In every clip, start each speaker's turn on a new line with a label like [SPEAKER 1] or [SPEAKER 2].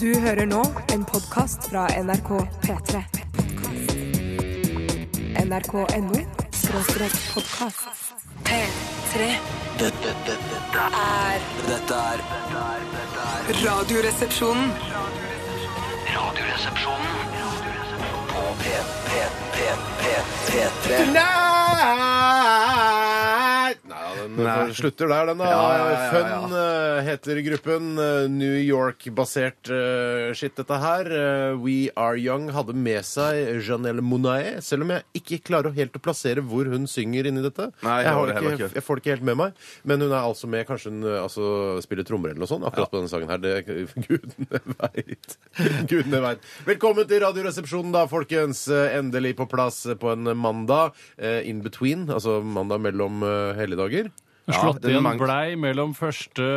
[SPEAKER 1] Du hører nå en podkast fra NRK P3. NRK.no skråstrek podkast. P3
[SPEAKER 2] Dette, dette, dette,
[SPEAKER 1] er
[SPEAKER 2] dette er dette er- dette er
[SPEAKER 1] Radioresepsjonen.
[SPEAKER 2] Radioresepsjonen på P, P, P, P, P3.
[SPEAKER 3] Nei! Nei, den eh,
[SPEAKER 4] Nei.
[SPEAKER 3] slutter der, den. da.
[SPEAKER 4] Ja, ja, ja, ja, ja.
[SPEAKER 3] Fun eh, heter gruppen. eh, New York-basert eh, shit, dette her. Eh, We Are Young hadde med seg Janelle Monae, selv om jeg ikke klarer å helt å plassere hvor hun synger inni dette.
[SPEAKER 4] Nei,
[SPEAKER 3] jeg,
[SPEAKER 4] jeg
[SPEAKER 3] har
[SPEAKER 4] heller
[SPEAKER 3] ikke,
[SPEAKER 4] ikke.
[SPEAKER 3] jeg får det ikke helt med meg. Men hun er altså med, kanskje hun eh, altså, spiller trommer eller noe sånt akkurat på denne sangen her. Det gudene veit. Gudene veit. Velkommen til Radioresepsjonen, da, folkens. Eh, Endelig på plass eh, på en mandag. eh, In between, altså mandag mellom eh, helligdager.
[SPEAKER 5] Slått
[SPEAKER 4] den
[SPEAKER 5] igjen
[SPEAKER 4] mang-
[SPEAKER 5] blei mellom 1.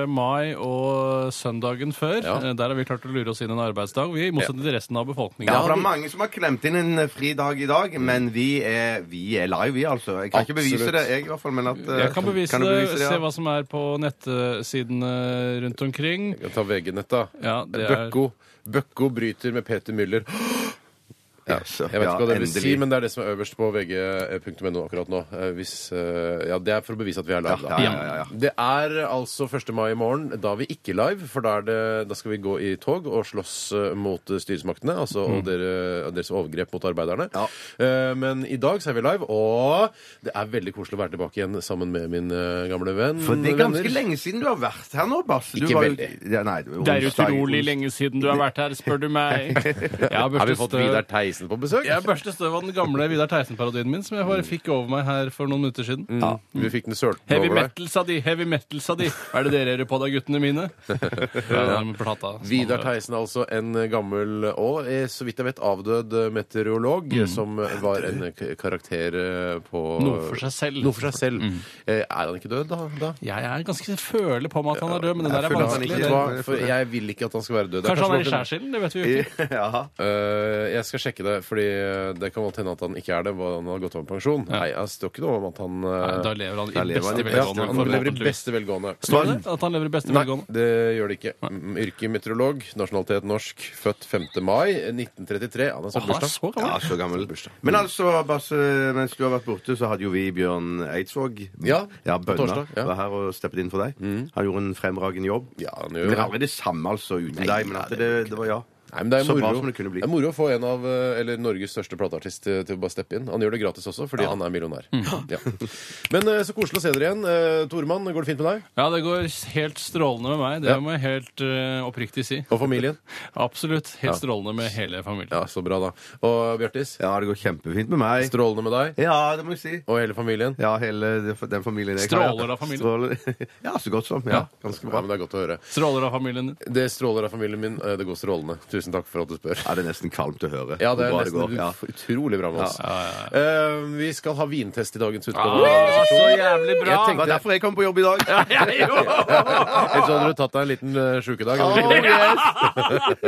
[SPEAKER 5] mai og søndagen før.
[SPEAKER 3] Ja.
[SPEAKER 5] Eh, Der har vi klart å lure oss inn en arbeidsdag, vi, i motsetning til resten av befolkningen.
[SPEAKER 4] Ja, for det er mange som har klemt inn en fridag i dag, men vi er, vi er live, vi, altså. Jeg kan ikke bevise
[SPEAKER 3] Absolutt.
[SPEAKER 4] det, jeg i hvert fall, men at eh,
[SPEAKER 5] Jeg kan bevise
[SPEAKER 4] du
[SPEAKER 5] det.
[SPEAKER 4] bevise
[SPEAKER 5] Se
[SPEAKER 4] ja?
[SPEAKER 5] hva som er på nettsidene rundt omkring.
[SPEAKER 3] Jeg kan ta VG-nett, da.
[SPEAKER 5] Ja, det er-
[SPEAKER 3] Bøkko. Bøkko bryter med Peter Müller.
[SPEAKER 4] Ja, så-
[SPEAKER 3] Jeg vet
[SPEAKER 4] ja,
[SPEAKER 3] ikke hva det vil
[SPEAKER 4] endelig.
[SPEAKER 3] si, men det er det som er øverst på vg.no akkurat nå. Eh, Hvis, eh, ja, Det er for å bevise at vi er live, da.
[SPEAKER 4] Ja, ja, ja, ja.
[SPEAKER 3] Det er altså 1. mai i morgen, da er vi ikke live. For da, er det, da skal vi gå i tog og slåss eh, mot styresmaktene, altså og dere, og deres overgrep mot arbeiderne.
[SPEAKER 4] Mm. Ja.
[SPEAKER 3] Eh, Men i dag så er vi live, og det er veldig koselig å være tilbake igjen sammen med min eh, gamle venn.
[SPEAKER 4] For det er ganske
[SPEAKER 3] venner.
[SPEAKER 4] lenge siden du har vært her nå, Basse. Du
[SPEAKER 3] Ikke
[SPEAKER 4] var jo-
[SPEAKER 3] veldig.
[SPEAKER 4] Ja, nei, det var
[SPEAKER 5] Det er
[SPEAKER 4] onsdag,
[SPEAKER 5] utrolig
[SPEAKER 4] ons-
[SPEAKER 5] lenge siden du har vært her, spør du meg. Jeg har
[SPEAKER 3] Har vi
[SPEAKER 5] børstet
[SPEAKER 3] fått
[SPEAKER 5] støv-
[SPEAKER 3] Vidar Theisen på besøk?
[SPEAKER 5] Jeg børstet støv av den gamle Vidar Theisen-parodien min, som jeg bare fikk over meg her for noen minutter siden.
[SPEAKER 3] Ja. Vi fikk den sølten
[SPEAKER 5] Heavy
[SPEAKER 3] over Mm. deg.
[SPEAKER 5] metal, sa de. Heavy metal, sa de. Hva er det dere hører på da, guttene mine? Ja, det er med plata, som
[SPEAKER 3] Vidar
[SPEAKER 5] han-
[SPEAKER 3] Theisen, altså en gammel og eh, så vidt jeg vet avdød eh, meteorolog, som eh, var en k- karakter eh, på
[SPEAKER 5] Mm. Noe for seg selv. Mm.
[SPEAKER 3] Noe for seg selv. Eh, Er han ikke død, da? da?
[SPEAKER 5] Jeg er ganske føler på meg at han er død, men det der
[SPEAKER 3] Jeg
[SPEAKER 5] er
[SPEAKER 3] føler han
[SPEAKER 5] vanskelig.
[SPEAKER 3] ikke, vet du hva, for jeg vil ikke at han skal være død. Det
[SPEAKER 5] Kanskje han er i
[SPEAKER 3] lov til-
[SPEAKER 5] skjærsilden? Det vet vi jo ikke.
[SPEAKER 4] Ja.
[SPEAKER 3] Eh, jeg skal sjekke det, Fordi eh, det kan godt hende at han ikke er det. hva Han har gått av med pensjon. Nei, altså, jeg står ikke noe om at han eh,
[SPEAKER 5] Nei, Da lever han
[SPEAKER 4] Da
[SPEAKER 5] i
[SPEAKER 4] lever han i
[SPEAKER 5] beste
[SPEAKER 3] ja,
[SPEAKER 4] velgående,
[SPEAKER 3] Han lever i
[SPEAKER 5] velgående.
[SPEAKER 3] beste velgående.
[SPEAKER 5] Står det at han lever i beste
[SPEAKER 3] Nei,
[SPEAKER 5] velgående?
[SPEAKER 3] det gjør det ikke. Mm, Yrke meteorolog, nasjonalitet norsk, født 5. mai eh, 1933. Han har
[SPEAKER 5] Å,
[SPEAKER 3] snart
[SPEAKER 5] Han er
[SPEAKER 3] bursdag.
[SPEAKER 5] så
[SPEAKER 4] Ja,
[SPEAKER 5] gammel.
[SPEAKER 4] så gammel. Men altså, Basse, mens du har vært borte, så hadde jo vi Bjørn Eidsvåg.
[SPEAKER 3] Ja,
[SPEAKER 4] ja
[SPEAKER 3] på
[SPEAKER 4] Bønna.
[SPEAKER 3] torsdag, ja. Mm.
[SPEAKER 4] Var her og steppet inn for deg. Han gjorde en fremragende jobb.
[SPEAKER 3] Ja, han
[SPEAKER 4] Det
[SPEAKER 3] gjør
[SPEAKER 4] er
[SPEAKER 3] det.
[SPEAKER 4] aldri det samme, altså, uten deg, men at det, det var ja.
[SPEAKER 3] Nei, men det er,
[SPEAKER 4] Så bra
[SPEAKER 3] moro.
[SPEAKER 4] som det kunne bli.
[SPEAKER 3] er moro å få en av eh, eller Norges største plateartist eh, til, til å bare steppe inn. Han gjør det gratis også, fordi han er millionær.
[SPEAKER 5] Mm.
[SPEAKER 3] Ja. Men eh, så koselig å se dere igjen. Eh, Tormann, går det fint med deg?
[SPEAKER 5] Ja, det går helt strålende med meg. Det
[SPEAKER 3] Ja.
[SPEAKER 5] må jeg helt eh, oppriktig si.
[SPEAKER 3] Og familien?
[SPEAKER 5] Absolutt. Helt strålende med hele familien.
[SPEAKER 3] Ja, så bra, da. Og Bjartis?
[SPEAKER 4] Ja, det går kjempefint med meg.
[SPEAKER 3] Strålende med deg
[SPEAKER 4] Ja, det må jeg si.
[SPEAKER 3] og hele familien?
[SPEAKER 4] Ja, hele den familien jeg
[SPEAKER 5] Stråler av familien.
[SPEAKER 4] Stråler. Ja, så godt som. Ja, ganske
[SPEAKER 3] Ja,
[SPEAKER 4] bra.
[SPEAKER 3] men Det er godt å høre.
[SPEAKER 5] Stråler av familien din.
[SPEAKER 3] Det stråler av familien min. eh, Det går strålende. Tusen takk for at du spør.
[SPEAKER 4] Ja, det er nesten kvalmt å høre.
[SPEAKER 3] Ja, det er
[SPEAKER 4] hvor bra
[SPEAKER 3] nesten
[SPEAKER 4] går. Ja.
[SPEAKER 3] utrolig bra med oss. Eh, vi skal ha vintest i dagens utgave.
[SPEAKER 5] Ah, så jævlig bra!
[SPEAKER 4] Det
[SPEAKER 3] Jeg
[SPEAKER 4] var
[SPEAKER 3] tenkte-
[SPEAKER 4] derfor jeg kom på jobb i dag.
[SPEAKER 5] Jeg jo!
[SPEAKER 3] Ellers hadde du tatt deg en liten eh, sjukedag.
[SPEAKER 4] Oh,
[SPEAKER 3] hadde du ikke det?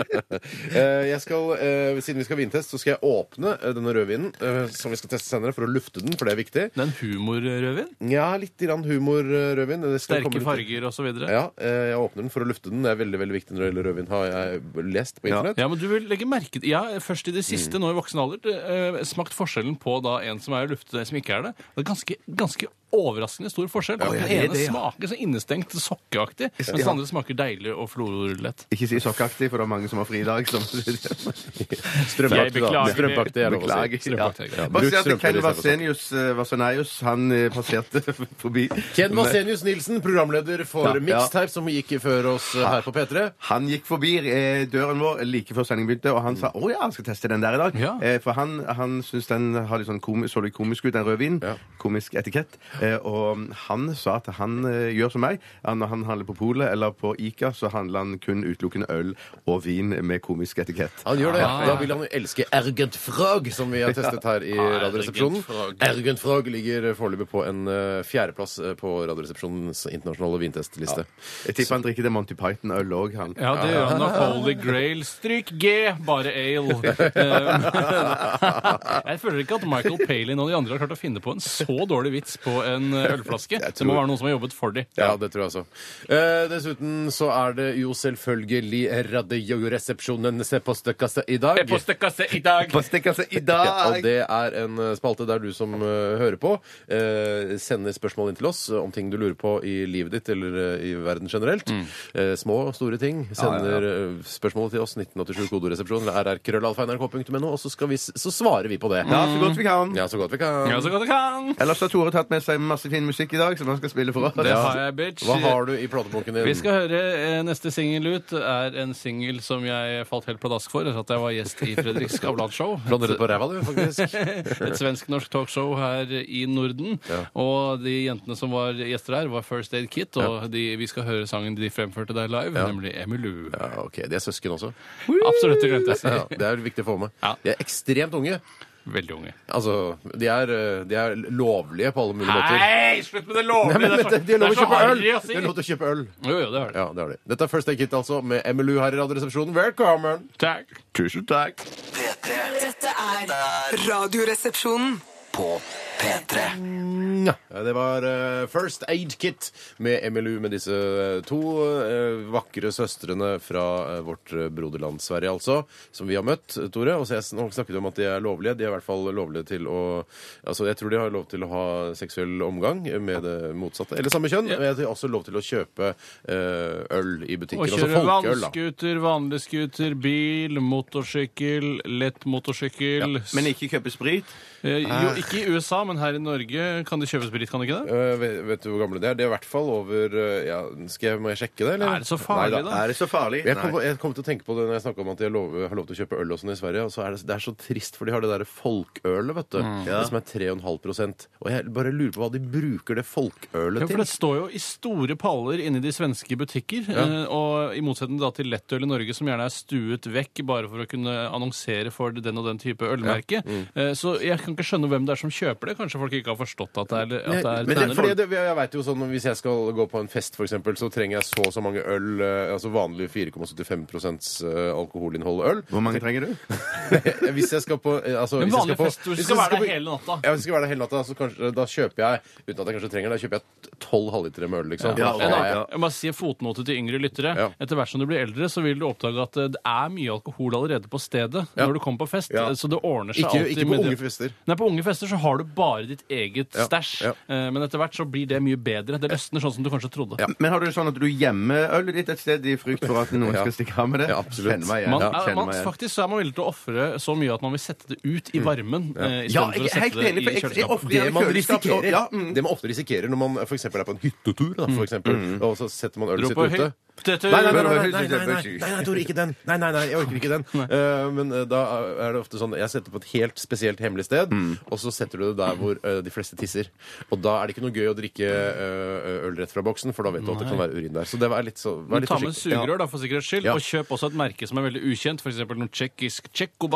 [SPEAKER 3] Eh, jeg skal, eh, siden vi skal ha vintest, så skal jeg åpne eh, denne rødvinen eh, som vi skal teste senere, for å lufte den, for det er viktig.
[SPEAKER 5] Det er en humorrødvin.
[SPEAKER 3] Ja, litt grann humor-rødvin. Det skal komme
[SPEAKER 5] Sterke
[SPEAKER 3] litt-
[SPEAKER 5] farger osv. Ja.
[SPEAKER 3] Ja, eh, jeg åpner den for å lufte den. Det er veldig veldig viktig når det gjelder rødvin, har jeg lest på internett.
[SPEAKER 5] ja, men du vil legge merke til Ja, først i det
[SPEAKER 4] Mm.
[SPEAKER 5] siste, nå i voksen alder, det, eh, smakt forskjellen på da en som er i luftet, og en som ikke er det. Det er ganske, ganske overraskende stor forskjell. den
[SPEAKER 4] det er
[SPEAKER 5] ene
[SPEAKER 4] det, ja.
[SPEAKER 5] smaker så innestengt sokkeaktig, mens den andre smaker deilig og florlett.
[SPEAKER 4] Ikke si sokkaktig, for det er mange som har fridag. Som...
[SPEAKER 5] Jeg
[SPEAKER 3] Strømpaktig, da.
[SPEAKER 5] beklager.
[SPEAKER 3] Strømpaktig er lov å si.
[SPEAKER 4] Beklager. Ja.
[SPEAKER 5] Strømpaktig, ja.
[SPEAKER 4] Bare
[SPEAKER 3] Bruk
[SPEAKER 4] si at
[SPEAKER 3] strømper
[SPEAKER 4] Ken
[SPEAKER 3] istedenfor
[SPEAKER 4] Vasenius eh, Vasenius, han eh, passerte forbi.
[SPEAKER 3] Ken Vasenius Nilsen, programleder for
[SPEAKER 4] Ja, ja.
[SPEAKER 3] Mixtape, som gikk før oss eh, her på P3.
[SPEAKER 4] Han gikk forbi eh, døren vår like før sendingen begynte, og han sa å ja, han skal teste den der i dag.
[SPEAKER 5] Ja.
[SPEAKER 4] Eh, for han, han syns den har litt sånn komi- så litt komisk ut, den rødvinen.
[SPEAKER 3] Ja.
[SPEAKER 4] Komisk etikett. Eh, og han sa at han eh, gjør som meg. Han, når han handler på polet eller på Ica, så handler han kun utelukkende øl og vin med komisk etikett.
[SPEAKER 3] Han gjør det.
[SPEAKER 5] Ah, ja.
[SPEAKER 3] Da vil han jo elske Ergent Frog, som vi har testet her i
[SPEAKER 5] Ah, Ergent
[SPEAKER 3] Radioresepsjonen.
[SPEAKER 5] Frog.
[SPEAKER 3] Ergent Frog ligger foreløpig på en eh, fjerdeplass eh, på Radioresepsjonens internasjonale vintestliste.
[SPEAKER 4] Jeg tipper han drikker det Monty Python-øl òg, han.
[SPEAKER 5] Ja, det gjør han da. Holy Grail. Stryk G, bare ale. Eh, Jeg føler ikke at Michael Palin og de andre har klart å finne på en så dårlig vits på eh, en eh, ølflaske.
[SPEAKER 3] Jeg
[SPEAKER 5] Det må
[SPEAKER 3] tror-
[SPEAKER 5] være noen som har jobbet for de.
[SPEAKER 3] Ja, det tror jeg også. Eh, dessuten så er det jo selvfølgelig Radioresepsjonen se på støkkassa i dag.
[SPEAKER 5] Postkasse i dag!
[SPEAKER 4] På stikkasse altså, i
[SPEAKER 3] Ja, og
[SPEAKER 4] dag!
[SPEAKER 3] det er en eh, spalte der du som eh, hører på, eh, sender spørsmål inn til oss eh, om ting du lurer på i livet ditt eller eh, i verden generelt.
[SPEAKER 5] Mm.
[SPEAKER 3] Eh, små og store ting. Sender eh, spørsmål til oss, 1987 kodoresepsjon eller rrkrøllalfa.nrk.no, og så, skal vi, s- så svarer vi på det.
[SPEAKER 4] Ja, så godt vi kan.
[SPEAKER 3] Ja, så godt vi kan.
[SPEAKER 5] Ja, så godt du kan!
[SPEAKER 4] Ellers har Tore tatt med seg masse fin musikk i dag, som han skal spille for oss.
[SPEAKER 5] Det har jeg, bitch.
[SPEAKER 3] Hva har du i platebunken din?
[SPEAKER 5] Vi skal høre eh, neste singel ut. er en singel som jeg falt helt pladask for etter at jeg var gjest i Fredrik Skavlan-show.
[SPEAKER 3] Blondere på ræva, du, faktisk.
[SPEAKER 5] Et svensk-norsk talkshow her i Norden. Og de jentene som var gjester der, var First Aid Kit, og de, vi skal høre sangen de fremførte der live, nemlig Emilu.
[SPEAKER 3] Ja, ok, De er søsken også.
[SPEAKER 5] Absolutt, det glemte jeg å si.
[SPEAKER 3] Ja, det er viktig å få med.
[SPEAKER 5] Ja.
[SPEAKER 3] De er ekstremt unge.
[SPEAKER 5] Veldig unge.
[SPEAKER 3] Altså, de er, eh, de er lovlige på alle mulige måter.
[SPEAKER 5] Nei, slutt med det
[SPEAKER 3] Nei,
[SPEAKER 5] lovlige!
[SPEAKER 3] men,
[SPEAKER 5] Det er så-
[SPEAKER 3] de har lov til å
[SPEAKER 5] det er så
[SPEAKER 3] kjøpe øl!
[SPEAKER 5] harry å si.
[SPEAKER 3] De har lov til å kjøpe øl.
[SPEAKER 5] Jo, jo, det har det.
[SPEAKER 3] Ja, det har de. Dette er First Aid Kit, altså, med MLU her i Radioresepsjonen. Velkommen!
[SPEAKER 5] Takk.
[SPEAKER 4] Tusen takk.
[SPEAKER 2] P3
[SPEAKER 6] Dette er Radioresepsjonen.
[SPEAKER 2] på P3
[SPEAKER 3] Nja. Det var eh, First Aid Kit med MLU, med disse eh, to eh, vakre søstrene fra eh, vårt eh, broderland Sverige, altså, som vi har møtt, eh, Tore. Og så jeg sn- nå snakket vi om at de er lovlige. De er i hvert fall lovlige til å Altså, jeg tror de har lov til å ha seksuell omgang med det motsatte, eller samme kjønn. Men jeg har også lov til å kjøpe eh, øl i butikker.
[SPEAKER 5] Å
[SPEAKER 3] altså
[SPEAKER 5] kjøre
[SPEAKER 3] folkeøl, da.
[SPEAKER 5] vannskuter, vanlig skuter, bil, motorsykkel, lett motorsykkel
[SPEAKER 4] Men ikke kjøpe sprit.
[SPEAKER 5] Eh, Jo, ikke i USA, men her i Norge kan de kjøpe sprit, kan de ikke det?
[SPEAKER 3] Eh, vet, vet du hvor gamle de er? De er i hvert fall over eh, ja, skal jeg, Må jeg sjekke det, eller?
[SPEAKER 5] Er det så farlig,
[SPEAKER 3] Neida.
[SPEAKER 5] da?
[SPEAKER 4] Er det så farlig?
[SPEAKER 3] Jeg kom, på, jeg kom til å tenke på det når jeg snakka om at de har lov, har lov til å kjøpe øl og sånn i Sverige. Og så er det, det er så trist, for de har det derre folkeølet, vet du.
[SPEAKER 5] Mm.
[SPEAKER 3] Det som er 3,5 Og jeg bare lurer på hva de bruker det
[SPEAKER 5] Ja,
[SPEAKER 3] folkeølet
[SPEAKER 5] for
[SPEAKER 3] til.
[SPEAKER 5] Det står jo i store paller inni de svenske butikker. eh, Og I motsetning da til lettøl i Norge, som gjerne er stuet vekk bare for å kunne annonsere for den og den type ølmerke.
[SPEAKER 3] Mm.
[SPEAKER 5] Eh, Så jeg kan ikke skjønne hvem det er som kjøper det. Kanskje folk ikke har forstått at det er, at det er
[SPEAKER 3] Men det,
[SPEAKER 5] denne
[SPEAKER 3] fordi det, jeg vet jo sånn, Hvis jeg skal gå på en fest, for eksempel, så trenger jeg så og så mange øl. eh, Altså vanlig 4,75 eh, alkoholinnhold øl.
[SPEAKER 4] Hvor mange trenger du?
[SPEAKER 3] Hvis jeg skal på eh, altså,
[SPEAKER 5] Men
[SPEAKER 3] hvis jeg
[SPEAKER 5] vanlig
[SPEAKER 3] skal på-
[SPEAKER 5] fest, du
[SPEAKER 3] hvis
[SPEAKER 5] skal
[SPEAKER 3] jeg
[SPEAKER 5] være der
[SPEAKER 3] på-
[SPEAKER 5] hele natta.
[SPEAKER 3] Ja, hvis jeg skal være der hele natta, så kanskje, da kjøper jeg uten at jeg kanskje trenger det, da kjøper jeg tolv halvlitere med øl, liksom.
[SPEAKER 4] Ja,
[SPEAKER 3] Da
[SPEAKER 5] En
[SPEAKER 3] har
[SPEAKER 5] annen-
[SPEAKER 3] jeg-
[SPEAKER 5] Jeg må bare si en fotnote til yngre lyttere.
[SPEAKER 3] Ja.
[SPEAKER 5] Etter hvert som du blir eldre, så vil du oppdage at eh, det er mye alkohol allerede på stedet når du kommer på fest.
[SPEAKER 3] Ja.
[SPEAKER 5] eh, Så det ordner seg
[SPEAKER 3] Ikke-
[SPEAKER 5] alltid.
[SPEAKER 3] ikke på
[SPEAKER 5] med det.
[SPEAKER 3] unge fester.
[SPEAKER 5] Nei, på unge fester så har du bare ditt eget
[SPEAKER 3] Ja,
[SPEAKER 5] stæsj.
[SPEAKER 3] ja.
[SPEAKER 5] Eh, Men etter hvert så blir det mye bedre. Det løsner sånn som du kanskje trodde.
[SPEAKER 4] Men har du det sånn at du gjemmer ølet ditt et sted i frykt for at noen
[SPEAKER 3] Ja.
[SPEAKER 4] skal stikke av med det?
[SPEAKER 3] Ja, absolutt.
[SPEAKER 4] Kjenner meg igjen.
[SPEAKER 5] Man,
[SPEAKER 4] Ja,
[SPEAKER 5] er-
[SPEAKER 4] kjenner
[SPEAKER 5] man,
[SPEAKER 4] meg igjen.
[SPEAKER 5] faktisk så er man villig til å ofre så mye at man vil sette det ut i varmen. eh, i stedet
[SPEAKER 4] Ja,
[SPEAKER 5] for å
[SPEAKER 4] jeg er helt
[SPEAKER 5] sette det
[SPEAKER 4] enig.
[SPEAKER 5] i
[SPEAKER 4] For jeg, jeg
[SPEAKER 5] kjøleskapet.
[SPEAKER 4] ofrer
[SPEAKER 3] det
[SPEAKER 4] gjerne
[SPEAKER 3] man
[SPEAKER 4] kjøleskap.
[SPEAKER 3] risikerer,
[SPEAKER 4] Ja, mm.
[SPEAKER 3] det man ofte risikerer når man f.eks. er på en hyttetur, da, for eksempel,
[SPEAKER 4] Mm.
[SPEAKER 3] og så setter man ølet
[SPEAKER 5] Dro
[SPEAKER 3] sitt
[SPEAKER 5] på
[SPEAKER 3] ute.
[SPEAKER 5] hyttetur.
[SPEAKER 3] Nei, nei, nei, nei, nei, nei, nei, nei, nei, Tore, ikke den! Nei, nei, nei, jeg orker ikke den. Eh, men eh, da er det ofte sånn Jeg setter på et helt spesielt hemmelig sted, og så setter du det der hvor eh, de fleste tisser. Og da er det ikke noe gøy å drikke eh, øl rett fra boksen, for da vet du at det kan være urin der. Så det var litt så vær
[SPEAKER 5] Men
[SPEAKER 3] litt
[SPEAKER 5] ta med
[SPEAKER 3] forsiktig. Ja.
[SPEAKER 5] sugerør da, for sikkerhets skyld,
[SPEAKER 3] Ja.
[SPEAKER 5] og kjøp også et merke som er veldig ukjent. F.eks. noe tsjekkisk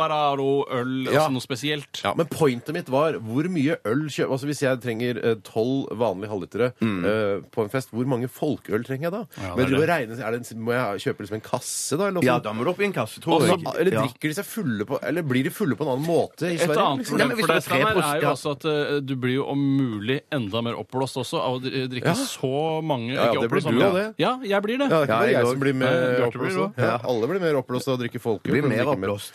[SPEAKER 5] tsjekkobararo-øl.
[SPEAKER 3] Ja.
[SPEAKER 5] Altså noe spesielt.
[SPEAKER 3] Ja, Men pointet mitt var hvor mye øl kjøper Altså Hvis jeg trenger tolv vanlige halvlitere eh, på en fest, hvor mange folkeøl trenger jeg da?
[SPEAKER 5] Ja, det er
[SPEAKER 3] men
[SPEAKER 5] det.
[SPEAKER 3] det. Regne, er det en, Må jeg kjøpe liksom en kasse, da? Eller, noe
[SPEAKER 4] Ja,
[SPEAKER 3] sånt?
[SPEAKER 4] da må du opp i en kasse, tror
[SPEAKER 3] Altså,
[SPEAKER 4] jeg.
[SPEAKER 3] eller
[SPEAKER 4] Ja.
[SPEAKER 3] drikker de seg fulle på Eller blir de fulle på en annen måte i
[SPEAKER 5] Et
[SPEAKER 3] Sverige?
[SPEAKER 5] annet
[SPEAKER 3] liksom?
[SPEAKER 5] problem
[SPEAKER 4] men hvis
[SPEAKER 5] for
[SPEAKER 4] det var
[SPEAKER 5] deg
[SPEAKER 4] tre
[SPEAKER 5] Steinar,
[SPEAKER 4] post,
[SPEAKER 5] er jo
[SPEAKER 4] ja.
[SPEAKER 5] også at eh, du blir jo om mulig enda mer oppblåst også av å dri- drikke
[SPEAKER 3] Ja.
[SPEAKER 5] så mange
[SPEAKER 3] Ja, ja,
[SPEAKER 5] ikke
[SPEAKER 3] det blir
[SPEAKER 5] oppblåst,
[SPEAKER 3] du
[SPEAKER 5] men-
[SPEAKER 3] av det.
[SPEAKER 5] Ja, jeg blir det.
[SPEAKER 3] Ja, det er ikke
[SPEAKER 4] Ja,
[SPEAKER 3] bare
[SPEAKER 4] jeg
[SPEAKER 3] jeg
[SPEAKER 4] også.
[SPEAKER 3] som blir mer
[SPEAKER 5] Nei, Bjarte blir
[SPEAKER 3] oppblåst.
[SPEAKER 5] også.
[SPEAKER 3] da. Ja, alle blir mer oppblåst av å drikke folkeøl.
[SPEAKER 4] Blir
[SPEAKER 3] men
[SPEAKER 4] mer
[SPEAKER 3] drikker mer-
[SPEAKER 4] oppblåst.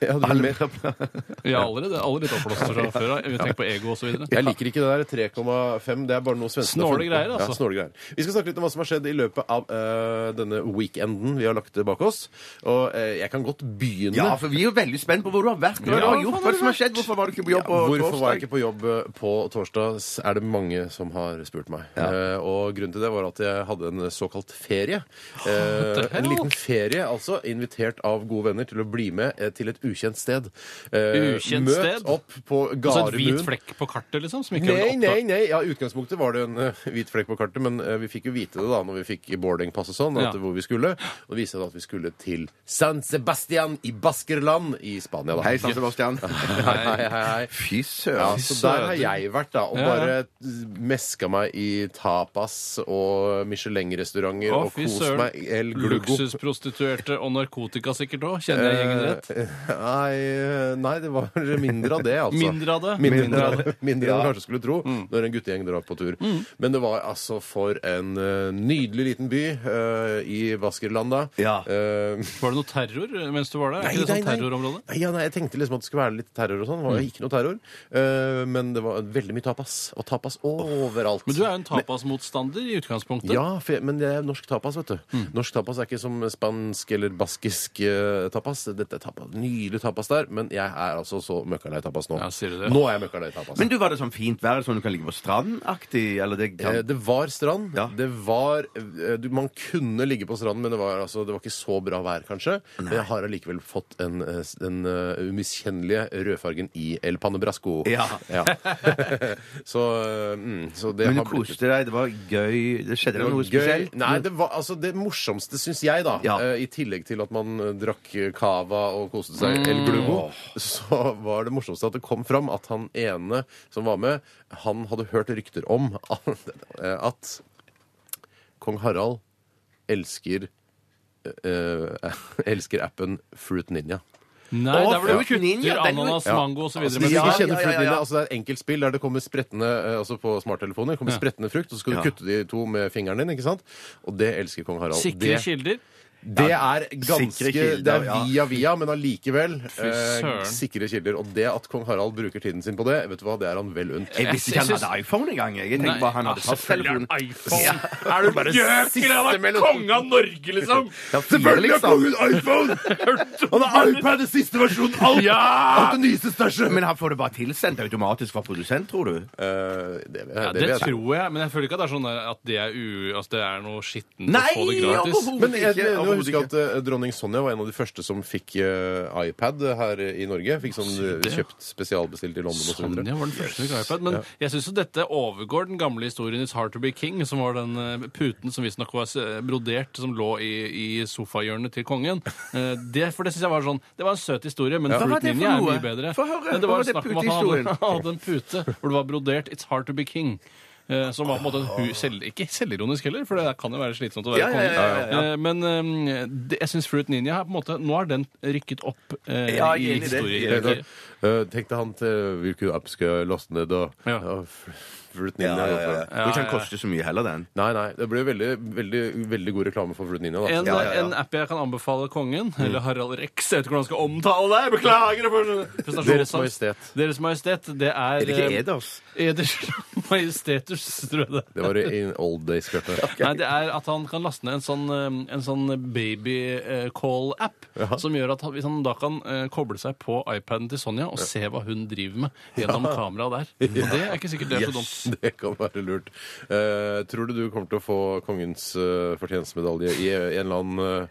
[SPEAKER 3] Ja, du blir mer.
[SPEAKER 5] Jeg er allerede, alle litt oppblåst fra før av. Tenk på ego og så videre.
[SPEAKER 3] Jeg liker ikke det der 3,5. Det er bare noe svenskene har
[SPEAKER 5] Snåle
[SPEAKER 3] funnet på.
[SPEAKER 5] greier, altså.
[SPEAKER 3] Ja, snåle greier. Vi skal snakke litt om hva som har skjedd i løpet av eh, denne weekenden vi har lagt bak oss. Og eh, jeg kan godt begynne.
[SPEAKER 4] Ja, for vi er jo veldig spent på hvor du har vært. Hva
[SPEAKER 5] Ja,
[SPEAKER 4] du har
[SPEAKER 5] hva
[SPEAKER 4] gjort,
[SPEAKER 5] faen
[SPEAKER 4] hva
[SPEAKER 5] har
[SPEAKER 4] som har skjedd, hvorfor var du ikke på jobb på
[SPEAKER 3] Hvorfor var
[SPEAKER 4] torsdag?
[SPEAKER 3] jeg ikke på jobb eh, på torsdag, s- er det mange som har spurt meg. Eh, og grunnen til det var at jeg hadde en såkalt ferie. Eh,
[SPEAKER 5] the hell?
[SPEAKER 3] en liten ferie, altså. Invitert av gode venner til å bli med eh, til et ukjent sted. Eh,
[SPEAKER 5] Ukjent
[SPEAKER 3] møt
[SPEAKER 5] sted?
[SPEAKER 3] opp på
[SPEAKER 5] Altså et hvit
[SPEAKER 3] Gardermoen.
[SPEAKER 5] flekk på kartet, liksom? Som ikke
[SPEAKER 3] Nei,
[SPEAKER 5] er
[SPEAKER 3] nei, nei. Ja, I utgangspunktet var det en eh, hvit flekk på kartet, men eh, vi fikk jo vite det da når vi fikk boardingpass og sånn, at
[SPEAKER 5] Ja.
[SPEAKER 3] hvor vi skulle. Og det viste seg da at vi skulle til San Sebastian i Baskerland i Spania. da.
[SPEAKER 4] Hei, San Sebastian.
[SPEAKER 3] hei, hei, hei, hei.
[SPEAKER 4] Fy
[SPEAKER 3] Ja,
[SPEAKER 4] søren.
[SPEAKER 3] så der har jeg vært, da. Og
[SPEAKER 5] Ja, ja.
[SPEAKER 3] bare meska meg i tapas og Michelin-restauranter
[SPEAKER 5] Å,
[SPEAKER 3] og
[SPEAKER 5] fy
[SPEAKER 3] kost
[SPEAKER 5] søren.
[SPEAKER 3] meg el gluggo.
[SPEAKER 5] Luksusprostituerte og narkotika sikkert òg, kjenner jeg gjengen rett.
[SPEAKER 3] Eh, Nei, nei, det var mindre av det, altså.
[SPEAKER 5] Mindre av det? Mm.
[SPEAKER 3] Mindre,
[SPEAKER 5] Mindre av
[SPEAKER 3] av det. Mindre enn du kanskje skulle tro når en guttegjeng drar på tur. Men det var altså for en eh, nydelig liten by eh, i Vaskerlanda.
[SPEAKER 4] Ja.
[SPEAKER 3] Eh,
[SPEAKER 5] Var det noe terror eh, mens du var der? Er ikke det sånn terrorområde? Mm.
[SPEAKER 3] Nei, ja, nei, jeg tenkte liksom at det skulle være litt terror og sånn. Det var ikke noe terror. Eh, men det var veldig mye tapas. Og tapas overalt.
[SPEAKER 5] Men du er jo en tapasmotstander i utgangspunktet.
[SPEAKER 3] Ja, for, jeg- men det er norsk tapas, vet du.
[SPEAKER 5] Mm.
[SPEAKER 3] Norsk tapas er ikke som spansk eller baskisk eh, tapas. Dette er tapas, nydelig tapas der, men jeg er altså så møkkalei tapas nå.
[SPEAKER 5] Ja, sier du det?
[SPEAKER 3] Nå er jeg møkkalei tapas.
[SPEAKER 4] Men du, var det sånn fint vær, sånn du kan ligge på strandaktig? Eller det
[SPEAKER 3] Eh,
[SPEAKER 4] kan...
[SPEAKER 3] Det var strand.
[SPEAKER 4] Ja.
[SPEAKER 3] Det var, eh, du, man kunne ligge på stranden, men det var, altså, det var ikke så bra vær, kanskje. Men jeg har allikevel fått en, eh, s- den eh, umiskjennelige rødfargen i El Panebrasco.
[SPEAKER 4] Ja.
[SPEAKER 3] så, eh, mm, så det
[SPEAKER 4] Men
[SPEAKER 3] har
[SPEAKER 4] du
[SPEAKER 3] blitt-
[SPEAKER 4] koste deg, det var gøy Det skjedde det noe
[SPEAKER 3] Gøy.
[SPEAKER 4] spesielt?
[SPEAKER 3] Nei, det var altså det morsomste, syns jeg, da.
[SPEAKER 4] Ja.
[SPEAKER 3] eh, I tillegg til at man eh, drakk eh, cava og koste seg
[SPEAKER 4] Mm.
[SPEAKER 3] El Glugo, så var det morsomste at det kom fram at han ene som var med, han hadde hørt rykter om at, at kong Harald elsker eh, elsker appen Fruit Ninja.
[SPEAKER 5] Nei,
[SPEAKER 4] Å,
[SPEAKER 5] der hvor du
[SPEAKER 4] fruit ninja,
[SPEAKER 5] kutter
[SPEAKER 4] den-
[SPEAKER 5] ananas,
[SPEAKER 4] Ja.
[SPEAKER 5] mango osv.
[SPEAKER 3] Altså,
[SPEAKER 5] Men
[SPEAKER 3] hvis du
[SPEAKER 4] Ja,
[SPEAKER 3] ikke kjenner
[SPEAKER 4] ja, ja,
[SPEAKER 3] Fruit
[SPEAKER 4] ja.
[SPEAKER 3] Ninja, altså det er et enkeltspill der det kommer sprettende eh, altså på smarttelefoner kommer sprettende frukt, og så skal du
[SPEAKER 4] Ja.
[SPEAKER 3] kutte de to med fingeren din. ikke sant? Og det elsker kong Harald.
[SPEAKER 5] sikre
[SPEAKER 3] Det,
[SPEAKER 5] kilder.
[SPEAKER 3] det er ganske
[SPEAKER 4] Sikre kilder,
[SPEAKER 3] Det er
[SPEAKER 4] ja.
[SPEAKER 3] via via, men allikevel eh,
[SPEAKER 5] søren.
[SPEAKER 3] sikre kilder. Og det at kong Harald bruker tiden sin på det, vet du hva, det er han vel unt.
[SPEAKER 4] Jeg visste ikke han
[SPEAKER 5] Jeg synes-
[SPEAKER 4] hadde iPhone engang. jeg. Jeg
[SPEAKER 5] Nei,
[SPEAKER 4] tenkte bare han
[SPEAKER 5] ja,
[SPEAKER 4] hadde
[SPEAKER 5] selvfølgelig er
[SPEAKER 4] fasttelefonen.
[SPEAKER 5] det iPhone. Er du bare gjøker? Han er
[SPEAKER 3] mellom-
[SPEAKER 5] konge av Norge, liksom!
[SPEAKER 4] Ja, fire, liksom.
[SPEAKER 3] iPhone! Han har iPad i siste versjon! Alt!
[SPEAKER 5] Ja!
[SPEAKER 3] det nyeste største!
[SPEAKER 4] Men han får det bare tilsendt automatisk fra produsent, tror du?
[SPEAKER 3] Eh, det,
[SPEAKER 5] Ja,
[SPEAKER 3] det
[SPEAKER 5] det
[SPEAKER 3] vet jeg.
[SPEAKER 5] tror jeg, men jeg føler ikke at det er sånn der at det er, u, altså det er noe skittent å
[SPEAKER 4] Nei,
[SPEAKER 5] få det gratis.
[SPEAKER 4] overhodet
[SPEAKER 3] Men jeg,
[SPEAKER 4] ikke,
[SPEAKER 3] jeg, jeg
[SPEAKER 4] overhodet
[SPEAKER 3] husker
[SPEAKER 4] ikke.
[SPEAKER 3] at eh, dronning Sonja var en av de første som fikk eh, iPad her i Norge. Fikk sånn eh,
[SPEAKER 5] det.
[SPEAKER 3] kjøpt spesialbestilt i London og så
[SPEAKER 5] Sonja
[SPEAKER 3] videre.
[SPEAKER 5] var den første som fikk iPad, men jeg syns dette overgår den gamle historien It's Hard to be King, som var den eh, puten som visstnok var eh, brodert, som lå i, i sofahjørnet til kongen. Eh, Det, for det synes jeg var sånn Det var en søt historie, men
[SPEAKER 4] Hva var
[SPEAKER 5] Fruit
[SPEAKER 4] det for
[SPEAKER 5] Ninja er
[SPEAKER 4] noe?
[SPEAKER 5] mye bedre.
[SPEAKER 4] Få høre, hva
[SPEAKER 5] Men det var
[SPEAKER 4] var det
[SPEAKER 5] snakk om at han
[SPEAKER 4] putehistorien?
[SPEAKER 5] hadde, han hadde en pute hvor det var brodert It's Hard to be King. eh, Som var på en måte en hu selv, Ikke selvironisk heller, for det kan jo være slitsomt å være
[SPEAKER 4] Ja, ja, ja, ja, ja.
[SPEAKER 5] konge. Eh, Men eh, det, jeg syns Fruit Ninja er på en måte, nå har den rykket opp eh,
[SPEAKER 4] Ja, jeg
[SPEAKER 5] i
[SPEAKER 4] er enig i det. Jeg er enig i
[SPEAKER 5] historien.
[SPEAKER 4] det.
[SPEAKER 3] Eh, tenkte han til hvilken app skal jeg laste ned og
[SPEAKER 5] Ja.
[SPEAKER 3] og fr- Fruit
[SPEAKER 4] Ja,
[SPEAKER 3] Ninja.
[SPEAKER 4] ja, ja, ja.
[SPEAKER 3] hvorfor?
[SPEAKER 4] Jeg tror ikke han koster så mye heller, den.
[SPEAKER 3] Nei, nei. Det ble veldig, veldig, veldig god reklame for Fruit Ninja. Da.
[SPEAKER 5] En,
[SPEAKER 4] Ja, ja, ja.
[SPEAKER 5] en app jeg kan anbefale kongen, eller Harald Rex Jeg vet ikke hvordan jeg skal omtale deg! Beklager! for prestasjonsangst.
[SPEAKER 3] Deres Majestet.
[SPEAKER 5] Deres Majestet, det er,
[SPEAKER 4] Er det ikke
[SPEAKER 5] eh,
[SPEAKER 4] Eders?
[SPEAKER 5] Eders Majestetus, tror jeg det er.
[SPEAKER 3] Det var i in old days, Bjarte.
[SPEAKER 5] Nei, det er at han kan laste ned en sånn, eh, en sånn babycall-app. Som gjør at han, hvis han da kan eh, koble seg på iPaden til Sonja og se hva hun driver med gjennom kameraet der. Og det er ikke sikkert det er så dumt.
[SPEAKER 3] Yes, det kan være lurt. Eh, tror du du kommer til å få kongens eh, fortjenstmedalje i en eller annen, eh,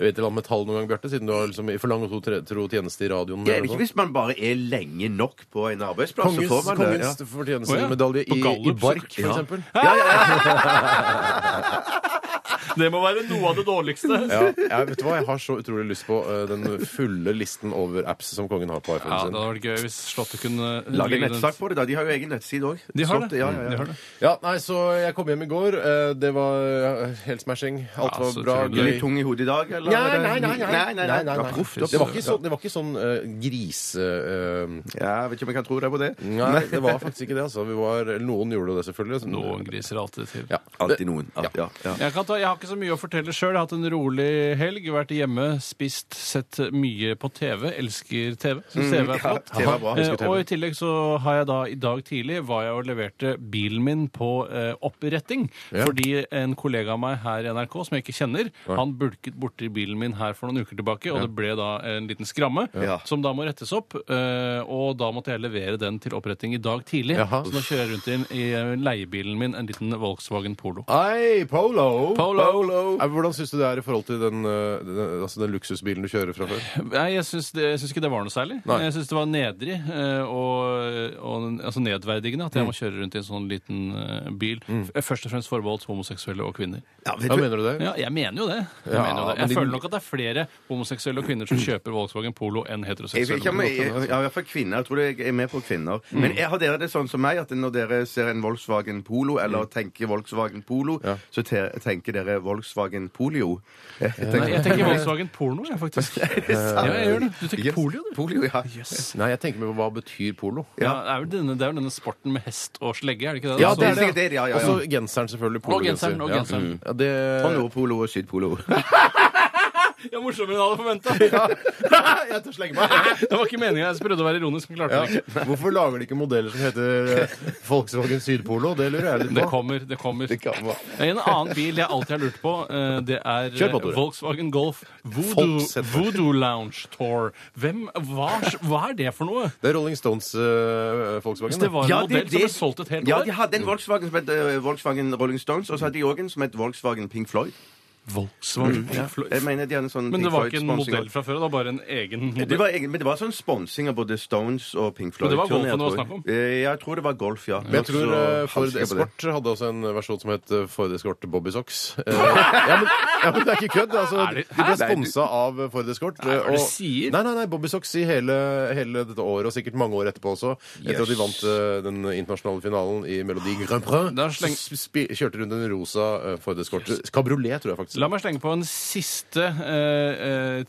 [SPEAKER 3] et eller annet metall noen gang, Bjarte? Siden du har liksom, i for lang og tro, tre- tro tjeneste i radioen.
[SPEAKER 4] Det
[SPEAKER 3] eller
[SPEAKER 4] er det
[SPEAKER 3] noe
[SPEAKER 4] ikke
[SPEAKER 3] sånt?
[SPEAKER 4] hvis man bare er lenge nok på en arbeidsplass, så får
[SPEAKER 3] Kongens,
[SPEAKER 4] man det. Ja.
[SPEAKER 3] kongens fortjenstmedalje
[SPEAKER 5] På
[SPEAKER 3] i, i
[SPEAKER 5] Gallup, så-
[SPEAKER 3] Bark, for
[SPEAKER 5] ja.
[SPEAKER 3] eksempel.
[SPEAKER 5] Det må være noe av det dårligste.
[SPEAKER 3] Ja, jeg, vet du hva? jeg har så utrolig lyst på eh, den fulle listen over apps som kongen har på
[SPEAKER 5] Ja, Det
[SPEAKER 3] iPhonen sin.
[SPEAKER 5] hadde vært gøy hvis Slottet kunne
[SPEAKER 4] Lage
[SPEAKER 5] legge den ut.
[SPEAKER 4] nettsak på det, da. De har jo egen nettside òg.
[SPEAKER 5] De har det.
[SPEAKER 4] Ja, ja, ja.
[SPEAKER 5] De har det.
[SPEAKER 3] Ja, nei, så jeg kom hjem i går. eh, Det var eh, helt smashing. Alt
[SPEAKER 5] Ja,
[SPEAKER 3] var
[SPEAKER 5] så
[SPEAKER 3] bra.
[SPEAKER 5] utrolig.
[SPEAKER 4] Litt
[SPEAKER 3] Gøy.
[SPEAKER 4] tung i hodet i dag, eller?
[SPEAKER 3] Nei, nei, nei, nei.
[SPEAKER 4] nei, nei, nei,
[SPEAKER 3] Nei, nei.
[SPEAKER 4] Det var proft,
[SPEAKER 3] Det var
[SPEAKER 4] altså.
[SPEAKER 3] ikke sånn, det var ikke sånn eh, grise... eh,
[SPEAKER 4] Ja, jeg vet ikke om jeg kan tro deg på det.
[SPEAKER 3] Nei, det var faktisk ikke det. altså. Vi var, noen gjorde det, selvfølgelig.
[SPEAKER 5] Noen griser alltid til.
[SPEAKER 3] Ja.
[SPEAKER 4] Alltid noen. Alt, ja. Ja.
[SPEAKER 5] Jeg, kan ta, jeg har ikke så mye å fortelle sjøl. Jeg har hatt en rolig helg. Vært hjemme, spist, sett mye på TV. Elsker TV.
[SPEAKER 4] Mm,
[SPEAKER 5] Syns TV er flott.
[SPEAKER 4] TV er bra.
[SPEAKER 5] Eh,
[SPEAKER 4] Elsker TV.
[SPEAKER 5] og i tillegg så har jeg da i dag tidlig var jeg og leverte bilen min på eh, oppretting. Fordi en kollega av meg her i NRK som jeg ikke kjenner, han bulket borti bilen min her for noen uker tilbake, og det ble da en liten skramme
[SPEAKER 4] Ja.
[SPEAKER 5] som da må rettes opp. eh, og da måtte jeg levere den til oppretting i dag tidlig.
[SPEAKER 3] Jaha.
[SPEAKER 5] Så nå kjører jeg rundt i, en- i leiebilen min, en liten Volkswagen Polo.
[SPEAKER 3] Hei, Polo!
[SPEAKER 5] Polo.
[SPEAKER 3] Eh, Hvordan syns du det er i forhold til den, eh, den, altså den luksusbilen du kjører fra før?
[SPEAKER 5] Nei, jeg syns, det, jeg syns ikke det var noe særlig.
[SPEAKER 3] Nei.
[SPEAKER 5] Jeg syns det var nedrig eh, og, og altså nedverdigende
[SPEAKER 3] Mm.
[SPEAKER 5] at jeg må kjøre rundt i en sånn liten eh, bil. F- Først og fremst forbeholdt homoseksuelle og kvinner.
[SPEAKER 4] Ja, vet
[SPEAKER 3] Hva
[SPEAKER 4] du-
[SPEAKER 3] mener du det?
[SPEAKER 5] Ja, jeg mener jo det. Jeg,
[SPEAKER 3] Ja,
[SPEAKER 5] mener jo
[SPEAKER 3] men
[SPEAKER 5] det. jeg
[SPEAKER 3] de-
[SPEAKER 5] føler nok at det er flere homoseksuelle og kvinner som kjøper Volkswagen Polo enn
[SPEAKER 4] Jeg vet
[SPEAKER 5] heteroseksuelle.
[SPEAKER 4] ikke om jeg, jeg, ja, i hvert fall kvinner. Jeg tror jeg er med på kvinner. Men er, har dere det sånn som meg, at når dere ser en Volkswagen Polo, eller tenker Volkswagen Polo, så te, tenker dere Volkswagen Polio. Jeg
[SPEAKER 5] Nei, jeg tenker Volkswagen porno, jeg, faktisk. Ja, jeg gjør det. Du tenker polio, du.
[SPEAKER 4] Eh, Polio, ja.
[SPEAKER 3] Nei, jeg tenker meg på hva betyr polo.
[SPEAKER 5] Ja, det, er vel denne, det er vel denne sporten med hest og slegge, er det ikke det?
[SPEAKER 4] Ja,
[SPEAKER 5] Altså,
[SPEAKER 4] det er det. sikkert ja, ja, ja.
[SPEAKER 3] Og så genseren, selvfølgelig.
[SPEAKER 5] Og genseren, og
[SPEAKER 3] Ja.
[SPEAKER 5] genseren.
[SPEAKER 3] Ja, det...
[SPEAKER 4] Og Nordpolo og Sydpolo.
[SPEAKER 5] Ja, morsommere enn jeg hadde forventa.
[SPEAKER 3] jeg tør slenge meg.
[SPEAKER 5] Det var ikke meninga. Jeg prøvde å være ironisk, men klarte
[SPEAKER 3] Ja.
[SPEAKER 5] det ikke.
[SPEAKER 3] Hvorfor lager de ikke modeller som heter eh, Volkswagen Sydpolo? Det lurer jeg litt
[SPEAKER 5] Det
[SPEAKER 3] på.
[SPEAKER 5] kommer. det kommer.
[SPEAKER 3] Det kan være.
[SPEAKER 5] En annen bil jeg alltid har lurt på, eh, det er
[SPEAKER 3] Kjør på, Tore.
[SPEAKER 5] Volkswagen Golf Voodoo,
[SPEAKER 3] Folks heter det.
[SPEAKER 5] Voodoo Lounge Tour. Hvem, hva, hva er det for noe?
[SPEAKER 3] Det er Rolling Stones eh, Volkswagen.
[SPEAKER 5] Så det var en
[SPEAKER 4] Ja, det-
[SPEAKER 5] modell som ble
[SPEAKER 4] det-
[SPEAKER 5] solgt et helt
[SPEAKER 4] Ja,
[SPEAKER 5] år.
[SPEAKER 4] de hadde en Volkswagen som het eh, Volkswagen Rolling Stones, og så hadde de òg en som het Volkswagen Pink Floyd.
[SPEAKER 5] Volkswagen
[SPEAKER 4] Jeg mener de hadde en sånn
[SPEAKER 5] Mm, Men
[SPEAKER 4] Pink
[SPEAKER 5] det var ikke en
[SPEAKER 4] Floyd-sponsing
[SPEAKER 5] modell fra før, det var bare en egen
[SPEAKER 4] også. det
[SPEAKER 5] modell.
[SPEAKER 4] var, egen- men det var sånn sponsing av både Stones og Pink Floyd.
[SPEAKER 5] Men det var
[SPEAKER 4] turné,
[SPEAKER 5] golfen det
[SPEAKER 4] tror
[SPEAKER 5] var
[SPEAKER 4] jeg.
[SPEAKER 5] snakk om?
[SPEAKER 4] Eh, Ja, jeg tror det var golf, ja.
[SPEAKER 3] Men jeg tror eh, Ford Escort hadde også en versjon som het eh, Ford Escort Bobby Socks. Eh, ja, men, ja, men det er ikke kødd. Altså,
[SPEAKER 5] Er
[SPEAKER 3] de
[SPEAKER 5] det-
[SPEAKER 3] ble sponsa av eh, Ford Escort.
[SPEAKER 5] Nei, hva er det
[SPEAKER 3] og-
[SPEAKER 5] du sier?
[SPEAKER 3] Nei, nei, nei, Bobby Socks i hele, hele dette året, og sikkert mange år etterpå også. Etter at de vant eh, den internasjonale finalen i Melodi Grand Prix,
[SPEAKER 5] Da sleng-
[SPEAKER 3] så spi- kjørte rundt en rosa eh, Ford Escort. Kabriolet, tror jeg faktisk.
[SPEAKER 5] La meg slenge på en siste eh, eh,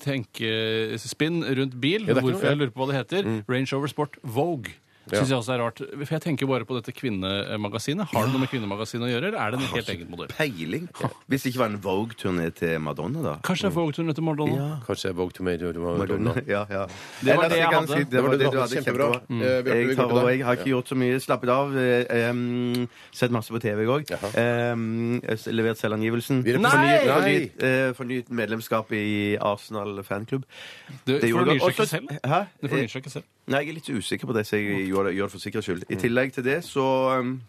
[SPEAKER 5] tenkespinn rundt bil.
[SPEAKER 3] Ja, det er ikke noe, ja.
[SPEAKER 5] hvorfor
[SPEAKER 3] Mm.
[SPEAKER 5] jeg lurer på hva det heter. Range Rover Sport Vogue. Synes jeg også er rart. For jeg tenker bare på dette kvinnemagasinet. Har det noe med kvinnemagasinet å gjøre, eller er det en helt egen modell?
[SPEAKER 4] Peiling. Hvis det ikke var en Vogue-turné til Madonna, da.
[SPEAKER 5] Kanskje det er Vogue-turen etter Mardona?
[SPEAKER 3] Kanskje jeg vågte meg til
[SPEAKER 4] Madonna.
[SPEAKER 3] Madonna.
[SPEAKER 4] Ja, ja.
[SPEAKER 5] Det var
[SPEAKER 4] Ellers
[SPEAKER 5] det jeg
[SPEAKER 4] kan
[SPEAKER 5] hadde.
[SPEAKER 4] si
[SPEAKER 3] Det var det du hadde. Kjempebra.
[SPEAKER 4] Mm.
[SPEAKER 3] Eh, Bjarte,
[SPEAKER 4] Jeg,
[SPEAKER 3] vi
[SPEAKER 4] tar
[SPEAKER 3] går til deg.
[SPEAKER 4] over. jeg har ikke gjort så mye. Slappet av. eh, em, sett masse på TV i går. Em, s- levert selvangivelsen.
[SPEAKER 3] Vi
[SPEAKER 5] Nei!
[SPEAKER 3] representerer- Nei!
[SPEAKER 4] Fornyet, eh, fornyet medlemskap i Arsenal fanklubb.
[SPEAKER 5] Det,
[SPEAKER 4] Det Eh, gjorde
[SPEAKER 5] fornyer seg
[SPEAKER 4] jeg.
[SPEAKER 5] ikke
[SPEAKER 4] Også-
[SPEAKER 5] selv.
[SPEAKER 4] Hæ?
[SPEAKER 5] Det fornyer seg ikke selv.
[SPEAKER 4] Nei, jeg er litt usikker på det, så jeg gjør det, gjør det for sikkerhets skyld.
[SPEAKER 5] Mm.
[SPEAKER 4] I tillegg til det så um,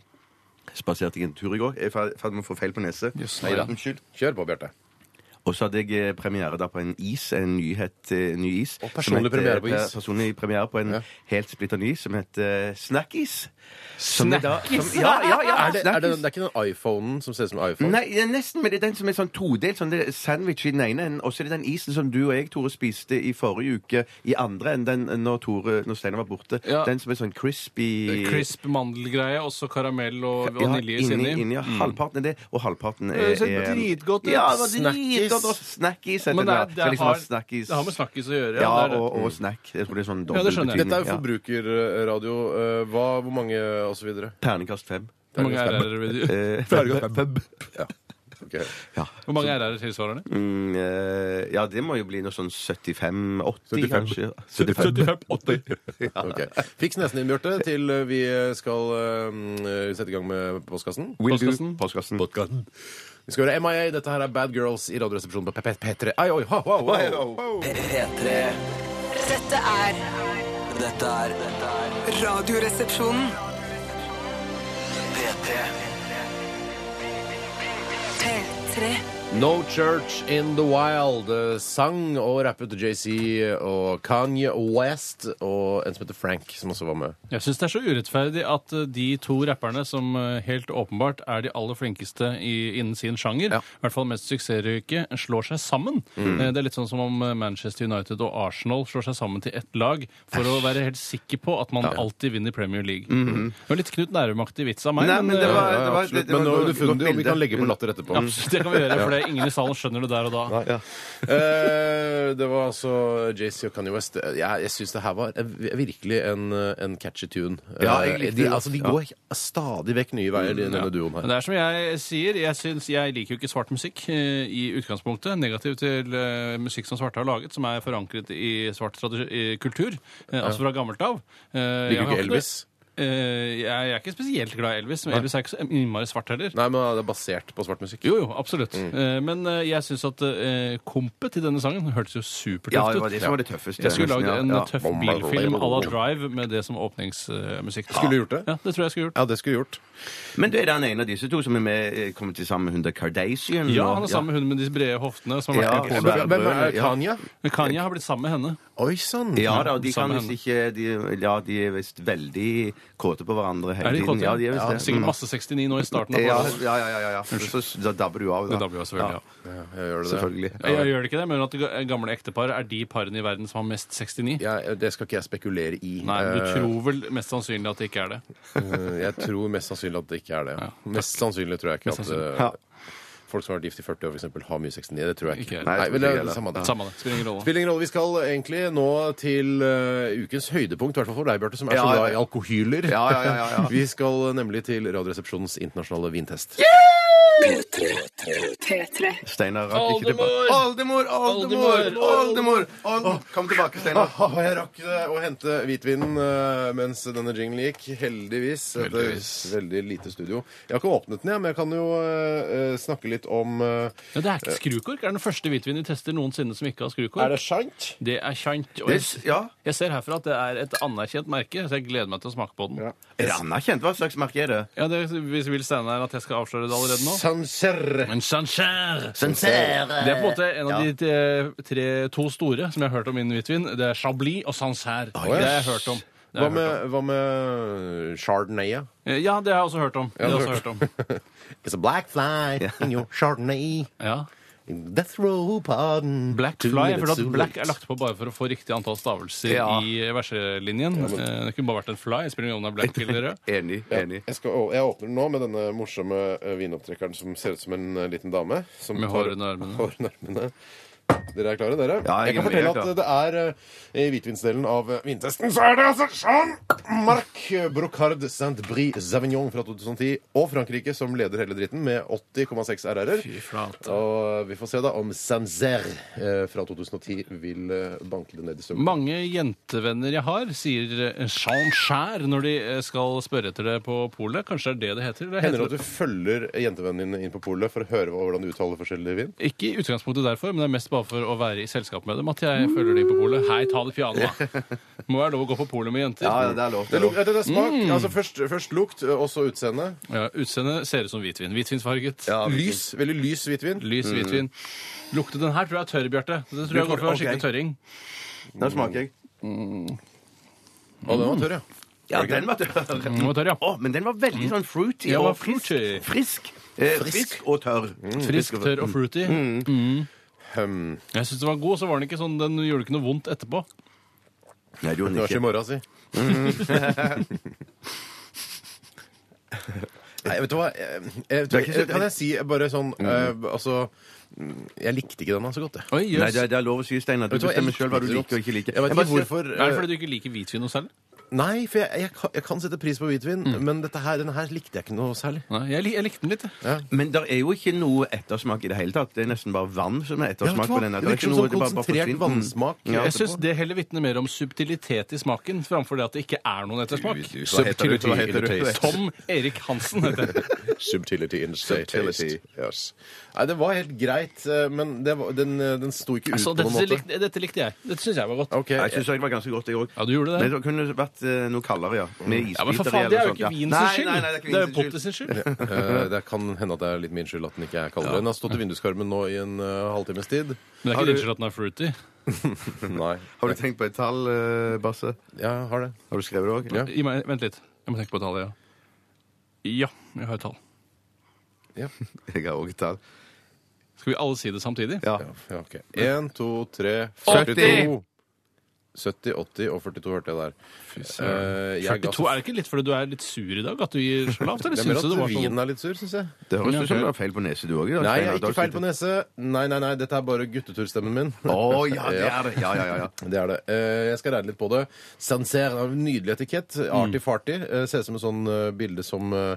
[SPEAKER 4] spaserte jeg en tur i går. Jeg er fer- ferdig med å få feil på nese.
[SPEAKER 5] Jøss.
[SPEAKER 4] Nei da. Unnskyld.
[SPEAKER 3] Kjør på, Bjarte.
[SPEAKER 4] Og så hadde jeg eh, premiere da på en is, en nyhet, eh, ny is.
[SPEAKER 3] Og personlig
[SPEAKER 4] som
[SPEAKER 3] premiere på is.
[SPEAKER 4] per- Personlig premiere på en
[SPEAKER 3] Ja.
[SPEAKER 4] helt splitter ny som het eh, Snackis. Som er da-
[SPEAKER 5] Snackis?
[SPEAKER 4] som- Ja, ja, ja.
[SPEAKER 3] Er det, er det,
[SPEAKER 4] Snackis.
[SPEAKER 3] det er ikke den iPhonen som ser ut som en iPhone?
[SPEAKER 4] Nei, det er nesten, men det er den som er sånn todelt. Sånn, det er sandwich i den ene enden, og så er det den isen som du og jeg, Tore, spiste i forrige uke i andre enden den eh, når, Tore- når Steinar var borte.
[SPEAKER 5] Ja. Eh,
[SPEAKER 4] Den som er sånn crispy
[SPEAKER 5] Crisp mandelgreie, og så karamell og
[SPEAKER 4] Ja,
[SPEAKER 5] vaniljeis
[SPEAKER 4] inni,
[SPEAKER 5] inni.
[SPEAKER 4] inni, ja, Halvparten er det, og halvparten er,
[SPEAKER 5] Mm. Det ser dritgodt ut.
[SPEAKER 4] Ja, det var
[SPEAKER 3] Snackis.
[SPEAKER 4] dritgodt. og Snackis heter
[SPEAKER 5] Men det,
[SPEAKER 4] det.
[SPEAKER 5] er,
[SPEAKER 4] da.
[SPEAKER 5] det,
[SPEAKER 4] Skal liksom ha
[SPEAKER 5] har,
[SPEAKER 4] snackis.
[SPEAKER 5] det har med snakkis å gjøre.
[SPEAKER 4] Ja,
[SPEAKER 5] det er det.
[SPEAKER 4] og, og snack. Jeg tror det er sånn
[SPEAKER 5] Ja,
[SPEAKER 4] dobbel
[SPEAKER 5] det skjønner jeg.
[SPEAKER 4] betydning.
[SPEAKER 3] Dette er jo
[SPEAKER 4] ja.
[SPEAKER 3] forbrukerradio. eh, Hva, hvor mange osv.?
[SPEAKER 4] Terningkast fem.
[SPEAKER 5] Hvor mange RR-er vil du-
[SPEAKER 4] Eh,
[SPEAKER 3] Pub. Ja. ok.
[SPEAKER 5] Hvor mange RR-er tilsvarer det?
[SPEAKER 4] Mm, eh, ja, det må jo bli noe sånn 75-80,
[SPEAKER 3] 75.
[SPEAKER 4] kanskje. 75.
[SPEAKER 5] 75-80.
[SPEAKER 3] Ok. Fiks nesen din, Bjarte, til eh, vi skal eh, sette i gang med postkassen.
[SPEAKER 4] Will do.
[SPEAKER 5] Postkassen.
[SPEAKER 4] Postkassen.
[SPEAKER 3] Vi skal høre MIA. Dette her er Bad Girls i Radioresepsjonen på P- P- P3. Ai, oi, ha, ha, ha, ha.
[SPEAKER 2] P3
[SPEAKER 6] Dette er
[SPEAKER 2] Dette er dette er
[SPEAKER 6] Radioresepsjonen.
[SPEAKER 2] P3
[SPEAKER 6] P3.
[SPEAKER 3] No Church in the Wild eh, sang og rappet JC og Kanye West og en som heter Frank, som også var med.
[SPEAKER 5] Jeg syns det er så urettferdig at eh, de to rapperne som eh, helt åpenbart er de aller flinkeste i, innen sin sjanger,
[SPEAKER 3] Ja.
[SPEAKER 5] i hvert fall mest suksessrike, slår seg sammen.
[SPEAKER 4] Mm.
[SPEAKER 5] Eh, Det er litt sånn som om eh, Manchester United og Arsenal slår seg sammen til ett lag for å være helt sikker på at man alltid vinner Premier League. Det var litt Knut Nærumaktig vits av meg.
[SPEAKER 4] Mhm. Nei, men det
[SPEAKER 5] eh,
[SPEAKER 4] var-
[SPEAKER 3] Ja,
[SPEAKER 4] var-
[SPEAKER 3] absolutt.
[SPEAKER 4] det var
[SPEAKER 3] Men nå er
[SPEAKER 4] et
[SPEAKER 3] du
[SPEAKER 4] godt
[SPEAKER 3] fundig, og vi
[SPEAKER 4] bilde.
[SPEAKER 3] kan legge på latter etterpå.
[SPEAKER 5] Absolutt, det kan vi gjøre, for det- ingen i salen skjønner det der og da.
[SPEAKER 3] Eh, det var altså JC og Kanye West. Eh, Jeg, jeg syns det her var en- virkelig en, eh, en catchy tune. Eh,
[SPEAKER 4] Ja, Mm, jeg likte
[SPEAKER 3] de,
[SPEAKER 4] det.
[SPEAKER 3] altså, de går stadig vekk nye veier, de- denne duoen her.
[SPEAKER 5] Men Det er som jeg sier, jeg, syns- jeg liker jo ikke svart musikk eh, i utgangspunktet. Negativ til eh, musikk som svarte har laget, som er forankret i svart tradi- i kultur. eh, altså fra gammelt av. Eh, jeg
[SPEAKER 3] Liker
[SPEAKER 5] har
[SPEAKER 3] du ikke Elvis?
[SPEAKER 5] noe- eh, jeg er ikke spesielt glad i Elvis, men Elvis er ikke så innmari svart heller.
[SPEAKER 3] Nei, Mm. men det er basert på svart musikk.
[SPEAKER 5] Jo, jo, absolutt. Eh, men eh, jeg syns at eh, kompet til denne sangen hørtes jo
[SPEAKER 4] Ja,
[SPEAKER 5] supertøft
[SPEAKER 4] det var
[SPEAKER 5] ut.
[SPEAKER 4] det som var det tøffeste.
[SPEAKER 5] Jeg skulle lagd
[SPEAKER 4] Ja,
[SPEAKER 5] en
[SPEAKER 4] ja.
[SPEAKER 5] tøff bilfilm à la Drive med det som åpningsmusikk.
[SPEAKER 3] Skulle du gjort det?
[SPEAKER 5] Ja, det tror jeg skulle gjort.
[SPEAKER 3] Ja, det skulle jeg gjort.
[SPEAKER 4] Men du er den ene av disse to som er med, eh, kommer til sammen med Hunde Kardashian?
[SPEAKER 5] Ja,
[SPEAKER 4] og-
[SPEAKER 5] han er sammen med hun med de brede hoftene. som har vært
[SPEAKER 4] Ja,
[SPEAKER 5] med
[SPEAKER 4] ja.
[SPEAKER 3] Hvem
[SPEAKER 5] på
[SPEAKER 3] hvem er
[SPEAKER 4] Ja.
[SPEAKER 3] Kanye?
[SPEAKER 5] Men Kanye har blitt sammen med henne.
[SPEAKER 3] Oi sann!
[SPEAKER 4] Ja da, og de kan
[SPEAKER 5] Sammen.
[SPEAKER 4] visst ikke de, Ja, de er visst veldig kåte på hverandre hele
[SPEAKER 5] Er de
[SPEAKER 4] tiden.
[SPEAKER 5] kåte?
[SPEAKER 4] Ja, de er
[SPEAKER 5] Ja,
[SPEAKER 4] visst det. Mm.
[SPEAKER 5] Sikkert masse 69 nå i starten av
[SPEAKER 4] Ja,
[SPEAKER 5] forholdet.
[SPEAKER 4] ja, ja, ja, ja. Så, så da dabber du av, da.
[SPEAKER 5] Det da blir jeg selvfølgelig, ja.
[SPEAKER 3] Ja, jeg gjør det.
[SPEAKER 4] Selvfølgelig.
[SPEAKER 5] Jeg, jeg gjør det ikke det, men at ga- gamle ektepar er de parene i verden som har mest 69?
[SPEAKER 3] Jeg- eh, det skal ikke jeg spekulere i.
[SPEAKER 5] Nei, du
[SPEAKER 3] Eh,
[SPEAKER 5] tror vel mest sannsynlig at det ikke er det.
[SPEAKER 3] eh, Jeg tror mest sannsynlig at det ikke er det.
[SPEAKER 5] Ja,
[SPEAKER 3] mest sannsynlig tror jeg ikke at
[SPEAKER 5] sannsynlig.
[SPEAKER 3] eh,
[SPEAKER 4] Ja.
[SPEAKER 3] folk som har vært gift i 40 år, for eksempel, har mye 69. Det tror jeg ikke.
[SPEAKER 5] Ikke
[SPEAKER 3] Nei,
[SPEAKER 4] jeg tror
[SPEAKER 3] men det
[SPEAKER 4] ikke
[SPEAKER 3] er
[SPEAKER 4] heller.
[SPEAKER 3] samme det.
[SPEAKER 5] Samme det. Spiller ingen rolle.
[SPEAKER 3] Spiller ingen rolle. Vi skal eh, egentlig nå til eh, ukens høydepunkt, i hvert fall for deg, Bjarte, som er
[SPEAKER 4] Ja, ja.
[SPEAKER 3] så glad i alkohyler.
[SPEAKER 4] Ja, ja, ja, ja, ja.
[SPEAKER 3] Vi skal nemlig til Radioresepsjonens internasjonale vintest.
[SPEAKER 6] P3.
[SPEAKER 4] Steinar rakk ikke tilbake. Oldemor! Oldemor!
[SPEAKER 5] Oldemor!
[SPEAKER 4] Oldemor! Oldemor! Kom tilbake, Steinar.
[SPEAKER 3] Ah, jeg rakk det å hente hvitvinen eh, mens denne jinglen gikk. Heldigvis. Dette er
[SPEAKER 5] Heldigvis.
[SPEAKER 3] Veldig lite studio. Jeg har ikke åpnet den, jeg, men jeg kan jo eh, eh, snakke litt om eh,
[SPEAKER 5] Ja, det er ikke skrukork. Det er den første hvitvinen vi tester noensinne som ikke har skrukork.
[SPEAKER 3] det sant?
[SPEAKER 5] Det er kjent. Og
[SPEAKER 4] Det-
[SPEAKER 5] jeg,
[SPEAKER 4] Ja.
[SPEAKER 5] jeg ser herfra at det er et anerkjent merke, så jeg gleder meg til å smake på den.
[SPEAKER 3] Ja.
[SPEAKER 5] Ja,
[SPEAKER 4] Er det anerkjent? Hva slags merke er det?
[SPEAKER 5] det Hvis vil Steinar at jeg skal avsløre det allerede nå?
[SPEAKER 3] Sancerre.
[SPEAKER 5] Men Sancerre!
[SPEAKER 4] Sancerre!
[SPEAKER 5] Det er på en måte en av de eh, tre, to store som jeg har hørt om innen hvitvin. Det er Chablis og Sancerre. Det har jeg hørt om. Det har
[SPEAKER 3] Hva
[SPEAKER 5] jeg hørt om.
[SPEAKER 3] med, hva med chardonnay? ja?
[SPEAKER 5] Eh, Ja, det har jeg også hørt om. Det har jeg
[SPEAKER 3] det
[SPEAKER 5] også hørt om.
[SPEAKER 3] It's a black fly in your chardonnay.
[SPEAKER 5] Ja.
[SPEAKER 3] Death row pardon.
[SPEAKER 5] Black
[SPEAKER 3] Two
[SPEAKER 5] Fly. Jeg
[SPEAKER 3] minutes
[SPEAKER 5] føler at
[SPEAKER 3] too
[SPEAKER 5] black
[SPEAKER 3] late.
[SPEAKER 5] er lagt på bare for å få riktig antall stavelser
[SPEAKER 4] Ja.
[SPEAKER 5] i verselinjen. Eh, Det kunne bare vært en fly. Jeg spiller ingen rolle om det er black eller rød.
[SPEAKER 4] Enig. enig.
[SPEAKER 3] Jeg, skal, å- jeg åpner den nå med denne morsomme eh, vinopptrekkeren som ser ut som en eh, liten dame. Som
[SPEAKER 5] Med
[SPEAKER 3] tar-
[SPEAKER 5] hår under armene.
[SPEAKER 3] hår under armene. Dere er klare, dere?
[SPEAKER 4] Ja, jeg
[SPEAKER 3] jeg, kan
[SPEAKER 4] er
[SPEAKER 3] fortelle
[SPEAKER 4] helt
[SPEAKER 3] at eh, det er eh, i hvitvinsdelen av eh, vintesten så er det altså Jean-Marc Brocard Saint-Brie Savignon fra 2010 og Frankrike som leder hele dritten med 80,6 RR-er.
[SPEAKER 5] Fy flate.
[SPEAKER 3] Og eh, vi får se da om Sancerre eh, fra 2010 vil eh, banke det ned i støvelen.
[SPEAKER 5] Mange jentevenner jeg har, sier eh, Jean Skjær når de eh, skal spørre etter det på polet. Kanskje det er det det heter? Eller
[SPEAKER 3] Hender
[SPEAKER 5] heter
[SPEAKER 3] det at du følger jentevennen din inn på polet for å høre hva- hvordan du uttaler forskjellige vin?
[SPEAKER 5] Ikke i utgangspunktet derfor, men det er mest bare for å være i selskap med dem at jeg følger dem på polet. Hei, ta det piano, da. Må være lov å gå på polet med jenter.
[SPEAKER 4] Ja, ja, det er lov.
[SPEAKER 3] Det,
[SPEAKER 4] Det er
[SPEAKER 3] luk,
[SPEAKER 4] lov.
[SPEAKER 3] det er smak. Altså først, først lukt, og så utseende.
[SPEAKER 5] Ja, Utseendet ser ut som hvitvin. Hvitvinsfarget.
[SPEAKER 3] Lys. Veldig lys hvitvin.
[SPEAKER 5] Lys
[SPEAKER 4] Mm.
[SPEAKER 5] hvitvin. Lukte den her tror jeg er tørr, Bjarte. Det tror jeg går for
[SPEAKER 4] Ok.
[SPEAKER 5] skikkelig tørring.
[SPEAKER 4] Nå smaker jeg.
[SPEAKER 3] Å, den var tørr, ja.
[SPEAKER 4] Ja, den var tørr.
[SPEAKER 5] Den var tørr, ja.
[SPEAKER 4] Å, men den var veldig sånn fruity
[SPEAKER 5] Ja,
[SPEAKER 4] og
[SPEAKER 5] var
[SPEAKER 4] frisk.
[SPEAKER 5] fruity.
[SPEAKER 4] Frisk. Eh, frisk og tørr.
[SPEAKER 3] Mm.
[SPEAKER 5] Frisk, tørr
[SPEAKER 4] Mm.
[SPEAKER 5] og fruity.
[SPEAKER 3] Hmm.
[SPEAKER 5] Jeg syns den var god, så var den ikke sånn, den gjorde ikke noe vondt etterpå.
[SPEAKER 4] Nei, det gjorde
[SPEAKER 3] Det
[SPEAKER 4] den
[SPEAKER 3] var ikke i
[SPEAKER 4] ikke.
[SPEAKER 3] morgen, si. Nei, vet du hva? Jeg, jeg,
[SPEAKER 4] Det er ikke så-
[SPEAKER 3] kan jeg si bare sånn eh, Altså mm, Jeg likte ikke denne så godt, jeg.
[SPEAKER 5] Oi,
[SPEAKER 4] Nei,
[SPEAKER 5] jøs.
[SPEAKER 4] det er, det er lov å si, Steinar. Du
[SPEAKER 3] Vet du hva, jeg
[SPEAKER 4] bestemmer sjøl hva du
[SPEAKER 3] likte det
[SPEAKER 4] liker og ikke
[SPEAKER 3] godt.
[SPEAKER 4] liker.
[SPEAKER 3] Jeg
[SPEAKER 4] bare
[SPEAKER 3] vet ikke
[SPEAKER 4] sier-
[SPEAKER 3] hvorfor
[SPEAKER 5] Er det
[SPEAKER 3] eh,
[SPEAKER 5] fordi du ikke liker hvitvin noe særlig?
[SPEAKER 3] Nei, for jeg, jeg, kan- jeg kan sette pris på hvitvin,
[SPEAKER 4] Mm.
[SPEAKER 3] men dette her, denne her likte jeg ikke noe særlig.
[SPEAKER 5] Nei, jeg, lik- jeg likte den litt. jeg.
[SPEAKER 4] Men det er jo ikke noe ettersmak i det hele tatt. Det er nesten bare vann som er
[SPEAKER 3] Ja, vet
[SPEAKER 4] ettersmak
[SPEAKER 3] du hva?
[SPEAKER 4] på denne.
[SPEAKER 3] det
[SPEAKER 4] er ikke
[SPEAKER 3] virker
[SPEAKER 4] noe-
[SPEAKER 3] som sånn
[SPEAKER 4] det bare- bare
[SPEAKER 3] konsentrert
[SPEAKER 4] forsvinner. Mm.
[SPEAKER 3] vannsmak.
[SPEAKER 4] Ja,
[SPEAKER 5] Jeg syns
[SPEAKER 3] etterpå.
[SPEAKER 5] det heller vitner mer om subtilitet i smaken framfor det at det ikke er noen ettersmak.
[SPEAKER 4] Hva heter du? Hva heter du?
[SPEAKER 5] Tom Erik Hansen heter jeg.
[SPEAKER 3] Subtility in state
[SPEAKER 4] Subtility.
[SPEAKER 3] taste. Yes. Nei, det var helt greit, eh, men det var, den, eh, den sto ikke ut
[SPEAKER 5] Altså,
[SPEAKER 3] på
[SPEAKER 5] dette,
[SPEAKER 3] noen måte.
[SPEAKER 5] likte, dette likte jeg. Dette syns jeg var godt.
[SPEAKER 3] Ok,
[SPEAKER 4] Ja, Jeg syns det var ganske godt, jeg òg.
[SPEAKER 5] Ja, du gjorde det.
[SPEAKER 4] Men det kunne vært eh, noe kaldere, ja. Med isbiter
[SPEAKER 5] Ja, men for
[SPEAKER 4] i
[SPEAKER 5] faen,
[SPEAKER 4] eller
[SPEAKER 5] Det er jo
[SPEAKER 4] sånt, ja.
[SPEAKER 5] ikke vin
[SPEAKER 4] Nei,
[SPEAKER 5] sin skyld.
[SPEAKER 4] Nei, nei, det er ikke
[SPEAKER 5] Det er jo
[SPEAKER 4] vin sin
[SPEAKER 5] Potti
[SPEAKER 4] skyld.
[SPEAKER 5] sin skyld.
[SPEAKER 3] eh, det kan hende at det er litt min skyld at den ikke er kaldere. Den har stått i vinduskarmen nå i en eh, halvtimes tid.
[SPEAKER 5] Men det er
[SPEAKER 4] Har
[SPEAKER 5] ikke
[SPEAKER 4] du-
[SPEAKER 5] din skyld at den er fruity.
[SPEAKER 3] Nei.
[SPEAKER 4] Har du tenkt på et tall, eh, Basse?
[SPEAKER 3] Ja, jeg har det.
[SPEAKER 4] Har du skrevet det òg?
[SPEAKER 3] Ja.
[SPEAKER 5] Gi meg, vent litt. Jeg må tenke på tallet, ja. Ja, jeg har et tall.
[SPEAKER 3] Ja.
[SPEAKER 4] Jeg har òg et tall.
[SPEAKER 5] Skal vi alle si det samtidig?
[SPEAKER 4] Ja.
[SPEAKER 3] Ja, ja, ok. 1, 2, 3,
[SPEAKER 4] 42.
[SPEAKER 3] 42. 70, 80 og 42 hørte jeg der. Eh, jeg ga
[SPEAKER 5] 42,
[SPEAKER 3] så-
[SPEAKER 5] Er det ikke litt fordi du er litt sur i dag at du gir så lavt? Eller
[SPEAKER 3] Det er mer
[SPEAKER 5] syns du det
[SPEAKER 3] at
[SPEAKER 5] var så
[SPEAKER 3] vinen er litt sur, syns jeg.
[SPEAKER 4] Det høres
[SPEAKER 5] Ja,
[SPEAKER 4] ut som
[SPEAKER 5] ok.
[SPEAKER 4] du har feil på nese, du òg.
[SPEAKER 3] Nei, jeg har ikke feil på nese. Nei, nei, nei, dette er bare gutteturstemmen min.
[SPEAKER 4] Å ja, det er det. Ja, ja, ja. ja.
[SPEAKER 3] Det er det. Eh, Jeg skal regne litt på det. Sancerre har en nydelig etikett.
[SPEAKER 4] Mm.
[SPEAKER 3] Arty-farty. Eh, Ser ut som et sånn eh, bilde som eh,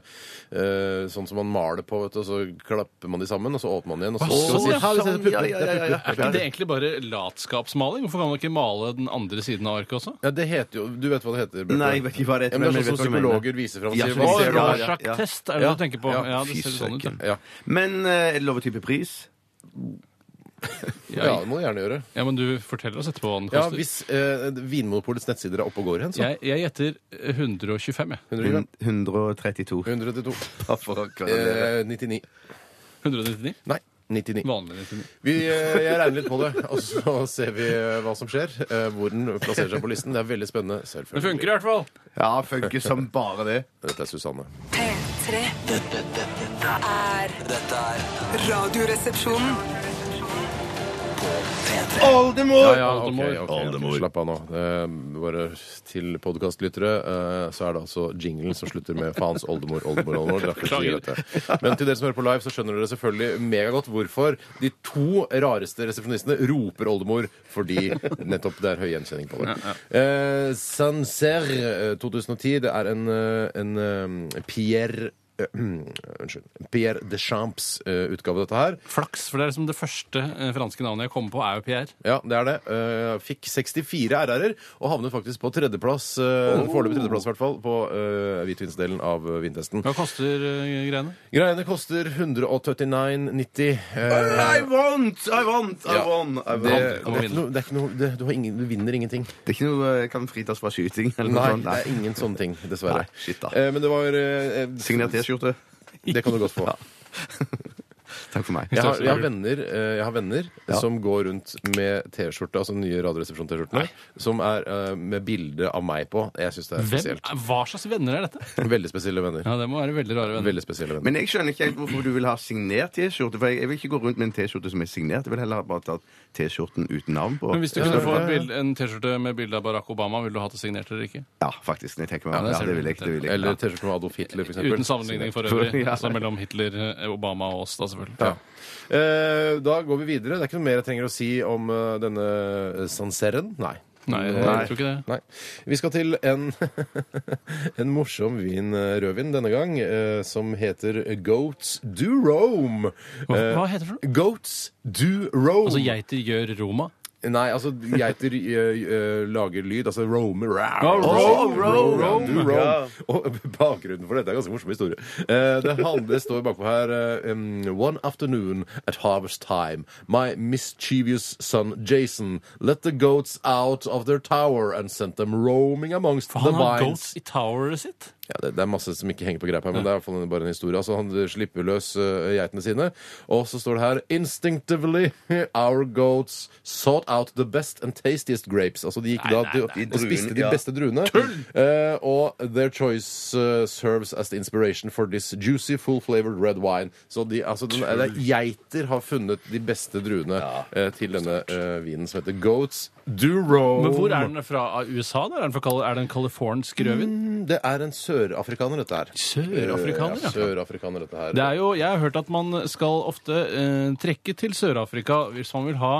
[SPEAKER 3] eh, Sånn som man maler på, vet du, og så klapper man de sammen, og så åpner man igjen, og så,
[SPEAKER 5] Å,
[SPEAKER 3] så
[SPEAKER 5] sånn, ja,
[SPEAKER 3] her, vi ser
[SPEAKER 4] sånn,
[SPEAKER 3] pupper,
[SPEAKER 4] ja, ja,
[SPEAKER 3] det er
[SPEAKER 4] ja,
[SPEAKER 3] pupper.
[SPEAKER 4] ja.
[SPEAKER 5] Er ikke det egentlig bare latskapsmaling? Hvorfor kan man ikke male den andre siden av arket også?
[SPEAKER 3] Ja, det heter jo Du vet hva det heter? Bjarte.
[SPEAKER 4] Nei, jeg vet ikke hva det heter,
[SPEAKER 3] Ja, men det
[SPEAKER 4] men
[SPEAKER 3] er sånn
[SPEAKER 4] jeg
[SPEAKER 3] som
[SPEAKER 4] vet hva du
[SPEAKER 3] psykologer viser fram og
[SPEAKER 4] Ja, så
[SPEAKER 3] sier
[SPEAKER 5] Å,
[SPEAKER 3] hva
[SPEAKER 4] vi ser
[SPEAKER 3] ser du
[SPEAKER 4] hva-
[SPEAKER 3] her?
[SPEAKER 5] Rorschach-test er det
[SPEAKER 3] Ja,
[SPEAKER 5] du tenker på.
[SPEAKER 3] ja,
[SPEAKER 5] Ja, det
[SPEAKER 4] fy
[SPEAKER 5] ser sånn ut. ja.
[SPEAKER 4] søken.
[SPEAKER 3] Ja.
[SPEAKER 4] Men eh, er det lov å type pris?
[SPEAKER 3] ja, det må du gjerne gjøre.
[SPEAKER 5] Ja, men du forteller oss etterpå hva den
[SPEAKER 3] Ja,
[SPEAKER 5] koster.
[SPEAKER 3] Hvis eh, Vinmonopolets nettsider er oppe og går igjen, så.
[SPEAKER 5] Jeg, jeg gjetter 125, jeg.
[SPEAKER 3] 100 gram.
[SPEAKER 4] 132.
[SPEAKER 3] 132.
[SPEAKER 4] Mm. Ja, for å klarere.
[SPEAKER 3] Eh, 99.
[SPEAKER 5] 199.
[SPEAKER 3] Nei. 99.
[SPEAKER 5] Vanlig 99.
[SPEAKER 3] Vi, eh, jeg regner litt på det, og så ser vi eh, hva som skjer. eh, Hvor den plasserer seg på listen. Det er veldig spennende.
[SPEAKER 5] Det
[SPEAKER 3] Selvfølgelig.
[SPEAKER 5] funker i hvert fall!
[SPEAKER 4] Ja, funker som bare det.
[SPEAKER 3] Dette er Susanne.
[SPEAKER 6] P3.
[SPEAKER 2] Dette, dette, dette,
[SPEAKER 6] Er
[SPEAKER 2] dette er
[SPEAKER 6] Radioresepsjonen.
[SPEAKER 2] P3.
[SPEAKER 4] Oldemor!
[SPEAKER 3] Ja, ja,
[SPEAKER 5] Oldemor.
[SPEAKER 3] ok, ok, ok.
[SPEAKER 4] Oldemor.
[SPEAKER 3] Slapp av nå. Eh, bare til podkastlyttere, eh, så er det altså jinglen som slutter med faens oldemor, oldemor, oldemor. Dere får ikke si dette. Men til dere som hører på live, så skjønner dere selvfølgelig megagodt hvorfor de to rareste resepsjonistene roper oldemor, fordi nettopp det er høy gjenkjenning på det. Eh, Sancerre eh, 2010, det er en, eh, en eh, Pierre eh, Unnskyld. Pierre Deschamps-utgave, dette her.
[SPEAKER 5] Flaks, for det er liksom det første eh, franske navnet jeg kommer på, er jo Pierre.
[SPEAKER 3] Ja, det er det. Eh, fikk 64 RR-er og havnet faktisk på tredjeplass. Uh, Foreløpig tredjeplass, i hvert fall, på uh, hvitvinsdelen av eh, vintesten.
[SPEAKER 5] Hva koster eh, greiene?
[SPEAKER 3] Greiene koster 139,90. eh,
[SPEAKER 4] I want, I want, I
[SPEAKER 3] Ja.
[SPEAKER 4] want, I want.
[SPEAKER 3] det, det
[SPEAKER 5] han må
[SPEAKER 3] er ikke noe, det er ikke noe det, du, har ingen, du vinner ingenting.
[SPEAKER 4] Det er ikke noe eh, kan fritas fra skyting eller noe
[SPEAKER 3] Nei,
[SPEAKER 4] sånt.
[SPEAKER 3] det er ingen sånne ting, dessverre.
[SPEAKER 4] Nei, shit da.
[SPEAKER 3] Eh, men det var eh, eh,
[SPEAKER 4] Signert T-skjorte.
[SPEAKER 3] Det kan du godt få.
[SPEAKER 4] Takk for meg.
[SPEAKER 3] Jeg har, jeg har venner, eh, jeg har venner
[SPEAKER 4] Ja.
[SPEAKER 3] som går rundt med T-skjorte, altså nye Radioresepsjon-T-skjortene, som er eh, med bilde av meg på. Jeg syns det er
[SPEAKER 5] Hvem,
[SPEAKER 3] spesielt.
[SPEAKER 5] Eh, hva slags venner er dette?
[SPEAKER 3] Veldig spesielle venner.
[SPEAKER 5] Ja, Det må være veldig rare venner.
[SPEAKER 3] Veldig spesielle venner.
[SPEAKER 4] Men jeg skjønner ikke helt hvorfor du vil ha signert T-skjorte. For jeg, jeg vil ikke gå rundt med en T-skjorte som er signert. Jeg vil heller bare ta T-skjorten uten navn på.
[SPEAKER 5] Men hvis du kunne få et bild, en T-skjorte med bilde av Barack Obama, ville du hatt det signert eller ikke?
[SPEAKER 4] Ja, faktisk. når Jeg tenker meg
[SPEAKER 5] Ja,
[SPEAKER 4] om.
[SPEAKER 5] det
[SPEAKER 4] Ja,
[SPEAKER 5] ser
[SPEAKER 4] det
[SPEAKER 5] du.
[SPEAKER 4] vil jeg. Det vil jeg.
[SPEAKER 3] Eller T-skjorte med Adolf Hitler, f.eks.
[SPEAKER 5] Uten sammenligning for øvrig.
[SPEAKER 4] Ja.
[SPEAKER 5] Altså mellom Hitler, eh, Obama og oss, da selvfølgelig.
[SPEAKER 3] Ja. Eh, Da går vi videre. Det er ikke noe mer jeg trenger å si om eh, denne Sanseren. Nei. Eh,
[SPEAKER 5] Nei, jeg
[SPEAKER 4] Nei.
[SPEAKER 5] tror ikke det.
[SPEAKER 3] Nei. Vi skal til en, en morsom vin, eh, rødvin denne gang, eh, som heter Goats do Rome.
[SPEAKER 5] Hva,
[SPEAKER 3] Eh,
[SPEAKER 5] hva heter det? for noe?
[SPEAKER 3] Goats do Rome.
[SPEAKER 5] Altså geiter gjør Roma?
[SPEAKER 3] Nei, altså geiter eh, eh, lager lyd. Altså roamer.
[SPEAKER 5] Ja,
[SPEAKER 3] Altså,
[SPEAKER 5] roam,
[SPEAKER 3] roam,
[SPEAKER 5] roam.
[SPEAKER 3] do roam. Og bakgrunnen for dette er en ganske morsom historie. Eh, det, handler, det står bakpå her eh, um, One afternoon at harvest time, my mischievous son Jason let the goats out of their tower and sent them roaming amongst the
[SPEAKER 5] Han har
[SPEAKER 3] vines.
[SPEAKER 5] goats i toweret sitt.
[SPEAKER 3] Ja, det, det er masse som ikke henger på greip her, men det er i hvert fall bare en historie. Altså, Han slipper løs eh, geitene sine, og så står det her Instinctively our goats sought out the best and tastiest grapes. Altså, de gikk da til, og
[SPEAKER 4] druene,
[SPEAKER 3] spiste de
[SPEAKER 4] ja.
[SPEAKER 3] beste druene. Eh, og their choice eh, serves as the inspiration for this juicy, full-flavored red wine. Så de, altså, den, det er geiter har funnet de beste druene eh, til denne eh, vinen som heter Goats Do Rome.
[SPEAKER 5] Men hvor er den fra? Av USA? da? Er den, fra, Kal- er det en californsk rødvin?
[SPEAKER 3] Mm, Det er en sørafrikaner, dette her. Eh,
[SPEAKER 5] Sørafrikaner,
[SPEAKER 3] ja.
[SPEAKER 5] ja.
[SPEAKER 3] Sørafrikaner, dette her.
[SPEAKER 5] Det er jo, jeg har hørt at man skal ofte eh, trekke til Sør-Afrika hvis man vil ha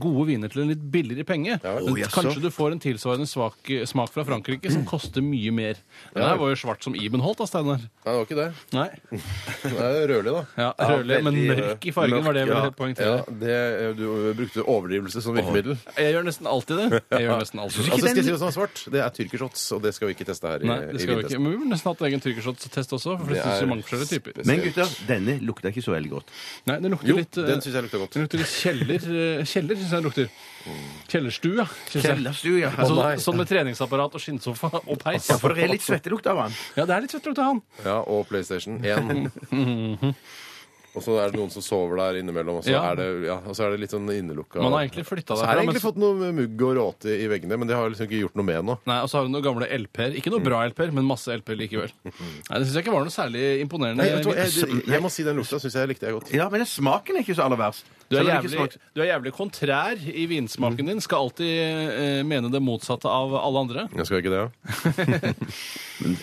[SPEAKER 5] gode viner til en litt billigere penge. Men
[SPEAKER 4] Å, jaså.
[SPEAKER 5] kanskje du får en tilsvarende svak, smak fra Frankrike som koster mye mer. Den
[SPEAKER 3] Ja.
[SPEAKER 5] her var jo svart som Ibenholt, da, Steinar.
[SPEAKER 3] Nei, det var ikke det.
[SPEAKER 5] Nei.
[SPEAKER 3] Det er rødlig, da.
[SPEAKER 5] Ja, rødlig, men
[SPEAKER 4] veldig,
[SPEAKER 5] mørk i fargen var det jeg
[SPEAKER 4] mørk,
[SPEAKER 5] ville
[SPEAKER 4] ja.
[SPEAKER 3] Ja,
[SPEAKER 5] poengtere.
[SPEAKER 3] det, eh, du brukte overdrivelse som virkemiddel.
[SPEAKER 5] Jeg gjør nesten alltid det. Jeg gjør nesten alltid det.
[SPEAKER 3] Altså, skal jeg si hva som er svart? Det er tyrkershots, og det skal vi ikke teste her. i-
[SPEAKER 5] Nei, det
[SPEAKER 3] i
[SPEAKER 5] skal vi ikke.
[SPEAKER 3] vintesten.
[SPEAKER 5] Men vi burde nesten hatt egen tyrkershots-test også, for det
[SPEAKER 3] Det
[SPEAKER 5] finnes
[SPEAKER 3] er
[SPEAKER 5] jo mange forskjellige typer.
[SPEAKER 4] Men gutter, denne lukter ikke så veldig godt.
[SPEAKER 5] Nei, det lukter
[SPEAKER 3] Jo,
[SPEAKER 5] litt eh,
[SPEAKER 3] den syns jeg lukter godt.
[SPEAKER 5] Det lukter litt kjeller. eh, Kjeller syns jeg det lukter. Kjellerstue. ja, synes jeg.
[SPEAKER 4] Kjellerstue, ja.
[SPEAKER 5] Sånn,
[SPEAKER 3] nei. Altså,
[SPEAKER 5] sånn med treningsapparat og skinnsofa og peis.
[SPEAKER 4] Ja, for det er litt svettelukt av den.
[SPEAKER 5] Ja, det er litt søtt lukt av han.
[SPEAKER 3] Ja, og PlayStation 1. Og så er det noen som sover der innimellom, og så,
[SPEAKER 5] Ja.
[SPEAKER 3] er, det, ja, og så er det litt sånn innelukka.
[SPEAKER 5] Man har egentlig flyttet
[SPEAKER 3] Så
[SPEAKER 5] derfra,
[SPEAKER 3] har jeg
[SPEAKER 5] men
[SPEAKER 3] egentlig
[SPEAKER 5] så-
[SPEAKER 3] fått noe mugg og råte i veggene, men det har jeg liksom ikke gjort noe med nå.
[SPEAKER 5] Nei, Og så har vi noen gamle LP-er. Ikke noe bra LP-er, men masse LP-er likevel. Nei, Det syns jeg ikke var noe særlig imponerende.
[SPEAKER 3] Nei, vet du hva, jeg, jeg, jeg må si den lukta syns jeg likte jeg godt.
[SPEAKER 4] Ja, men den smaken er ikke så aller verst.
[SPEAKER 5] du, er
[SPEAKER 4] Selv om det ikke
[SPEAKER 5] jævlig,
[SPEAKER 4] smaker-
[SPEAKER 5] du er jævlig kontrær i
[SPEAKER 3] Mm.
[SPEAKER 5] vinsmaken din. Skal alltid eh, mene det motsatte av alle andre.
[SPEAKER 3] Jeg skal ikke det, ja.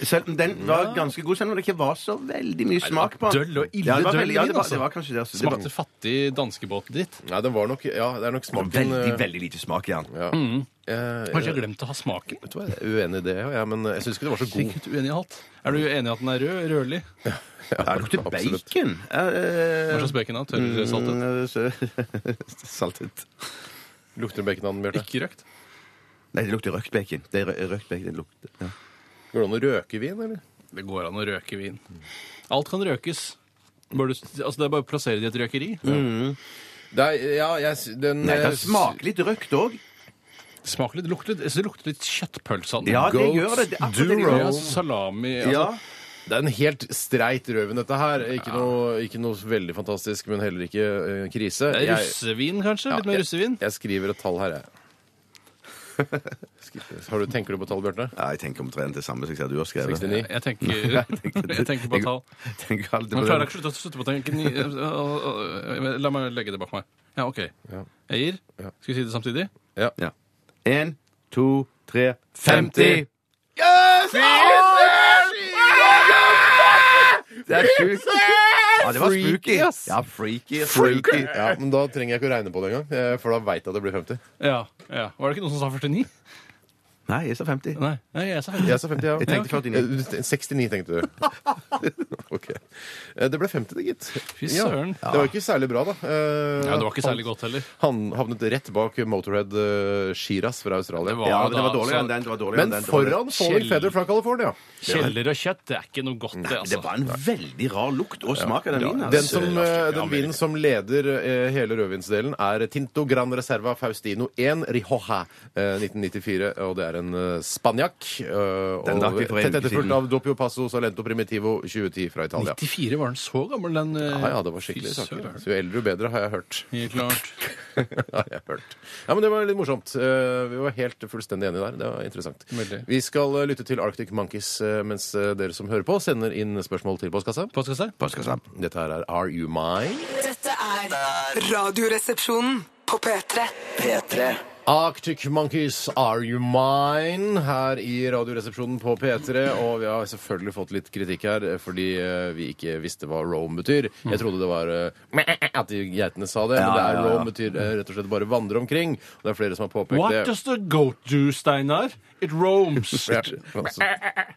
[SPEAKER 4] Selv om den var ganske god, selv om det ikke var så veldig mye smak på den.
[SPEAKER 5] Døll og ille
[SPEAKER 4] Ja, det var,
[SPEAKER 5] døll
[SPEAKER 4] veldig, ja,
[SPEAKER 5] vin,
[SPEAKER 4] det var,
[SPEAKER 5] altså.
[SPEAKER 4] det var kanskje det. altså. Det var
[SPEAKER 5] Smakte fattig danskebåtdritt.
[SPEAKER 3] Nei, den var nok Ja, det er nok smaken
[SPEAKER 4] veldig,
[SPEAKER 3] eh,
[SPEAKER 4] veldig lite smak i den.
[SPEAKER 3] Ja. Eh,
[SPEAKER 5] Kanskje jeg har glemt å ha smaken?
[SPEAKER 3] Vet du hva, jeg er uenig i det, ja, men jeg syns ikke det var så god.
[SPEAKER 5] Sikkert uenig i alt. Er du uenig i at den er rød? Rødlig?
[SPEAKER 4] Ja, Det lukter
[SPEAKER 3] absolutt.
[SPEAKER 4] bacon.
[SPEAKER 5] Hva
[SPEAKER 4] Eh,
[SPEAKER 5] slags bacon er det? Tørr saltet?
[SPEAKER 4] Mm, så- saltet.
[SPEAKER 3] Lukter det bacon av den, Bjarte?
[SPEAKER 5] Ikke røkt?
[SPEAKER 4] Nei, det lukter røkt bacon. Det er rø- røkt bacon, det lukter. Ja.
[SPEAKER 3] Går det an å røke vin, eller?
[SPEAKER 5] Det går an å røke vin. Alt kan røkes. Bare du, altså det er bare å plassere det i et røkeri.
[SPEAKER 3] Det er, ja, jeg, s- den
[SPEAKER 4] Nei,
[SPEAKER 3] eh,
[SPEAKER 4] det
[SPEAKER 3] s-
[SPEAKER 4] smaker litt røkt òg.
[SPEAKER 5] Det smaker litt, lukter, litt- det lukter litt kjøttpølse av den.
[SPEAKER 4] Ja, det
[SPEAKER 3] Goats
[SPEAKER 4] gjør det. det, er akkurat det det
[SPEAKER 3] do
[SPEAKER 5] Ja,
[SPEAKER 4] gjør.
[SPEAKER 5] altså salami altså,
[SPEAKER 4] Ja.
[SPEAKER 3] Det er en helt streit røven, dette her. Ikke, noe, ikke noe veldig fantastisk, men heller ikke eh, krise.
[SPEAKER 5] det er Russevin, kanskje?
[SPEAKER 3] ja,
[SPEAKER 5] litt mer
[SPEAKER 3] jeg-
[SPEAKER 5] russevin?
[SPEAKER 3] Jeg, skriver et tall her, jeg. Har du, tenker du på tall, Bjarte?
[SPEAKER 4] Ja, jeg tenker omtrent det samme som jeg ser du har skrevet.
[SPEAKER 3] 69.
[SPEAKER 5] Jeg tenker, jeg tenker på tall.
[SPEAKER 4] Jeg tenker alltid
[SPEAKER 5] Man
[SPEAKER 4] på
[SPEAKER 5] klarer
[SPEAKER 4] det.
[SPEAKER 5] ikke å slutte å slutte på tanken. i- øh, øh, øh, La meg legge det bak meg. Ja, OK. Jeg gir. Skal vi si det samtidig?
[SPEAKER 4] Ja. En, to, tre
[SPEAKER 5] 50!
[SPEAKER 4] Yes! Det er sjukt. Ja, det var spooky. Ja, freaky. freaky.
[SPEAKER 3] Ja, men Da trenger jeg ikke å regne på det engang, eh, for da veit jeg at det blir 50.
[SPEAKER 5] Ja, ja. Var det ikke noen som sa 49?
[SPEAKER 4] Nei, jeg sa 50.
[SPEAKER 5] Nei, Nei jeg sa 50.
[SPEAKER 3] Jeg sa 50, ja.
[SPEAKER 4] Jeg tenkte 49.
[SPEAKER 3] Eh, du- 69, tenkte du. OK. Eh, Det ble 50, det, gitt.
[SPEAKER 5] Fy søren.
[SPEAKER 3] Ja. Det var ikke særlig bra, da. Eh,
[SPEAKER 5] Ja, det var ikke særlig godt heller.
[SPEAKER 3] Han havnet rett bak Motorhead eh, Shiraz fra Australia.
[SPEAKER 5] Det var-
[SPEAKER 4] Ja, men det
[SPEAKER 5] da,
[SPEAKER 4] var dårligere
[SPEAKER 5] så-
[SPEAKER 4] enn den. Det var dårligere
[SPEAKER 3] Men
[SPEAKER 4] enn den, det var det.
[SPEAKER 3] foran Falling
[SPEAKER 5] Kjell-
[SPEAKER 3] Feather fra California.
[SPEAKER 5] Kjeller og kjøtt, det er ikke noe godt, det.
[SPEAKER 4] Det
[SPEAKER 5] altså.
[SPEAKER 4] var en veldig rar lukt og smak av den vinen.
[SPEAKER 3] Den,
[SPEAKER 4] altså.
[SPEAKER 3] som, eh, den vinen som leder eh, hele rødvinsdelen, er Tinto Gran Reserva Faustino 1 Rioja eh, 1994. Og det er en eh, spanjakk. eh,
[SPEAKER 4] Den drakk
[SPEAKER 3] Og
[SPEAKER 4] vi for en
[SPEAKER 3] tett
[SPEAKER 4] uke
[SPEAKER 3] etterfulgt
[SPEAKER 4] siden.
[SPEAKER 3] av Doppio Passo Salento Primitivo 2010 fra Italia.
[SPEAKER 5] 94 var den så gammel, den. eh,
[SPEAKER 3] Ja, ja, det var skikkelig
[SPEAKER 5] fy
[SPEAKER 3] saker.
[SPEAKER 5] søren.
[SPEAKER 3] Så jo eldre, jo bedre, har jeg hørt.
[SPEAKER 5] Helt klart.
[SPEAKER 3] har jeg hørt. Ja, men Det var litt morsomt. Eh, Vi var helt fullstendig enige der. Det var interessant.
[SPEAKER 5] Veldig.
[SPEAKER 3] Vi skal eh, lytte til Arctic Monkeys eh, mens eh, dere som hører på, sender inn spørsmål til postkassa.
[SPEAKER 5] Postkassa?
[SPEAKER 4] Postkassa.
[SPEAKER 3] Dette her er Are You Mine?
[SPEAKER 6] Dette er Radioresepsjonen på P3.
[SPEAKER 2] P3
[SPEAKER 3] Arctic Monkeys, Are You Mine? Her i Radioresepsjonen på P3. Og vi har selvfølgelig fått litt kritikk her eh, fordi eh, vi ikke visste hva Rome betyr. Jeg trodde det var eh, at de geitene sa det, men
[SPEAKER 4] Ja,
[SPEAKER 3] det er
[SPEAKER 4] ja, ja.
[SPEAKER 3] Rome betyr eh, rett og slett bare vandre omkring. Og det er flere som har påpekt
[SPEAKER 5] What
[SPEAKER 3] det.
[SPEAKER 5] does the goat do, Steinar? It roams.
[SPEAKER 3] Ja, altså,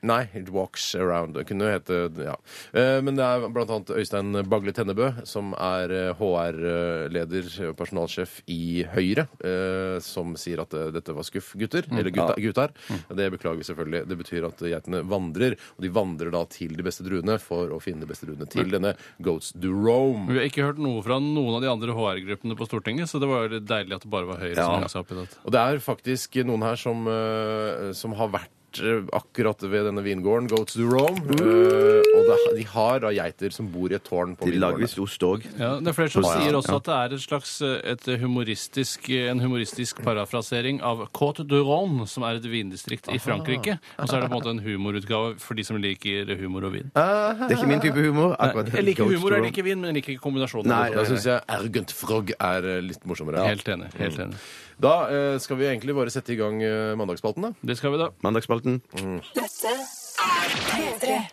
[SPEAKER 3] nei, It Walks Around. Det kunne jo hete ja. Eh, Men det er blant annet Øystein Bagle Tennebø, som er HR-leder, personalsjef i Høyre, eh, som sier at eh, dette var skuff, gutter. Eller gutta, gutter. Det beklager vi selvfølgelig. Det betyr at geitene vandrer, og de vandrer da til de beste druene for å finne de beste druene til denne Goats do Rome.
[SPEAKER 5] Vi har ikke hørt noe fra noen av de andre HR-gruppene på Stortinget, så det var jo litt deilig at det bare var Høyre som hang seg opp i dette.
[SPEAKER 3] Og det er faktisk noen her som, eh, som har vært eh, akkurat ved denne vingården, Goats do Rome.
[SPEAKER 4] Mm.
[SPEAKER 3] Eh, og det, de har da geiter som bor i et tårn på
[SPEAKER 4] De lager
[SPEAKER 3] vingården.
[SPEAKER 4] visst ost òg.
[SPEAKER 5] Ja, det er flere som
[SPEAKER 4] Å, ja.
[SPEAKER 5] sier også at det er et slags eh, et humoristisk, eh, en humoristisk parafrasering av Côte de Rhône, som er et vindistrikt i Frankrike. Og så er det på en måte en humorutgave for de som liker humor og vin.
[SPEAKER 4] Det er ikke min type humor. akkurat.
[SPEAKER 5] Jeg liker humor og jeg
[SPEAKER 4] Ghost
[SPEAKER 5] liker vin, men jeg liker ikke kombinasjonen.
[SPEAKER 4] Nei,
[SPEAKER 5] av
[SPEAKER 3] Da
[SPEAKER 5] det.
[SPEAKER 3] syns jeg Argent Frog er eh, litt morsommere.
[SPEAKER 5] Helt enig. helt enig.
[SPEAKER 3] Da eh, skal vi egentlig bare sette i gang eh, mandagsspalten, da.
[SPEAKER 5] Det skal vi, da.
[SPEAKER 4] Room. Mandagsspalten.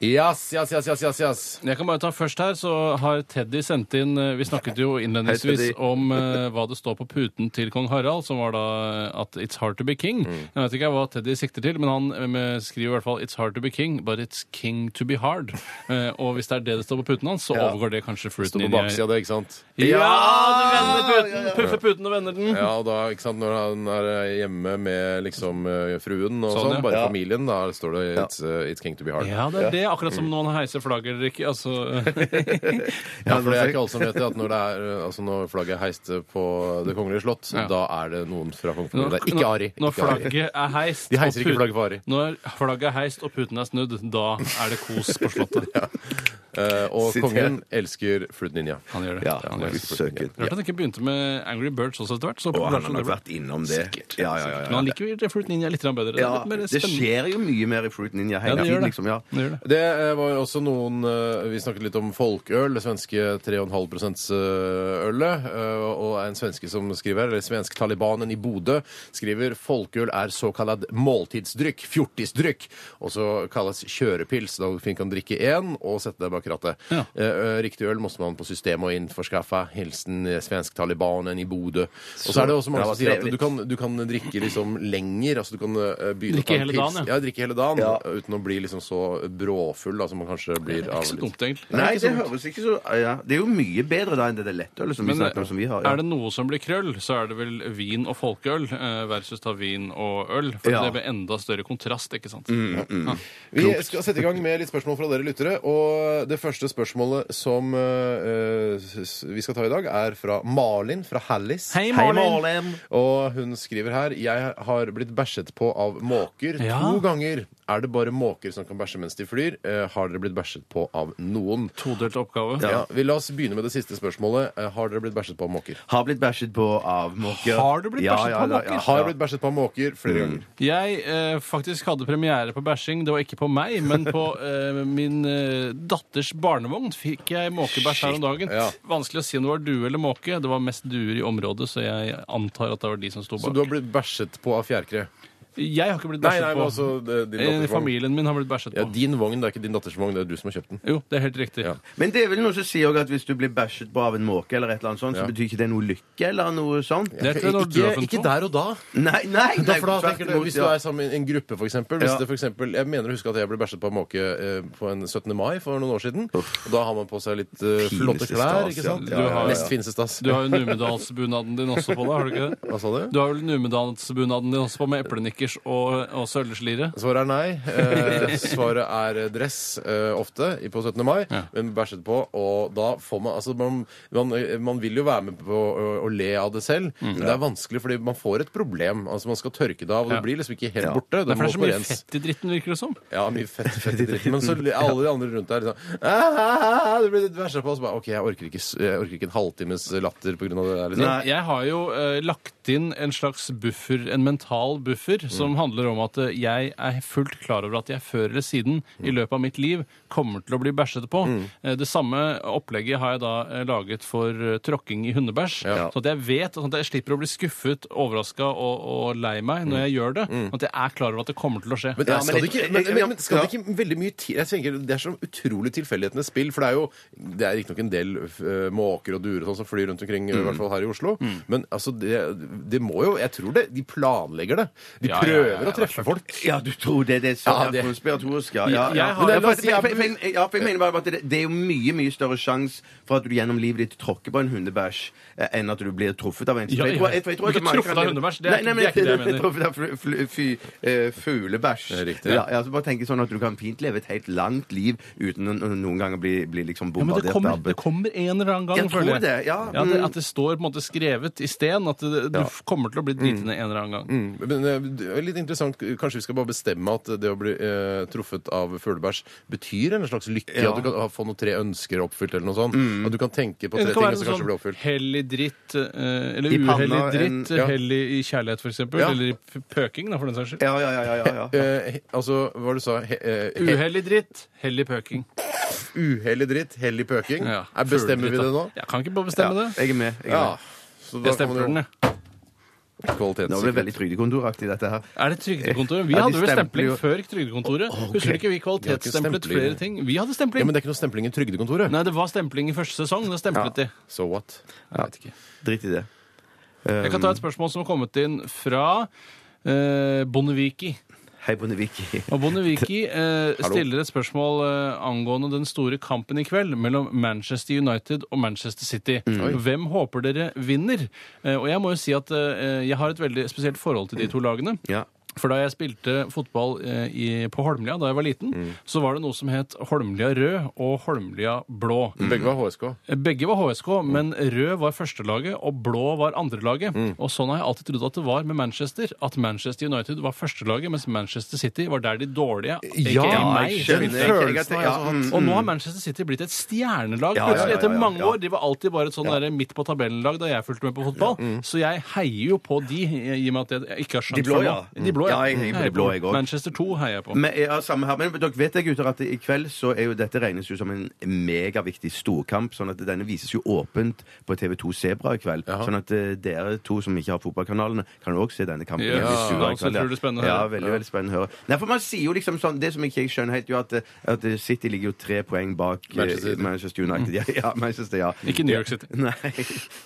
[SPEAKER 3] Yes, yes, yes, yes, yes, yes.
[SPEAKER 5] Jeg kan bare ta først her, så har Teddy sendt inn eh, Vi snakket jo innledningsvis
[SPEAKER 4] Hei, Teddy.
[SPEAKER 5] om eh, hva det står på puten til kong Harald, som var da eh, at 'It's hard to be king'.
[SPEAKER 3] Mm.
[SPEAKER 5] Jeg vet ikke hva Teddy sikter til, men han eh, med- skriver i hvert fall 'It's hard to be king, but it's king to be hard'. Eh, Og hvis det er det det står på puten hans, så
[SPEAKER 3] Ja.
[SPEAKER 5] overgår det kanskje
[SPEAKER 3] Står
[SPEAKER 5] fruiten
[SPEAKER 3] på
[SPEAKER 5] inn i
[SPEAKER 3] baksida av det, ikke sant?
[SPEAKER 5] Ja, du vender puten! Puffer puten og vender den.
[SPEAKER 3] Ja, og da, ikke sant, Når han er eh, hjemme med liksom eh, fruen og
[SPEAKER 5] Sånn,
[SPEAKER 3] sånn,
[SPEAKER 5] ja.
[SPEAKER 3] bare
[SPEAKER 4] Ja.
[SPEAKER 3] familien, da står det it's, eh, 'It's king to be hard'.
[SPEAKER 5] Ja, det er det. Akkurat som når han heiser flagget eller ikke. Altså,
[SPEAKER 3] Ja, for det er ikke alle som vet det, at når, det er, altså når flagget heiste på Det kongelige slott,
[SPEAKER 5] Ja.
[SPEAKER 3] da er det noen fra kongefamilien.
[SPEAKER 5] Når-
[SPEAKER 3] Det er ikke Ari.
[SPEAKER 5] Når
[SPEAKER 3] Ikke Ari.
[SPEAKER 5] flagget er heist
[SPEAKER 3] De heiser
[SPEAKER 5] og
[SPEAKER 3] ikke
[SPEAKER 5] put-
[SPEAKER 3] flagget for Ari.
[SPEAKER 5] Når flagget er heist og puten er snudd, da er det kos på slottet.
[SPEAKER 3] Eh, og
[SPEAKER 4] Siter.
[SPEAKER 3] kongen elsker Fruit Ninja.
[SPEAKER 5] Han gjør det.
[SPEAKER 4] Ja,
[SPEAKER 5] han gjør det.
[SPEAKER 4] søken.
[SPEAKER 5] Rart han ikke begynte med Angry Birds også etter hvert. Så
[SPEAKER 4] Og han har
[SPEAKER 5] populært som det
[SPEAKER 4] nok
[SPEAKER 5] ble.
[SPEAKER 4] vært innom det. Ja, ja, ja, ja.
[SPEAKER 5] Men han liker jo Fruit Ninja litt grann bedre. Det er
[SPEAKER 4] Ja,
[SPEAKER 5] litt mer
[SPEAKER 4] det
[SPEAKER 5] spennende.
[SPEAKER 4] skjer jo mye mer i Fruit Ninja
[SPEAKER 5] Ja,
[SPEAKER 4] hele
[SPEAKER 5] det
[SPEAKER 4] tiden.
[SPEAKER 5] gjør det.
[SPEAKER 4] liksom, ja.
[SPEAKER 5] Det gjør det.
[SPEAKER 3] Det eh, var jo også noen eh, Vi snakket litt om folkøl, det svenske 3,5 %-ølet. eh, Og en svenske som skriver, eller svensk-talibanen i Bodø, skriver folkøl er såkalt måltidsdrykk, fjortisdrykk, og så kalles kjørepils. Da du fint kan drikke én og sette deg bak rattet.
[SPEAKER 5] Ja.
[SPEAKER 3] Eh, eh, Riktig øl måste man på systemet og innforskaffe. Hilsen eh, svensk-talibanen i Bodø. Og så er det også mange
[SPEAKER 4] det var
[SPEAKER 3] som sier at
[SPEAKER 4] trevlig.
[SPEAKER 3] du kan, du kan drikke liksom lenger. altså du kan eh, begynne å
[SPEAKER 5] Drikke
[SPEAKER 3] ta en
[SPEAKER 5] hele
[SPEAKER 3] pils.
[SPEAKER 5] dagen, ja.
[SPEAKER 3] Ja, drikke hele dagen
[SPEAKER 4] Ja.
[SPEAKER 3] uten å bli liksom så bråfull da, som man kanskje blir
[SPEAKER 5] Det er
[SPEAKER 3] av
[SPEAKER 5] ikke så
[SPEAKER 3] litt.
[SPEAKER 5] dumt, egentlig.
[SPEAKER 4] Nei, det høres ikke så ja. Det er jo mye bedre da enn det der lettølet som vi
[SPEAKER 5] Men eh,
[SPEAKER 4] snakker om, som vi har. Ja.
[SPEAKER 5] er det noe som blir krøll, så er det vel vin og folkeøl eh, versus ta vin og øl. For
[SPEAKER 4] Ja. Mm.
[SPEAKER 5] det blir enda større kontrast, ikke sant?
[SPEAKER 3] Vi skal sette i gang med litt spørsmål fra dere lyttere. Og det første spørsmålet som eh, s- vi skal ta i dag, er fra Malin fra Hallis.
[SPEAKER 5] Hei, Malin!
[SPEAKER 3] Og hun skriver her Jeg har blitt bæsjet på av måker
[SPEAKER 5] Ja.
[SPEAKER 3] to ganger. Er det bare måker som kan bæsje mens de flyr? Eh, Har dere blitt bæsjet på av noen?
[SPEAKER 5] Todelt oppgave.
[SPEAKER 3] Ja, vi La oss begynne med det siste spørsmålet. Eh, Har dere blitt bæsjet på av måker?
[SPEAKER 4] Har blitt bæsjet på av måker.
[SPEAKER 5] Har du blitt bæsjet på av
[SPEAKER 4] da-
[SPEAKER 5] måker?
[SPEAKER 3] Har blitt bæsjet på av måker flere
[SPEAKER 5] Mm.
[SPEAKER 3] ganger.
[SPEAKER 5] Jeg eh, faktisk hadde premiere på bæsjing. Det var ikke på meg, men på eh, min eh, datters barnevogn fikk jeg måkebæsj her om dagen.
[SPEAKER 3] ja.
[SPEAKER 5] Vanskelig å si om det var due eller måke. Det var mest duer i området, så jeg antar at det var de som sto
[SPEAKER 3] Så
[SPEAKER 5] bak.
[SPEAKER 3] du har blitt bæsjet på av fjærkre?
[SPEAKER 5] Jeg har ikke blitt
[SPEAKER 3] Nei, nei,
[SPEAKER 5] bæsjet
[SPEAKER 3] men
[SPEAKER 5] på.
[SPEAKER 3] altså det, din
[SPEAKER 5] Eh,
[SPEAKER 3] datters vogn.
[SPEAKER 5] Familien min har blitt bæsjet
[SPEAKER 3] Ja,
[SPEAKER 5] på.
[SPEAKER 3] din vogn, det er ikke din datters vogn, det er du som har kjøpt den.
[SPEAKER 5] Jo, det er helt riktig.
[SPEAKER 3] Ja.
[SPEAKER 4] Men det er vel noe som sier også at hvis du blir bæsjet på av en måke, eller et eller annet sånt,
[SPEAKER 3] Ja.
[SPEAKER 4] så betyr ikke det noe lykke eller noe sånt?
[SPEAKER 5] Det tror jeg når du har funnet på.
[SPEAKER 3] der og da.
[SPEAKER 4] Nei, nei,
[SPEAKER 3] Da,
[SPEAKER 4] nei
[SPEAKER 3] for da
[SPEAKER 4] tvert
[SPEAKER 3] tenker du,
[SPEAKER 4] imot,
[SPEAKER 3] hvis du
[SPEAKER 4] ja.
[SPEAKER 3] er sammen i en gruppe, for eksempel, hvis
[SPEAKER 4] Ja.
[SPEAKER 3] det for eksempel Jeg mener å huske at jeg ble bæsjet på av måke eh, på en 17. mai for noen år siden. Og da har man på seg litt eh,
[SPEAKER 4] Fineste
[SPEAKER 3] flotte
[SPEAKER 4] stas,
[SPEAKER 3] klær. ikke
[SPEAKER 4] ja.
[SPEAKER 3] sant?
[SPEAKER 5] Du har-
[SPEAKER 3] Nest fineste stas.
[SPEAKER 5] Du har jo Numedalsbunaden din også på deg, har du ikke det?
[SPEAKER 3] Hva sa du?
[SPEAKER 5] Du har vel Numedalsbunaden din også på med eplenikkers og, og sølvslire?
[SPEAKER 3] Svaret er nei. Eh, svaret er dress, eh, ofte, i- på 17. mai.
[SPEAKER 5] Ja.
[SPEAKER 3] Men bæsjet på, og da får man Altså, man, man, man vil jo være med på å, å le av det selv,
[SPEAKER 5] Mm.
[SPEAKER 3] men det er vanskelig, fordi man får et problem. Altså, man skal tørke det av, og
[SPEAKER 5] Ja.
[SPEAKER 3] det blir liksom ikke helt
[SPEAKER 4] Ja.
[SPEAKER 3] borte.
[SPEAKER 5] Det er for det er så
[SPEAKER 3] må
[SPEAKER 5] mye
[SPEAKER 3] rens.
[SPEAKER 5] fett i dritten, virker det som.
[SPEAKER 3] Ja, mye fett, fett i dritten. Men så le- alle de andre rundt deg er liksom «Ah, ah, ah, Du blir litt bæsja på, og så bare OK, jeg orker ikke, s- jeg orker ikke en halvtimes latter på grunn av det der, liksom.
[SPEAKER 4] Nei.
[SPEAKER 5] Jeg har jo eh, lagt inn en slags buffer, en mental buffer,
[SPEAKER 4] Mm.
[SPEAKER 5] som handler om at eh, jeg er fullt klar over at jeg før eller siden
[SPEAKER 4] Mm.
[SPEAKER 5] i løpet av mitt liv kommer til å bli bæsjet på. Eh, det samme opplegget har jeg da eh, laget for eh, tråkking i hundebæsj.
[SPEAKER 3] Ja.
[SPEAKER 5] Så at jeg vet, sånn at jeg slipper å bli skuffet, overraska og, og lei meg når jeg gjør det. At jeg er klar over at det kommer til å skje.
[SPEAKER 3] Men
[SPEAKER 4] Ja,
[SPEAKER 3] skal,
[SPEAKER 4] Mm. men
[SPEAKER 3] det ikke,
[SPEAKER 4] jeg-
[SPEAKER 3] men,
[SPEAKER 4] jeg-
[SPEAKER 3] men, men skal det ikke veldig mye til Jeg tenker Det er så utrolig tilfeldighetenes spill. For det er jo Det er riktignok en del eh, måker og duer og sånn som flyr rundt omkring, i hvert fall her i Oslo. Men altså, det, det må jo Jeg tror det De planlegger det. De
[SPEAKER 5] Ja, ja,
[SPEAKER 3] prøver
[SPEAKER 5] ja, ja,
[SPEAKER 3] å treffe folk.
[SPEAKER 4] Ja, du tror det, det er så
[SPEAKER 3] Ja,
[SPEAKER 4] ja,
[SPEAKER 3] det-
[SPEAKER 4] konspiratorisk, ja. ja,
[SPEAKER 5] Jeg-
[SPEAKER 4] ja.
[SPEAKER 5] jeg
[SPEAKER 4] Men
[SPEAKER 5] har-
[SPEAKER 4] det er
[SPEAKER 3] La oss si-
[SPEAKER 4] for- for- for- for- ja, for jeg mener bare at det, det er jo mye mye større sjanse for at du gjennom livet ditt tråkker på en hundebæsj, eh, enn at du blir truffet av en.
[SPEAKER 5] Ja,
[SPEAKER 4] For jeg
[SPEAKER 5] ja.
[SPEAKER 4] tror- jeg- for jeg tror at
[SPEAKER 5] Du blir
[SPEAKER 4] mange
[SPEAKER 5] truffet
[SPEAKER 4] kan-
[SPEAKER 5] av hundebæsj, det er-
[SPEAKER 4] Nei, nei, men
[SPEAKER 5] det er ikke det jeg mener.
[SPEAKER 4] Truffet av fl- fl- fy- eh, fuglebæsj.
[SPEAKER 3] Det er riktig.
[SPEAKER 4] Ja, ja, så bare tenk sånn at du kan fint leve et helt langt liv uten å- å noen ganger bli, bli liksom
[SPEAKER 5] Ja, men
[SPEAKER 4] bombardert
[SPEAKER 5] det kommer,
[SPEAKER 4] av
[SPEAKER 5] det kommer en eller annen gang,
[SPEAKER 4] Jeg tror det, ja.
[SPEAKER 5] at, det,
[SPEAKER 4] Mm.
[SPEAKER 5] at det står på en måte skrevet i sten at det, du
[SPEAKER 4] Ja.
[SPEAKER 5] f- kommer til å bli driten ned en eller annen gang.
[SPEAKER 3] Mm, Men eh, det er litt interessant, Kanskje vi skal bare bestemme at det å bli eh, truffet av fuglebæsj betyr en slags lykke?
[SPEAKER 4] Ja.
[SPEAKER 3] At du kan ha- få noen tre ønsker oppfylt, eller noe sånt? At du kan tenke på tre
[SPEAKER 5] Det
[SPEAKER 3] ting, og
[SPEAKER 5] kan være
[SPEAKER 3] så
[SPEAKER 5] noe
[SPEAKER 3] kanskje blir
[SPEAKER 5] sånn
[SPEAKER 3] oppfylt?
[SPEAKER 5] hellig dritt, eh, eller
[SPEAKER 4] I panna,
[SPEAKER 5] uhellig
[SPEAKER 4] en-
[SPEAKER 5] dritt,
[SPEAKER 3] ja.
[SPEAKER 5] hellig i kjærlighet f.eks., eksempel
[SPEAKER 3] Ja.
[SPEAKER 5] eller i p- pøking, da, for den saks skyld.
[SPEAKER 4] Ja, ja, ja, ja, ja, ja.
[SPEAKER 3] Eh, he- altså, hva var det du sa? He, eh, he,
[SPEAKER 5] Uhellig dritt, hellig pøking.
[SPEAKER 3] Uhellig dritt, hellig pøking.
[SPEAKER 5] Ja,
[SPEAKER 3] Er- Bestemmer vi
[SPEAKER 5] fugledritt,
[SPEAKER 3] det
[SPEAKER 5] da.
[SPEAKER 3] nå?
[SPEAKER 5] Jeg kan ikke bare bestemme
[SPEAKER 4] ja.
[SPEAKER 5] det.
[SPEAKER 4] Jeg er med. Jeg er
[SPEAKER 3] Ja.
[SPEAKER 4] med.
[SPEAKER 3] Så da
[SPEAKER 5] Jeg
[SPEAKER 3] kan
[SPEAKER 5] stempler
[SPEAKER 3] man
[SPEAKER 5] den,
[SPEAKER 3] jo-
[SPEAKER 5] jeg.
[SPEAKER 4] Nå ble det veldig
[SPEAKER 3] Kvalitetssikkerhet.
[SPEAKER 4] trygdekontoraktig, dette her.
[SPEAKER 5] Er det Trygdekontoret? Vi
[SPEAKER 4] Ja, de
[SPEAKER 5] hadde vel
[SPEAKER 4] stempler
[SPEAKER 5] stempling
[SPEAKER 4] jo-
[SPEAKER 5] før Trygdekontoret.
[SPEAKER 4] ok.
[SPEAKER 5] Husker du ikke vi
[SPEAKER 3] har ikke
[SPEAKER 5] kvalitetsstemplet
[SPEAKER 3] stempling.
[SPEAKER 5] flere ting? Vi hadde
[SPEAKER 3] Ja,
[SPEAKER 5] stempling.
[SPEAKER 3] men det er ikke noe stempling i Trygdekontoret.
[SPEAKER 5] Nei, det var stempling i første sesong. Da stemplet de.
[SPEAKER 3] So what?
[SPEAKER 4] Ja. Drit i det.
[SPEAKER 5] Jeg kan ta et spørsmål som har kommet inn fra eh, Bonneviki.
[SPEAKER 4] Um, Hei, Bonnevik.
[SPEAKER 5] Og Bonneviki eh,
[SPEAKER 3] Hallo.
[SPEAKER 5] stiller et spørsmål eh, angående den store kampen i kveld mellom Manchester United og Manchester City. Hvem håper dere vinner? Eh, og jeg må jo si at eh, jeg har et veldig spesielt forhold til de to lagene.
[SPEAKER 4] Ja.
[SPEAKER 5] For da jeg spilte fotball eh, i, på Holmlia da jeg var liten, så var det noe som het Holmlia rød og Holmlia blå.
[SPEAKER 3] Begge var
[SPEAKER 4] Mm.
[SPEAKER 3] HSK.
[SPEAKER 5] Begge var HSK, men rød var førstelaget, og blå var andrelaget.
[SPEAKER 4] Mm.
[SPEAKER 5] Og sånn har jeg alltid trodd at det var med Manchester. At Manchester United var førstelaget, mens Manchester City var der de dårlige. aka meg.
[SPEAKER 4] jeg skjønner.
[SPEAKER 5] skjønte jeg.
[SPEAKER 4] Følelsen sånn, har jeg også hatt.
[SPEAKER 5] Og nå har Manchester City blitt et stjernelag
[SPEAKER 4] Ja, ja, ja,
[SPEAKER 5] plutselig.
[SPEAKER 4] ja,
[SPEAKER 5] Etter
[SPEAKER 4] ja,
[SPEAKER 5] mange
[SPEAKER 4] ja.
[SPEAKER 5] år. De var alltid bare et sånn der midt på tabellen-lag da jeg fulgte med på fotball. Så jeg heier jo på de, i og med at jeg ikke har
[SPEAKER 4] mm. De
[SPEAKER 5] skjønt
[SPEAKER 4] blå,
[SPEAKER 5] før nå.
[SPEAKER 4] ja. Mm.
[SPEAKER 5] De blå, ja.
[SPEAKER 4] Ja, jeg heier på de blå, jeg også.
[SPEAKER 5] Manchester 2 heier jeg på.
[SPEAKER 4] Men, ja, samme her. Men dere vet jeg, gutter, at i kveld så er jo dette regnes jo som en megaviktig storkamp. Sånn at denne vises jo åpent på TV2 Sebra i kveld.
[SPEAKER 3] Jaha.
[SPEAKER 4] Sånn at eh, dere to som ikke har fotballkanalene, kan jo også se denne kampen.
[SPEAKER 5] Ja,
[SPEAKER 4] hjemme i stua
[SPEAKER 5] da
[SPEAKER 4] i kveld,
[SPEAKER 5] tror du det er spennende å
[SPEAKER 4] ja,
[SPEAKER 5] høre.
[SPEAKER 4] veldig, veldig spennende å høre. Nei, for man sier jo liksom sånn Det som ikke jeg skjønner helt, jo at, eh, at eh, City ligger jo tre poeng bak eh,
[SPEAKER 3] Manchester City.
[SPEAKER 4] Manchester United. Ja, ja, Manchester, ja.
[SPEAKER 5] Ikke New York City.
[SPEAKER 4] Nei.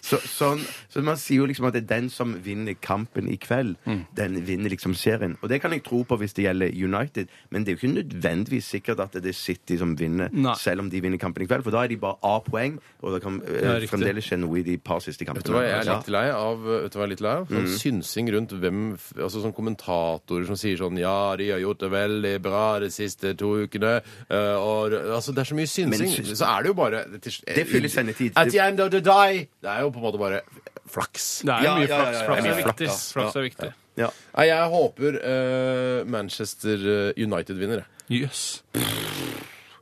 [SPEAKER 4] Så, sånn, så man sier jo liksom at det er den som vinner kampen i kveld,
[SPEAKER 5] Mm.
[SPEAKER 4] den vinner liksom serien. Og det kan jeg tro på hvis det gjelder United, men det er jo ikke nødvendigvis sikkert at det er City som vinner,
[SPEAKER 5] Nei.
[SPEAKER 4] selv om de vinner kampen i kveld, for da er de bare A-poeng, og det kan eh,
[SPEAKER 5] Ja, riktig.
[SPEAKER 4] fremdeles skje noe i de par siste kampene.
[SPEAKER 3] Vet du hva jeg er
[SPEAKER 4] Ja. Mm.
[SPEAKER 3] litt lei av? Vet du hva jeg er litt lei av? Sånn synsing rundt hvem f- Altså sånn kommentatorer som sier sånn Ja, de har gjort det veldig bra de siste to ukene. eh, og, altså Det er så mye synsing.
[SPEAKER 4] syns-
[SPEAKER 3] så er det jo bare til, sl-
[SPEAKER 4] Det fyller sendetid.
[SPEAKER 3] At the end of the day! Det er jo på en måte bare flaks.
[SPEAKER 5] Det er
[SPEAKER 4] Ja,
[SPEAKER 5] mye
[SPEAKER 4] ja, ja,
[SPEAKER 5] flaks.
[SPEAKER 4] ja, ja.
[SPEAKER 5] Flaks er
[SPEAKER 4] Mye flaks,
[SPEAKER 5] viktig.
[SPEAKER 4] ja.
[SPEAKER 5] Flaks er viktig.
[SPEAKER 4] Ja.
[SPEAKER 3] Nei, jeg håper eh, Manchester eh, United vinner, jeg.
[SPEAKER 5] Jøss.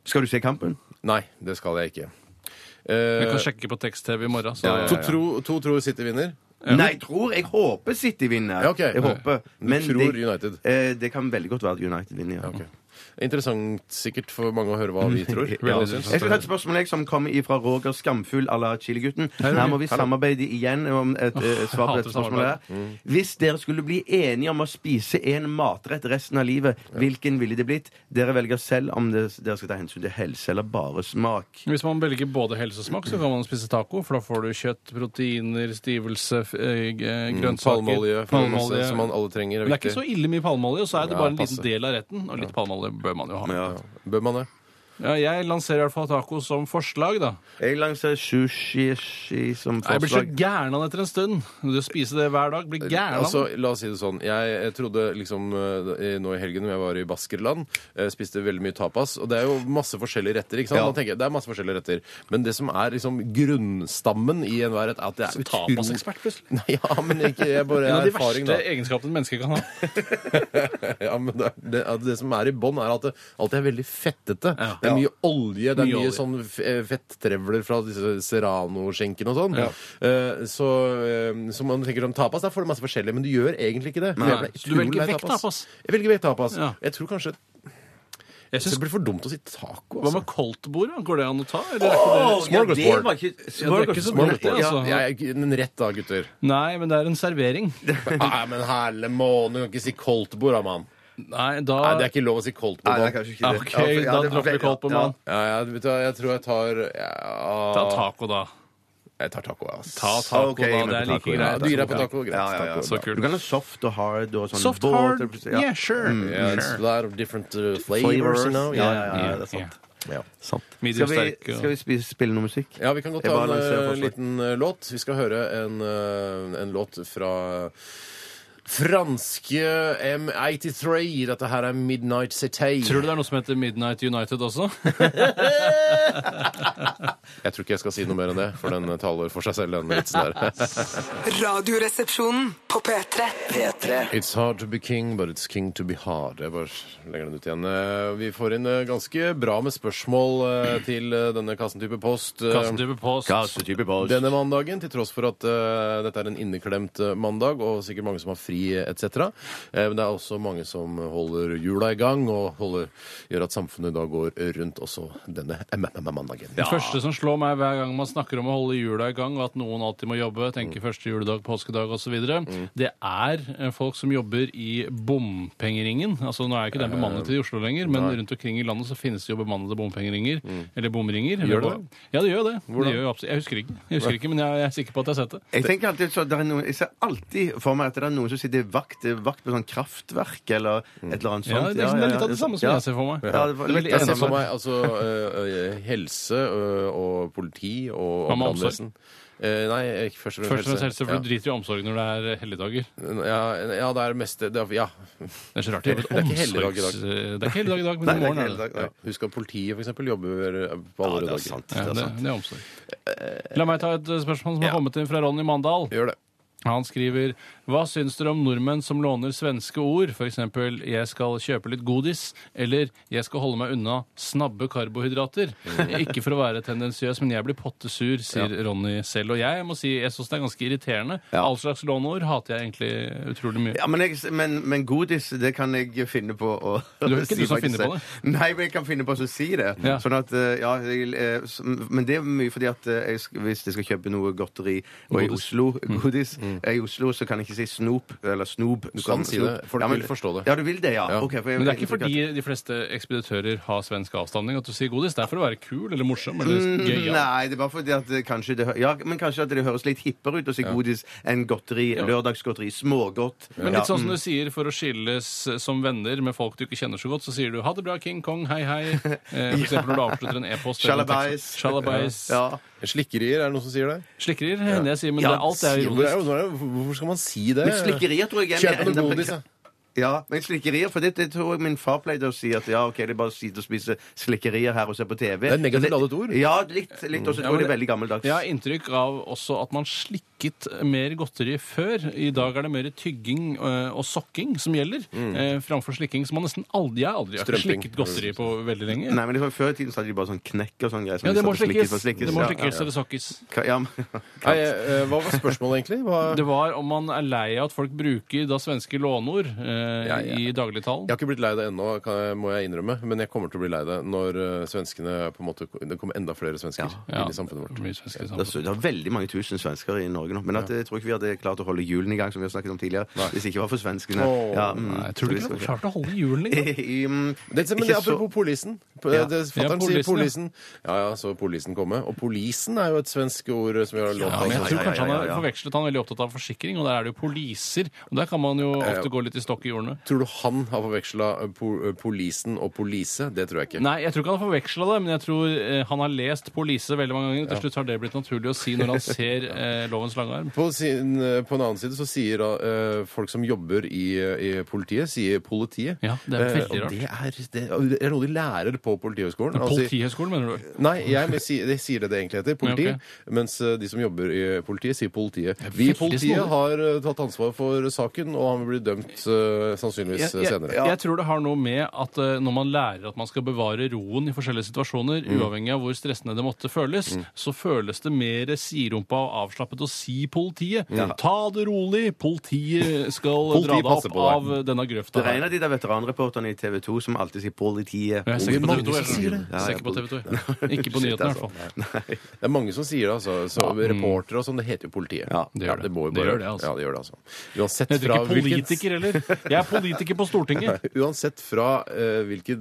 [SPEAKER 4] Skal du se kampen?
[SPEAKER 3] Nei, det skal jeg ikke.
[SPEAKER 5] Vi
[SPEAKER 3] Eh,
[SPEAKER 5] kan sjekke på tekst-TV i morgen. Så.
[SPEAKER 3] to, tro, to tror City vinner.
[SPEAKER 4] Nei, jeg tror Jeg håper City vinner.
[SPEAKER 3] Ja, ok.
[SPEAKER 4] Jeg håper.
[SPEAKER 3] Du tror United.
[SPEAKER 4] Eh, det kan veldig godt være at United vinner. Ja.
[SPEAKER 3] Ok. Interessant sikkert for mange å høre hva vi tror.
[SPEAKER 4] Ja.
[SPEAKER 3] Hva
[SPEAKER 4] Jeg
[SPEAKER 3] de syns.
[SPEAKER 4] skal ta et spørsmål jeg, som kommer fra Roger Skamfull à la Chiligutten. Her må vi samarbeide igjen om et eh, svar på
[SPEAKER 5] hater
[SPEAKER 4] dette spørsmålet. her. Hvis dere skulle bli enige om å spise en matrett resten av livet, hvilken ville det blitt? Dere velger selv om det, dere skal ta hensyn til helse eller bare smak.
[SPEAKER 5] Hvis man velger både helse og smak, så kan man spise taco. For da får du kjøtt, proteiner, stivelse, f- eh, g- eh, grønnsaker
[SPEAKER 3] Mm, Palmeolje, palmeolje. som man alle trenger. Er
[SPEAKER 5] Men det er ikke så
[SPEAKER 3] viktig.
[SPEAKER 5] ille mye palmeolje, og så er det
[SPEAKER 3] Ja,
[SPEAKER 5] bare en
[SPEAKER 3] passe.
[SPEAKER 5] liten del av retten. Og litt palmeolje bør man jo ha.
[SPEAKER 4] Ja.
[SPEAKER 3] Bør man det?
[SPEAKER 5] Ja, jeg lanserer i hvert fall taco som forslag, da.
[SPEAKER 4] Jeg lanserer sushi sushi som
[SPEAKER 5] Nei, Jeg blir så
[SPEAKER 4] forslag.
[SPEAKER 5] gæren av det etter en stund. Du spiser det hver dag, blir gæren av
[SPEAKER 3] Altså,
[SPEAKER 5] det.
[SPEAKER 3] la oss si det sånn. Jeg, jeg trodde liksom eh, nå i helgen når jeg var i Baskerland, eh, spiste veldig mye tapas. Og det er jo masse forskjellige retter. ikke sant?
[SPEAKER 4] Ja.
[SPEAKER 3] Da tenker jeg, det er masse forskjellige retter. Men det som er liksom grunnstammen i enhver rett, er at det er utrolig-
[SPEAKER 5] plutselig.
[SPEAKER 3] Nei, ja, men ikke, jeg bare
[SPEAKER 5] En av
[SPEAKER 3] er
[SPEAKER 5] de
[SPEAKER 3] erfaring, da.
[SPEAKER 5] verste egenskapene mennesker kan ha.
[SPEAKER 3] Ja, men det, er- det, er- det som er i bånn, er at det alltid er veldig fettete.
[SPEAKER 5] Ja.
[SPEAKER 3] Det er mye olje, det er
[SPEAKER 5] Mye
[SPEAKER 3] mye,
[SPEAKER 5] olje.
[SPEAKER 3] sånn f- eh, fetttrevler fra disse serranoskjenkene og sånn. Eh, så, eh, så man tenker sånn tapas, der får du masse forskjellig, men du gjør egentlig ikke det.
[SPEAKER 5] Nei.
[SPEAKER 3] Jeg ble
[SPEAKER 5] Så du velger
[SPEAKER 3] utrolig lei
[SPEAKER 5] vekk tapas?
[SPEAKER 3] Jeg velger vekk tapas.
[SPEAKER 5] Ja.
[SPEAKER 3] Jeg tror kanskje
[SPEAKER 5] Jeg
[SPEAKER 3] det
[SPEAKER 5] synes,
[SPEAKER 3] blir for dumt å si taco.
[SPEAKER 5] Hva
[SPEAKER 3] Altså.
[SPEAKER 5] med koldtbord? da? Går det an å ta? Eller er ikke det
[SPEAKER 3] Smorgasbord.
[SPEAKER 4] Ja, det var ikke-
[SPEAKER 5] ikke så
[SPEAKER 4] smorgasbord.
[SPEAKER 5] dumt, det, altså.
[SPEAKER 3] Ja, jeg- en rett da, gutter.
[SPEAKER 5] Nei, men det er en servering.
[SPEAKER 3] Nei, men herle måne, du kan ikke si koldtbord, da, mann.
[SPEAKER 5] Nei, da
[SPEAKER 3] Nei, det er ikke lov å si koldtbord.
[SPEAKER 4] Nei, det er
[SPEAKER 3] mann.
[SPEAKER 4] kanskje ikke det.
[SPEAKER 5] Ok,
[SPEAKER 4] Ja, for- ja,
[SPEAKER 5] da
[SPEAKER 4] det var
[SPEAKER 5] dropper vi
[SPEAKER 4] veldig-
[SPEAKER 5] kold på
[SPEAKER 4] ja.
[SPEAKER 5] mann.
[SPEAKER 3] Ja, jeg, vet du, hva, jeg tror jeg tar ja,
[SPEAKER 5] Ta taco, da.
[SPEAKER 3] Jeg tar taco, ass.
[SPEAKER 5] Ta taco,
[SPEAKER 4] Ok,
[SPEAKER 5] da.
[SPEAKER 4] men
[SPEAKER 5] Det er
[SPEAKER 4] taco,
[SPEAKER 5] like
[SPEAKER 4] ja,
[SPEAKER 5] greit.
[SPEAKER 4] det er
[SPEAKER 3] Dyra på taco, greit.
[SPEAKER 4] Ja, ja, ja.
[SPEAKER 3] taco.
[SPEAKER 5] Så
[SPEAKER 4] Du
[SPEAKER 5] kult.
[SPEAKER 4] kan ha soft og hard og sånn
[SPEAKER 5] Soft
[SPEAKER 4] båt,
[SPEAKER 5] hard?
[SPEAKER 4] eller- ja.
[SPEAKER 5] Yeah, sure.
[SPEAKER 3] Yeah, it's a
[SPEAKER 5] sure.
[SPEAKER 3] lot of different uh, flavors,
[SPEAKER 4] Flavors.
[SPEAKER 3] you know.
[SPEAKER 4] Ja,
[SPEAKER 3] Yeah.
[SPEAKER 4] ja, ja, det er
[SPEAKER 5] Yeah.
[SPEAKER 4] sant.
[SPEAKER 3] Ja.
[SPEAKER 4] sant.
[SPEAKER 5] Medium
[SPEAKER 4] Skal vi,
[SPEAKER 5] sterk og-
[SPEAKER 4] skal vi spise, spille noe musikk?
[SPEAKER 3] Ja, vi kan godt
[SPEAKER 4] Jeg
[SPEAKER 3] ta
[SPEAKER 4] bare
[SPEAKER 3] en
[SPEAKER 4] lanserer
[SPEAKER 3] uh,
[SPEAKER 4] forslag.
[SPEAKER 3] liten uh, låt. Vi skal høre en, uh, en låt fra franske M83. Dette her er Midnight City.
[SPEAKER 5] Tror du det er noe som heter Midnight United også?
[SPEAKER 3] Jeg tror ikke jeg skal si noe mer enn det, for den uh, taler for seg selv, den vitsen der.
[SPEAKER 6] Radioresepsjonen på P3.
[SPEAKER 2] P3
[SPEAKER 3] It's hard to be king, but it's king to be hard. Jeg bare legger den ut igjen. Eh, Vi får inn eh, ganske bra med spørsmål eh, til eh, denne kassentype post. Eh,
[SPEAKER 5] Kassetype post.
[SPEAKER 3] Denne mandagen, til tross for at eh, dette er en inneklemt eh, mandag, og sikkert mange som har fri eh, etc. Eh, men det er også mange som holder hjula i gang, og holder, gjør at samfunnet da går rundt også denne MMM-mandagen.
[SPEAKER 5] Det første som slår meg hver gang man snakker om å holde jula i gang, og at noen alltid må jobbe,
[SPEAKER 3] Mm.
[SPEAKER 5] tenker første juledag, påskedag osv., det er eh, folk som jobber i bompengeringen. Altså Nå er jo ikke
[SPEAKER 3] Eh.
[SPEAKER 5] den bemannet i Oslo lenger, men rundt omkring i landet så finnes det jo bemannede bompengeringer. Eller bomringer.
[SPEAKER 3] Mm. Gjør det
[SPEAKER 5] Eller- Ja, det gjør det. det gjør jo absolutt. Jeg husker ikke, jeg husker ikke men jeg, jeg er sikker på at jeg har sett det.
[SPEAKER 4] Jeg tenker alltid, så det er noen, jeg ser alltid for meg at det er noen som sitter vakt, vakt på sånn kraftverk eller et eller annet sånt.
[SPEAKER 5] Mm. Ja, det, er- liksom det er litt av det samme som
[SPEAKER 4] ja.
[SPEAKER 5] jeg ser for meg.
[SPEAKER 4] Ja, det var
[SPEAKER 5] Det er
[SPEAKER 4] litt
[SPEAKER 5] veldig
[SPEAKER 3] Jeg
[SPEAKER 4] av det
[SPEAKER 3] ser
[SPEAKER 5] enig
[SPEAKER 3] for
[SPEAKER 4] samme.
[SPEAKER 3] meg altså eh, eh, helse eh, og politi og
[SPEAKER 5] Hva med omsorg?
[SPEAKER 3] brannvesen. Eh, nei, ikke først og
[SPEAKER 5] Først og
[SPEAKER 3] fremst
[SPEAKER 5] fremst helse, for du
[SPEAKER 3] helse.
[SPEAKER 5] driter i omsorg når det er helligdager.
[SPEAKER 3] Ja, ja, ja, det er det meste det er, Ja.
[SPEAKER 5] Det er så rart. Det er,
[SPEAKER 3] Det er ikke helligdag i dag.
[SPEAKER 5] Det er ikke helligdag i dag, men
[SPEAKER 4] Nei, det
[SPEAKER 5] i
[SPEAKER 4] er
[SPEAKER 5] morgen
[SPEAKER 4] ikke
[SPEAKER 5] er
[SPEAKER 4] hele
[SPEAKER 5] det.
[SPEAKER 4] dagen.
[SPEAKER 3] ja. Husk at politiet f.eks. jobber eh, på
[SPEAKER 4] Ja,
[SPEAKER 3] alle
[SPEAKER 4] det er
[SPEAKER 3] dager.
[SPEAKER 4] sant.
[SPEAKER 5] Ja,
[SPEAKER 4] Det er
[SPEAKER 5] det,
[SPEAKER 4] sant.
[SPEAKER 5] det er omsorg. La meg ta et eh, spørsmål som
[SPEAKER 4] Ja.
[SPEAKER 5] har kommet inn fra Ronny Mandal.
[SPEAKER 3] Gjør det.
[SPEAKER 5] Han skriver Hva syns dere om nordmenn som låner svenske ord? F.eks.: Jeg skal kjøpe litt godis. Eller jeg skal holde meg unna snabbe karbohydrater. Ikke for å være tendensiøs, men jeg blir pottesur, sier Ronny selv. Og jeg må si jeg syns det er ganske irriterende.
[SPEAKER 4] Ja.
[SPEAKER 5] All slags låneord hater jeg egentlig utrolig mye.
[SPEAKER 4] Ja, men, jeg, men, men godis, det kan jeg finne på å
[SPEAKER 5] er jo ikke du som
[SPEAKER 4] faktisk
[SPEAKER 5] finner på det.
[SPEAKER 4] Nei, men jeg kan finne på å si det.
[SPEAKER 5] Ja.
[SPEAKER 4] Sånn at, eh, ja, jeg, eh, s- men det er mye fordi at eh, jeg, sk- hvis jeg skal kjøpe noe godteri og i Oslo,
[SPEAKER 5] Mm.
[SPEAKER 4] godis, eh, i Oslo, så kan jeg ikke si snop eller snob. Du
[SPEAKER 3] kan si Sånn det. Folk vil forstå det.
[SPEAKER 4] Ja, du vil det, ja.
[SPEAKER 3] Ja.
[SPEAKER 4] Ok, for jeg-
[SPEAKER 5] Men det er ikke fordi de fleste ekspeditører har svensk avstamning at du sier godis. Det er for å være kul eller morsom eller gøy.
[SPEAKER 4] Mm,
[SPEAKER 5] Ja.
[SPEAKER 4] Nei, det er bare fordi at eh, kanskje det, hø- ja, men kanskje at det høres litt hippere ut å si godis enn godteri, lørdagsgodteri, smågodt.
[SPEAKER 5] Men
[SPEAKER 4] Ja. Mm.
[SPEAKER 5] litt sånn som du sier for å skilles som venner med folk du ikke kjenner så godt, så sier du 'ha det bra, King Kong, hei, hei'. Eh, For eksempel når du avslutter en e-post. eller en tekst.
[SPEAKER 4] Shalabais.
[SPEAKER 5] Shalabais.
[SPEAKER 4] Ja.
[SPEAKER 3] Slikkerier, er det noen som sier det?
[SPEAKER 5] Slikkerier hender jeg sier, men
[SPEAKER 4] Ja,
[SPEAKER 5] det, alt er
[SPEAKER 3] Hvor er-
[SPEAKER 5] ironisk.
[SPEAKER 3] hvor er- Hvorfor skal man si det?
[SPEAKER 4] Men slikkeriet tror jeg er mer
[SPEAKER 3] Kjøp noe
[SPEAKER 4] enda-
[SPEAKER 3] godis, da.
[SPEAKER 4] Ja, men slikkerier, for det, det tror jeg min far pleide å si. At ja, ok, det er bare å sitte og spise slikkerier her og se på TV.
[SPEAKER 3] Det er negativt
[SPEAKER 4] Men
[SPEAKER 3] ladet ord.
[SPEAKER 4] Ja, litt. litt og så tror jeg det er veldig gammeldags.
[SPEAKER 5] Jeg har inntrykk av også at man slikket mer godteri før. I dag er det mer tygging eh, og sokking som gjelder,
[SPEAKER 4] Mm.
[SPEAKER 5] eh, framfor slikking. Så man nesten aldri, jeg har aldri jeg har ikke
[SPEAKER 3] Strømping.
[SPEAKER 5] slikket godteri på veldig lenge.
[SPEAKER 4] Nei, men liksom, Før i tiden så hadde de bare sånn knekk og sånn greier. som
[SPEAKER 5] Ja,
[SPEAKER 4] de
[SPEAKER 5] det må
[SPEAKER 4] satt og slikket
[SPEAKER 5] slikkes.
[SPEAKER 4] på og slikkes.
[SPEAKER 5] Det må
[SPEAKER 4] Ja, ja,
[SPEAKER 5] slikkes
[SPEAKER 4] ja.
[SPEAKER 5] eller sokkes.
[SPEAKER 4] Ka- Ja, men,
[SPEAKER 3] Nei, eh, hva var spørsmålet egentlig? Hva...
[SPEAKER 5] Det var om man er lei av at folk bruker da svenske låneord eh,
[SPEAKER 3] Ja, ja.
[SPEAKER 5] i dagligtalen.
[SPEAKER 3] Jeg har ikke blitt lei det ennå, kan jeg, må jeg innrømme. Men jeg kommer til å bli lei det når eh, svenskene på en måte, Det kommer enda flere svensker
[SPEAKER 5] Ja.
[SPEAKER 3] inn i samfunnet vårt.
[SPEAKER 5] Mye svenske
[SPEAKER 4] det,
[SPEAKER 5] samfunn.
[SPEAKER 4] er, Altså, det er veldig mange tusen svensker i Norge nå. Men at, jeg tror ikke vi hadde klart å holde julen i gang, som vi har snakket om tidligere, hvis det ikke var for svenskene.
[SPEAKER 3] Åh,
[SPEAKER 5] Nei, jeg tror du ikke du hadde klart å holde julen i gang?
[SPEAKER 4] Mm,
[SPEAKER 3] Det,
[SPEAKER 4] ikke
[SPEAKER 3] men det er
[SPEAKER 4] så-
[SPEAKER 3] apropos polisen. P-
[SPEAKER 4] Ja.
[SPEAKER 3] Det, fatteren
[SPEAKER 5] Ja,
[SPEAKER 3] sier polisen.
[SPEAKER 5] polisen,
[SPEAKER 3] Ja ja, så polisen komme. Og polisen er jo et svensk ord som vi har lånt
[SPEAKER 5] Ja,
[SPEAKER 3] av.
[SPEAKER 5] men jeg
[SPEAKER 3] oss.
[SPEAKER 5] tror
[SPEAKER 4] ja,
[SPEAKER 5] kanskje han
[SPEAKER 4] ja,
[SPEAKER 5] har
[SPEAKER 4] ja.
[SPEAKER 5] forvekslet han er veldig opptatt av forsikring, og der er det jo poliser. Og der kan man jo ofte gå litt i stokk i hjulene.
[SPEAKER 3] Tror du han har forveksla eh, polisen og polise? Det tror jeg ikke.
[SPEAKER 5] Nei, jeg tror ikke han har forveksla det, men jeg tror eh, han har lest Police veldig mange ganger. Til slutt har det blitt naturlig å si når han ser eh, lovens lange arm.
[SPEAKER 3] På, sin, eh, på en annen side så sier da, eh, folk som jobber i, eh, i politiet, sier politiet.
[SPEAKER 5] Ja, det er veldig
[SPEAKER 3] Eh, og Det er, det er noe de lærer på Politihøgskolen. Altså,
[SPEAKER 5] Politihøgskolen, mener du?
[SPEAKER 3] Nei, jeg men si- det sier det det egentlig heter. Politi.
[SPEAKER 5] Ja, ok.
[SPEAKER 3] Mens eh, de som jobber i politiet, sier politiet.
[SPEAKER 5] er
[SPEAKER 3] Vi i
[SPEAKER 5] veldig
[SPEAKER 3] politiet
[SPEAKER 5] snodig.
[SPEAKER 3] har eh, tatt ansvar for saken, og han vil bli dømt eh, sannsynligvis eh,
[SPEAKER 5] jeg,
[SPEAKER 3] senere.
[SPEAKER 5] jeg, jeg tror det har noe med at eh, når man lærer at man skal bevare roen i forskjellige situasjoner, uavhengig av hvor stressende det måtte føles, så føles det mer siderumpa og avslappet å si politiet. Ta det rolig, politiet skal
[SPEAKER 3] Politiet
[SPEAKER 5] dra deg
[SPEAKER 3] passer
[SPEAKER 5] opp
[SPEAKER 3] på deg.
[SPEAKER 5] av eh, denne grøfta.
[SPEAKER 4] Det er en av de der veteranreporterne i TV 2 som alltid sier 'politiet'.
[SPEAKER 5] Jeg ser ikke på TV 2.
[SPEAKER 4] Mange sier det. Ja, ja,
[SPEAKER 5] Ikke på TV 2. Ikke på
[SPEAKER 4] Shit,
[SPEAKER 5] nyhetene, i
[SPEAKER 4] altså.
[SPEAKER 5] hvert fall.
[SPEAKER 3] Det er mange som sier det, altså. Så Reportere og sånn, det heter jo politiet.
[SPEAKER 4] Ja,
[SPEAKER 5] det gjør det.
[SPEAKER 3] må jo
[SPEAKER 5] Det
[SPEAKER 3] bare-
[SPEAKER 5] gjør det, altså.
[SPEAKER 3] Ja, det gjør det, altså. Uansett
[SPEAKER 5] Jeg heter
[SPEAKER 3] fra
[SPEAKER 5] ikke
[SPEAKER 3] hvilket-
[SPEAKER 5] politiker heller. Jeg er politiker på Stortinget.
[SPEAKER 3] Uansett fra eh, hvilken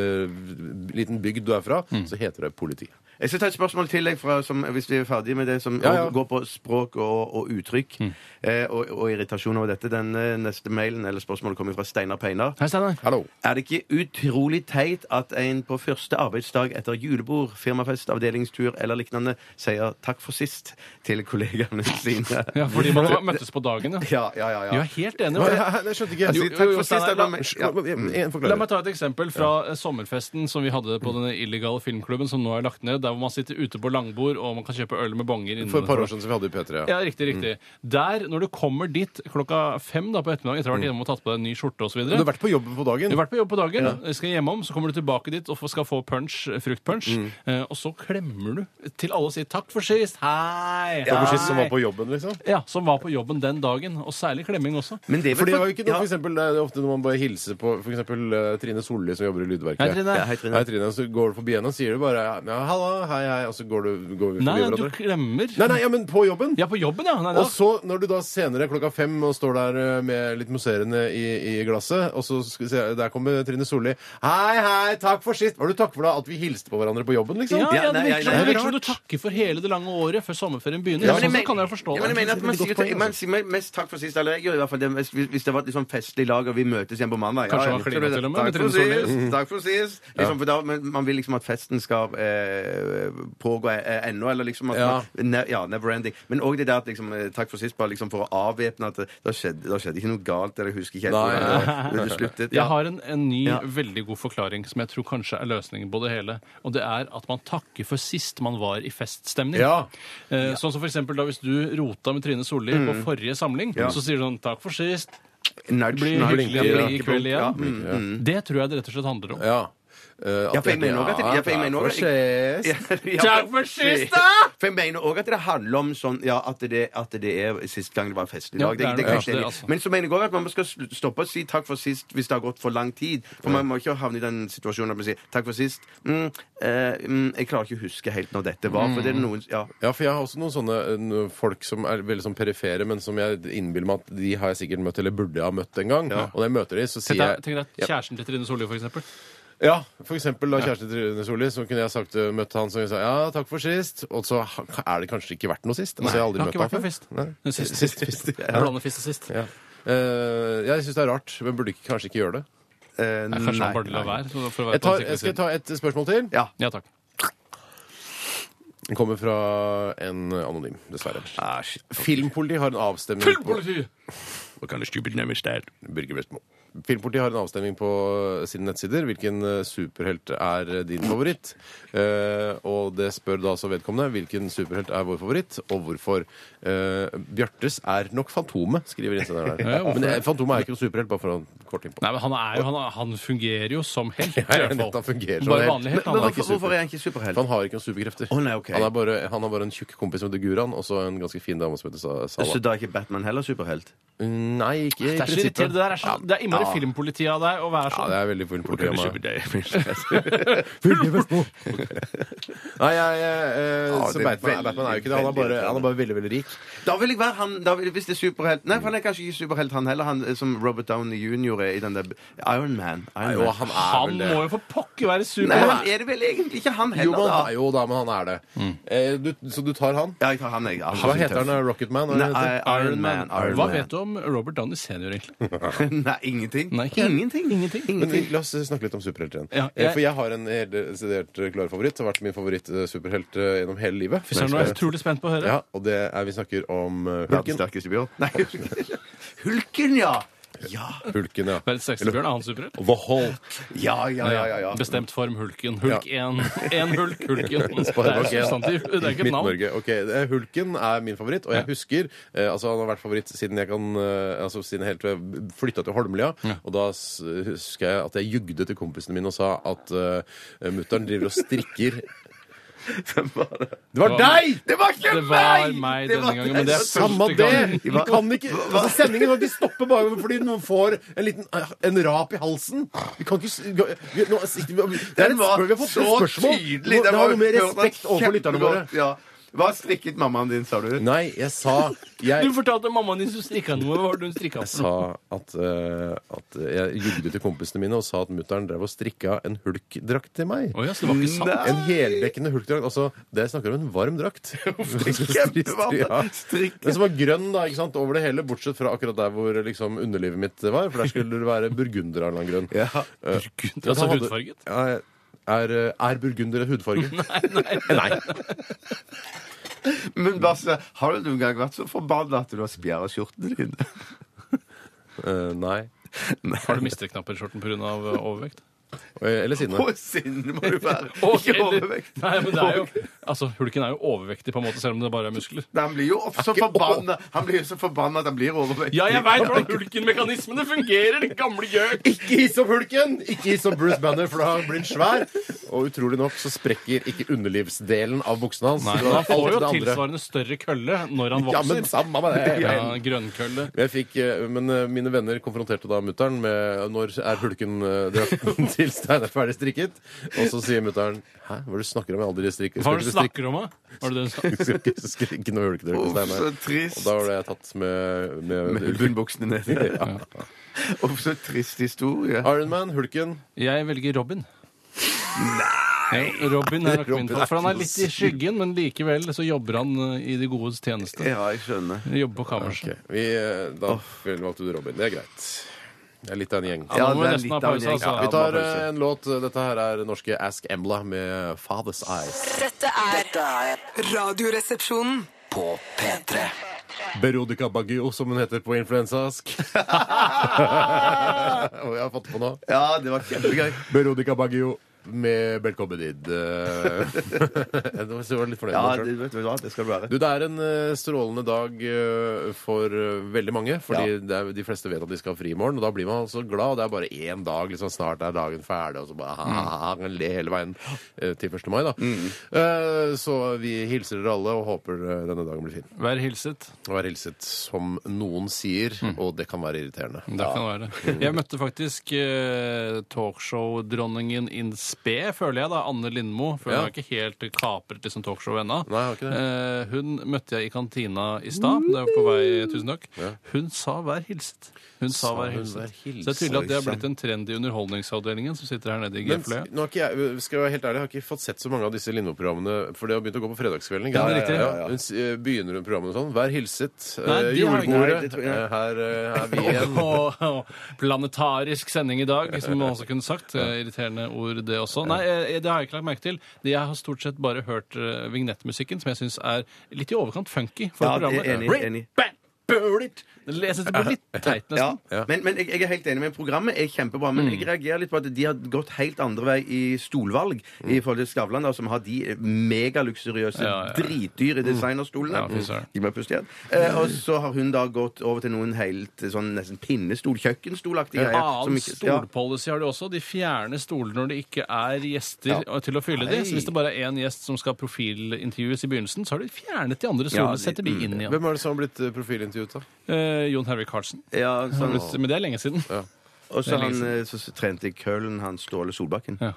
[SPEAKER 3] eh, liten bygd du er fra,
[SPEAKER 5] Mm.
[SPEAKER 3] så heter det politi.
[SPEAKER 4] Jeg skal ta et spørsmål til deg fra, som, hvis vi er ferdige med det som
[SPEAKER 3] Ja, ja.
[SPEAKER 4] går på språk og, og uttrykk
[SPEAKER 5] Mm.
[SPEAKER 4] eh, og, og irritasjon over dette. Den eh, neste mailen eller spørsmålet kommer fra Steinar Peinar.
[SPEAKER 5] Hei, Steinar.
[SPEAKER 3] Hallo.
[SPEAKER 4] Er det ikke utrolig teit at en på første arbeidsdag etter julebord, firmafest, avdelingstur eller lignende sier takk for sist til kollegaene sine?
[SPEAKER 5] Ja, fordi man har møttes på dagen, ja.
[SPEAKER 4] Ja, ja, ja.
[SPEAKER 5] Vi
[SPEAKER 4] ja.
[SPEAKER 5] er helt enige.
[SPEAKER 3] Nei, nei, Jeg skjønte ikke.
[SPEAKER 5] Jo,
[SPEAKER 4] Si
[SPEAKER 5] jo,
[SPEAKER 4] takk
[SPEAKER 5] jo,
[SPEAKER 4] for sist.
[SPEAKER 5] Steinar,
[SPEAKER 4] eller-
[SPEAKER 5] la-
[SPEAKER 4] Ja.
[SPEAKER 3] En
[SPEAKER 5] La meg
[SPEAKER 3] forklarer.
[SPEAKER 5] ta et eksempel fra eh, sommerfesten som vi hadde på denne illegale filmklubben som nå er lagt ned, der hvor man sitter ute på langbord og man kan kjøpe øl med bonger
[SPEAKER 3] For et par Mm. år
[SPEAKER 5] innenfor.
[SPEAKER 3] siden som vi hadde i P3.
[SPEAKER 5] Ja, riktig, riktig. Der, når du kommer dit klokka fem da på ettermiddagen etter å ha vært hjemme og tatt på deg en ny skjorte osv.
[SPEAKER 3] Mm. Du har vært på jobben på dagen.
[SPEAKER 5] Du har vært på jobb på dagen, skal hjemom, så kommer du tilbake dit og får- skal få punch, fruktpunch.
[SPEAKER 3] Mm.
[SPEAKER 5] eh, Og så klemmer du til alle og sier 'takk for sist', hei!
[SPEAKER 3] Det var sist som var
[SPEAKER 5] hei».
[SPEAKER 3] på jobben, liksom.
[SPEAKER 5] Ja, som var på jobben den dagen. Og særlig klemming også.
[SPEAKER 4] Men det er vel
[SPEAKER 3] For det var jo ikke noe,
[SPEAKER 4] ja.
[SPEAKER 3] for eksempel, det er ofte når man bare hilser på for eksempel eh, Trine Solli som jobber i Lydverket.
[SPEAKER 5] Hei, Trine.
[SPEAKER 4] Ja, hei, Trine.
[SPEAKER 3] Hei, Trine. Så går du forbi henne og sier du bare ja, 'halla, hei, hei', og så går du går vi forbi
[SPEAKER 5] Nei, du
[SPEAKER 3] hverandre.
[SPEAKER 5] klemmer.
[SPEAKER 3] Nei, nei, ja, men på jobben!
[SPEAKER 5] Ja, på jobben, ja. Nei, da.
[SPEAKER 3] Og så, når du da senere klokka fem og står der eh, med litt musserende i, i glasset, og så skal vi se, der kommer Trine Solli. Hei, hei, takk for sist! Var du takk for da at vi hilste på hverandre på jobben, liksom?
[SPEAKER 5] Ja,
[SPEAKER 4] nei,
[SPEAKER 5] ja, det
[SPEAKER 4] nei,
[SPEAKER 5] virker som-
[SPEAKER 4] nei, det er
[SPEAKER 5] det virker som du takker for hele det lange året før sommerferien begynner. sånn så kan jeg forstå
[SPEAKER 4] ja, men jeg
[SPEAKER 5] det.
[SPEAKER 4] mener at man
[SPEAKER 3] Det er
[SPEAKER 4] sier,
[SPEAKER 3] et godt poeng, altså.
[SPEAKER 4] man sier men mest takk for sist. Eller jeg gjør i hvert fall det hvis, hvis det var et litt sånn festlig lag og vi møtes igjen på mandag.
[SPEAKER 5] Kanskje man kliner til og med med
[SPEAKER 4] Takk for
[SPEAKER 5] Trine Solli.
[SPEAKER 4] sist! Takk for sist. Liksom, for da, men man vil liksom at festen skal eh, pågå eh, ennå, eller liksom at
[SPEAKER 3] Ja.
[SPEAKER 4] man, ne, Ja, never ending. Men òg det der at liksom, eh, takk for sist, bare liksom for å avvæpne at det da skjedde, da skjedde ikke noe galt, eller jeg husker ikke helt
[SPEAKER 3] Nei,
[SPEAKER 4] hvordan det var, men det sluttet.
[SPEAKER 5] Jeg har en, en ny,
[SPEAKER 4] Ja.
[SPEAKER 5] veldig god forklaring som jeg tror kanskje er løsningen på det hele. Og det er at man takker for sist man var i feststemning.
[SPEAKER 3] Ja.
[SPEAKER 5] Eh, sånn som for eksempel da hvis du rota med Trine Solli på forrige samling, så sier du sånn 'takk for sist',
[SPEAKER 4] Nudge,
[SPEAKER 5] blir
[SPEAKER 4] nudge,
[SPEAKER 5] hyggelig
[SPEAKER 4] blinke,
[SPEAKER 5] i
[SPEAKER 4] blinke,
[SPEAKER 5] kveld
[SPEAKER 4] blinke, ja.
[SPEAKER 5] igjen. Mm. Det tror jeg det rett og slett handler om.
[SPEAKER 3] Ja. Eh, at
[SPEAKER 4] Ja, for jeg
[SPEAKER 3] det-
[SPEAKER 4] mener også at- ja, for jeg mener
[SPEAKER 3] takk
[SPEAKER 4] også-
[SPEAKER 3] for sist.
[SPEAKER 4] Ja,
[SPEAKER 5] Takk for sist, da!
[SPEAKER 4] For jeg mener òg at det handler om sånn Ja, at det, at det er sist gang det var en festlig
[SPEAKER 5] Ja,
[SPEAKER 4] dag.
[SPEAKER 5] det
[SPEAKER 4] Det, det, kan
[SPEAKER 5] er nok
[SPEAKER 4] jeg
[SPEAKER 5] kanskje
[SPEAKER 4] ikke
[SPEAKER 5] det,
[SPEAKER 4] enig i.
[SPEAKER 5] altså.
[SPEAKER 4] Men så mener jeg òg at man skal sl- stoppe å si takk for sist hvis det har gått for lang tid. For man må ikke havne i den situasjonen at man sier takk for sist. Mm, eh, mm, jeg klarer ikke å huske helt når dette var, for det
[SPEAKER 5] Mm.
[SPEAKER 4] er noen Ja.
[SPEAKER 3] Ja, for jeg har også noen sånne eh, folk som er veldig sånn perifere, men som jeg innbiller meg at de har jeg sikkert møtt, eller burde jeg ha møtt en gang. Og når jeg møter de, så sier
[SPEAKER 5] Tenk deg,
[SPEAKER 3] jeg
[SPEAKER 5] tenk deg
[SPEAKER 3] Ja.
[SPEAKER 5] kjæresten til Trine Solli, for eksempel.
[SPEAKER 3] Ja, for eksempel da kjæresten til Rune Solli, så kunne jeg sagt, eh, møtt han som sa ja, takk for sist, og så ha- er det kanskje ikke vært noe sist. Altså, jeg har aldri
[SPEAKER 5] det har
[SPEAKER 3] møtt
[SPEAKER 5] ikke
[SPEAKER 3] han
[SPEAKER 5] vært noe
[SPEAKER 3] før.
[SPEAKER 5] fest.
[SPEAKER 3] Nei.
[SPEAKER 5] Det er sist.
[SPEAKER 3] Sist, sist.
[SPEAKER 5] Jeg
[SPEAKER 3] Ja.
[SPEAKER 5] blander fist og sist.
[SPEAKER 3] Ja. Eh, jeg syns det er rart, men burde ikke, kanskje ikke gjøre det.
[SPEAKER 4] Eh,
[SPEAKER 5] Nei, Kanskje han bare lar være. så for å være
[SPEAKER 3] Jeg
[SPEAKER 5] på den
[SPEAKER 3] tar,
[SPEAKER 5] sikre
[SPEAKER 3] jeg skal
[SPEAKER 5] siden.
[SPEAKER 3] ta et spørsmål til.
[SPEAKER 4] Ja.
[SPEAKER 5] Ja, takk.
[SPEAKER 3] Den kommer fra en anonym, dessverre.
[SPEAKER 4] Ah, shit.
[SPEAKER 3] Filmpoliti har en avstemning på-
[SPEAKER 4] What kind of stupid name is that?
[SPEAKER 3] Birger Vestmo. Filmpolitiet har en avstemning på eh, sine nettsider. Hvilken eh, superhelt er eh, din favoritt? Eh, og det spør da altså vedkommende. Hvilken superhelt er vår favoritt, og hvorfor? Eh, Bjartes er nok Fantomet, skriver innsenderen her.
[SPEAKER 5] Ja, hvorfor
[SPEAKER 3] Men eh, Fantomet er ikke noen superhelt, bare for å kort innpå.
[SPEAKER 5] Nei, men han, er jo, han, er- han fungerer jo som helt. i
[SPEAKER 3] Ja, ja,
[SPEAKER 5] hvert fall.
[SPEAKER 3] nettopp, fungerer som
[SPEAKER 5] Bare
[SPEAKER 3] helt.
[SPEAKER 5] vanlig helt.
[SPEAKER 4] Men
[SPEAKER 5] Han er ikke
[SPEAKER 4] hvorfor,
[SPEAKER 5] super.
[SPEAKER 4] hvorfor er han ikke superhelt?
[SPEAKER 3] For han har ikke noen superkrefter.
[SPEAKER 4] Å, nei, ok.
[SPEAKER 3] han, er bare, han har bare en tjukk kompis som heter Guran, og så en ganske fin dame som heter Sa-
[SPEAKER 4] Så
[SPEAKER 3] Sala.
[SPEAKER 4] da er ikke Batman heller superhelt?
[SPEAKER 3] Nei, ikke i
[SPEAKER 5] Det er så irriterende.
[SPEAKER 3] prinsippet.
[SPEAKER 5] Det, der er så, det er innmari filmpoliti av deg å være
[SPEAKER 3] Ja,
[SPEAKER 5] sånn.
[SPEAKER 3] det er veldig fullt politi av meg. Nei, jeg, jeg, eh,
[SPEAKER 4] Ja, det
[SPEAKER 3] så
[SPEAKER 4] er
[SPEAKER 3] Batman,
[SPEAKER 4] veldig,
[SPEAKER 3] Batman er jo ikke det. Han er bare, han er bare veldig, veldig rik.
[SPEAKER 4] Da vil jeg være han da vil, Hvis det er superhelt Nei, for han er kanskje ikke superhelt, han heller. Han eh, som Robert Downey jr. er i den der Iron Man. Iron
[SPEAKER 3] Jo,
[SPEAKER 4] Man.
[SPEAKER 3] han er
[SPEAKER 5] Han
[SPEAKER 3] vel det.
[SPEAKER 5] må jo for pokker være
[SPEAKER 4] Nei,
[SPEAKER 5] super.
[SPEAKER 4] men er det vel egentlig ikke han
[SPEAKER 3] Jo,
[SPEAKER 4] heller,
[SPEAKER 3] men,
[SPEAKER 4] da?
[SPEAKER 3] han- jo da, men han er det. Eh, du, så du tar han?
[SPEAKER 4] Ja, jeg tar han, jeg. Han
[SPEAKER 3] Hva
[SPEAKER 4] er
[SPEAKER 3] heter han?
[SPEAKER 4] tøff.
[SPEAKER 3] Rocket Man?
[SPEAKER 4] Nei, Iron Man. Iron
[SPEAKER 5] Hva
[SPEAKER 4] Man.
[SPEAKER 5] vet du om Robert Downey senior, egentlig?
[SPEAKER 4] Nei, ingenting.
[SPEAKER 5] Nei, ikke-
[SPEAKER 4] ingenting.
[SPEAKER 5] Ingenting.
[SPEAKER 3] Men vi- la oss snakke litt om superhelter igjen.
[SPEAKER 5] Ja,
[SPEAKER 3] Eh,
[SPEAKER 5] jeg-
[SPEAKER 3] For jeg har en helt desidert eh, klar favoritt. Det har vært min favoritt-superhelt gjennom hele livet.
[SPEAKER 5] Fy søren, nå er jeg utrolig spent på å høre.
[SPEAKER 3] Ja, og det er vi snakker om eh,
[SPEAKER 4] Verdens
[SPEAKER 3] Hulken.
[SPEAKER 4] sterkeste bjørn. Nei, Hulken. Hulken, ja! Ja,
[SPEAKER 3] Hulken, ja.
[SPEAKER 5] Verdens sterkeste bjørn, er han superhelt?
[SPEAKER 3] The Hulk.
[SPEAKER 4] ja, ja. ja, ja, ja.
[SPEAKER 5] Bestemt form Hulken. Hulk 1. Én Hulk, Hulken. Det er
[SPEAKER 3] Sparebank, ja.
[SPEAKER 5] substantiv. Det er ikke et navn.
[SPEAKER 3] Midt-Norge. Ok, det er- Hulken er min favoritt, og jeg husker eh, altså Han har vært favoritt siden jeg kan eh, Altså siden helt til jeg flytta til Holmlia. Og da s- husker jeg at jeg jugde til kompisene mine og sa at uh, mutter'n driver og strikker Det var deg!
[SPEAKER 4] Det var ikke
[SPEAKER 5] Det var meg denne gangen, men det er
[SPEAKER 3] Samme
[SPEAKER 5] første
[SPEAKER 3] det! Vi
[SPEAKER 5] gang.
[SPEAKER 3] kan ikke, altså Sendingen kan ikke stoppe bare fordi noen får en liten eh, en rap i halsen. Vi kan ikke s- vi, nå, sitter vi, Det er
[SPEAKER 4] Den
[SPEAKER 3] et
[SPEAKER 4] var
[SPEAKER 3] spør, vi har fått et
[SPEAKER 4] så
[SPEAKER 3] spørsmål.
[SPEAKER 4] tydelig.
[SPEAKER 3] Det
[SPEAKER 4] Den
[SPEAKER 3] har noe med
[SPEAKER 4] hørtes
[SPEAKER 3] respekt overfor lytterne våre.
[SPEAKER 4] kjempegodt, Ja. Hva strikket mammaen din, sa du?
[SPEAKER 3] Nei, jeg sa
[SPEAKER 5] Du
[SPEAKER 3] Jeg
[SPEAKER 5] fortalte mammaen din som strikka noe. Hva var det hun strikka
[SPEAKER 3] jeg sa at, eh, at jeg jugde til kompisene mine og sa at mutter'n drev og strikka en hulkdrakt til meg.
[SPEAKER 5] Å ja, så det var ikke sant?
[SPEAKER 4] Nei.
[SPEAKER 3] En heldekkende hulkdrakt. Altså, det jeg snakker om en varm drakt.
[SPEAKER 4] kjempevarmt.
[SPEAKER 3] Ja.
[SPEAKER 4] Strikk.
[SPEAKER 3] Den som var grønn da, ikke sant, over det hele, bortsett fra akkurat der hvor liksom, underlivet mitt var. For der skulle det være burgunder av en eller annen grunn.
[SPEAKER 4] Ja.
[SPEAKER 3] Eh,
[SPEAKER 5] Burgunder, altså
[SPEAKER 3] han hadde-
[SPEAKER 5] hudfarget?
[SPEAKER 3] Ja, er, eh, er burgunder en hudfarge? Eh, nei.
[SPEAKER 4] Men Basse, har du noen gang vært så forbanna at du har spjæra skjortene dine?
[SPEAKER 3] Eh, nei.
[SPEAKER 5] Har du mistreknapper i skjorten pga. overvekt?
[SPEAKER 3] Eh, Eller sinne.
[SPEAKER 4] På sinne må du være.
[SPEAKER 5] Og-
[SPEAKER 4] Ikke overvekt.
[SPEAKER 5] Nei, men det er jo, altså, Hulken er jo overvektig, på en måte, selv om det bare er muskler.
[SPEAKER 4] Nei, Han blir jo så forbanna Han blir jo så forbanna at han blir overvektig.
[SPEAKER 5] Ja, jeg veit hvordan hulkenmekanismene fungerer, den gamle gjøk!
[SPEAKER 3] Ikke hiss opp hulken! Ikke hiss opp Bruce Banner, for da blir han svær. Og utrolig nok så sprekker ikke underlivsdelen av buksene hans.
[SPEAKER 5] Nei,
[SPEAKER 3] Det
[SPEAKER 5] men
[SPEAKER 3] var
[SPEAKER 5] han får
[SPEAKER 3] alt
[SPEAKER 5] jo
[SPEAKER 3] det andre.
[SPEAKER 5] tilsvarende større kølle når han
[SPEAKER 3] Ja, men
[SPEAKER 5] vokser.
[SPEAKER 3] samme med det.
[SPEAKER 5] Ja, grønnkølle.
[SPEAKER 3] Jeg fikk, eh, men eh, mine venner konfronterte da mutter'n med når er hulken eh, drakten til Stein er ferdig strikket. Og så sier mutter'n Hæ, hva er det du snakker om? Jeg har aldri strikket.
[SPEAKER 5] Hva
[SPEAKER 3] Skal
[SPEAKER 5] var det du
[SPEAKER 3] ikke strikke-
[SPEAKER 5] snakker om, da? Var det det du sa?
[SPEAKER 3] skal ikke strikke noe hulkedrakt til
[SPEAKER 4] Uff,
[SPEAKER 3] Stein
[SPEAKER 4] så
[SPEAKER 3] her. Og
[SPEAKER 4] trist.
[SPEAKER 3] da ble jeg tatt med, med,
[SPEAKER 4] Med bunnbuksene nede.
[SPEAKER 3] Ja.
[SPEAKER 4] Uff, så trist historie.
[SPEAKER 3] Iron Man, hulken
[SPEAKER 5] Jeg velger Robin. Nei! Robin er nok min favoritt, for han er litt i skyggen, men likevel så jobber han eh, i de godes tjeneste.
[SPEAKER 4] Ja, jeg skjønner.
[SPEAKER 5] Jobber på kammerset.
[SPEAKER 3] Ok, vi, eh, Da valgte du Robin. Det er greit. Det er litt av en gjeng.
[SPEAKER 5] Ja,
[SPEAKER 4] Ja,
[SPEAKER 5] nå
[SPEAKER 4] det
[SPEAKER 5] må vi
[SPEAKER 4] er
[SPEAKER 5] nesten ha
[SPEAKER 4] litt av en
[SPEAKER 5] pause,
[SPEAKER 4] gjeng.
[SPEAKER 5] altså.
[SPEAKER 4] Ja,
[SPEAKER 3] Vi tar
[SPEAKER 4] bare
[SPEAKER 3] eh, en låt. Dette her er norske Ask Embla med Father's Eyes.
[SPEAKER 6] Dette er
[SPEAKER 2] Dette er
[SPEAKER 6] Radioresepsjonen.
[SPEAKER 2] på P3.
[SPEAKER 3] Berodica Baggio, som hun heter på influensask. Og jeg har fått på nå.
[SPEAKER 4] Ja, det var kjempegøy.
[SPEAKER 3] Berodica Baggio med Belkobedid. Jeg var så litt fornøyd
[SPEAKER 4] Ja,
[SPEAKER 3] med meg
[SPEAKER 4] det,
[SPEAKER 3] selv.
[SPEAKER 4] vet du hva, det skal du være.
[SPEAKER 3] Du, Det er en eh, strålende dag eh, for eh, veldig mange. Fordi det er, de fleste vet at de skal ha fri i morgen. Og da blir man altså glad. Og det er bare én dag. liksom Snart er dagen ferdig. Og så bare
[SPEAKER 5] Mm.
[SPEAKER 3] ha, ha, ha, kan le hele veien eh, til 1. mai, da. Eh, Så vi hilser dere alle og håper eh, denne dagen blir fin.
[SPEAKER 5] Vær hilset.
[SPEAKER 3] Vær hilset som noen sier, og det kan være irriterende.
[SPEAKER 5] Mm. Det kan være. Jeg møtte faktisk eh, talkshow-dronningen in spe, føler jeg, da, Anne Lindmo. For hun
[SPEAKER 3] Ja.
[SPEAKER 5] har ikke helt kapret liksom, talkshowet ennå.
[SPEAKER 3] Nei, har ikke det.
[SPEAKER 5] Eh, hun møtte jeg i kantina i stad. Det er på vei, eh, tusen takk. Hun sa 'vær hilset'. Hun sa,
[SPEAKER 3] Sa
[SPEAKER 5] 'vær
[SPEAKER 3] hun
[SPEAKER 5] hilset'.
[SPEAKER 3] «Vær hilset».
[SPEAKER 5] Så det er tydelig at det har
[SPEAKER 3] Oi,
[SPEAKER 5] blitt en trend i Underholdningsavdelingen, som sitter her nede i
[SPEAKER 3] Men
[SPEAKER 5] G-flyet.
[SPEAKER 3] nå har ikke jeg, skal jeg være helt ærlig, jeg har ikke fått sett så mange av disse Lindmo-programmene, for det har begynt å gå på fredagskvelden. ikke
[SPEAKER 5] Ja, det er
[SPEAKER 3] sant?
[SPEAKER 5] riktig.
[SPEAKER 3] Hun s- eh, begynner hun programmet sånn. Vær hilset. eh,
[SPEAKER 5] Nei, det har jeg ikke.
[SPEAKER 4] Nei,
[SPEAKER 3] Julebordet.
[SPEAKER 4] det tror jeg.
[SPEAKER 3] eh, Her eh, er vi igjen.
[SPEAKER 5] Og, og planetarisk sending i dag, som man også kunne sagt. Eh, Irriterende ord, det også. Nei, eh, det har jeg ikke lagt merke til. Det Jeg har stort sett bare hørt eh, vignettmusikken, som jeg syns er litt i overkant funky for
[SPEAKER 4] Ja, det er
[SPEAKER 5] programmet.
[SPEAKER 4] enig, enig.
[SPEAKER 5] Bang! bølit! Det leses på litt teit,
[SPEAKER 4] Ja.
[SPEAKER 5] nesten. Mm.
[SPEAKER 3] Ja.
[SPEAKER 4] Men, men jeg, jeg er helt enig med programmet er kjempebra, men jeg reagerer litt på at de har gått helt andre vei i stolvalg i forhold til Skavlan, da, som har de eh, megaluksuriøse,
[SPEAKER 5] Mm. Ja, ja.
[SPEAKER 4] dritdyre designerstolene.
[SPEAKER 5] Ja, fy søren.
[SPEAKER 4] Gi meg pust igjen. Eh, og så har hun da gått over til noen helt eh, sånn nesten pinnestol, kjøkkenstolaktige
[SPEAKER 5] En
[SPEAKER 4] greier. som
[SPEAKER 5] annen
[SPEAKER 4] ikke- ja.
[SPEAKER 5] stolpolicy har de også. De fjerner stoler når det ikke er gjester
[SPEAKER 4] Ja.
[SPEAKER 5] til å fylle de.
[SPEAKER 4] Nei.
[SPEAKER 5] Så hvis det bare er én gjest som skal profilintervjues i begynnelsen, så har de fjernet de andre stolene.
[SPEAKER 4] Ja, de- mm.
[SPEAKER 5] setter de inn igjen.
[SPEAKER 3] Hvem er det som har blitt eh, profilintervjuet, da?
[SPEAKER 5] Eh, Jon Harry Carlsen.
[SPEAKER 4] Ja, sånn.
[SPEAKER 5] Men det er lenge siden.
[SPEAKER 4] Og så
[SPEAKER 5] Det er
[SPEAKER 4] han
[SPEAKER 5] liksom-
[SPEAKER 4] eh, så, så trente i Køllen, han Ståle Solbakken.
[SPEAKER 5] Ja.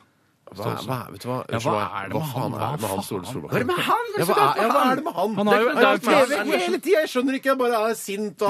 [SPEAKER 3] Hva, hva, vet du hva?
[SPEAKER 5] Ja, hva er det med
[SPEAKER 3] Hva faen
[SPEAKER 5] han?
[SPEAKER 3] er det med
[SPEAKER 5] Hva
[SPEAKER 3] han
[SPEAKER 5] faen?
[SPEAKER 3] Ståle Solbakken? Hva er det med han?
[SPEAKER 4] Hva er det med han?
[SPEAKER 3] hva er det med han?
[SPEAKER 5] Han har jo-
[SPEAKER 3] det er
[SPEAKER 5] det er-
[SPEAKER 3] TV hele tida! Jeg skjønner ikke, jeg bare er sint
[SPEAKER 4] Nei, men det er
[SPEAKER 3] av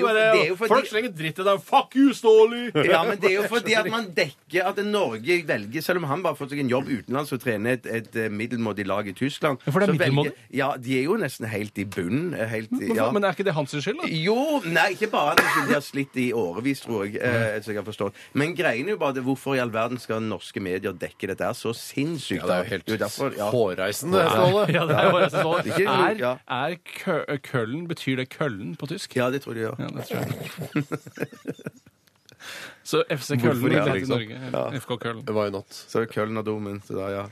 [SPEAKER 4] jo-
[SPEAKER 3] bare-
[SPEAKER 4] det er jo fordi-
[SPEAKER 3] Folk slenger dritt i deg. Fuck you, Ståle!
[SPEAKER 4] Ja, men det er jo fordi at man dekker at Norge velger Selv om han bare har fått seg en jobb utenlands og trener et, et eh, middelmådig lag i Tyskland
[SPEAKER 5] Ja, for det er
[SPEAKER 4] så velger-
[SPEAKER 5] middelmådig?
[SPEAKER 4] Ja, de er jo nesten helt i bunnen. eh, Helt, i-
[SPEAKER 5] Men,
[SPEAKER 4] ja.
[SPEAKER 5] men er ikke det hans skyld, da?
[SPEAKER 4] Jo, nei, ikke bare at de har slitt i årevis, tror jeg. Eh, så jeg har forstått. Men greien er jo bare det, hvorfor i all verden skal norske medier dekke dette her så sinnssykt?
[SPEAKER 3] Ja, det er jo
[SPEAKER 4] Det er
[SPEAKER 3] helt
[SPEAKER 4] derfor, ja.
[SPEAKER 3] hårreisende, Ståle.
[SPEAKER 5] Ja, det er bare jeg som står.
[SPEAKER 4] Ikke-
[SPEAKER 5] Er,
[SPEAKER 4] ja.
[SPEAKER 5] er kø- køllen Betyr det køllen på tysk?
[SPEAKER 4] ja, det tror jeg de gjør.
[SPEAKER 5] Ja, det tror jeg. Så FC Køllen
[SPEAKER 4] Hvorfor
[SPEAKER 5] er
[SPEAKER 4] ikke,
[SPEAKER 5] det til
[SPEAKER 4] liksom?
[SPEAKER 5] Norge. FK Køllen.
[SPEAKER 3] Why not?
[SPEAKER 4] Så er det Køln og Domen. Så da, ja.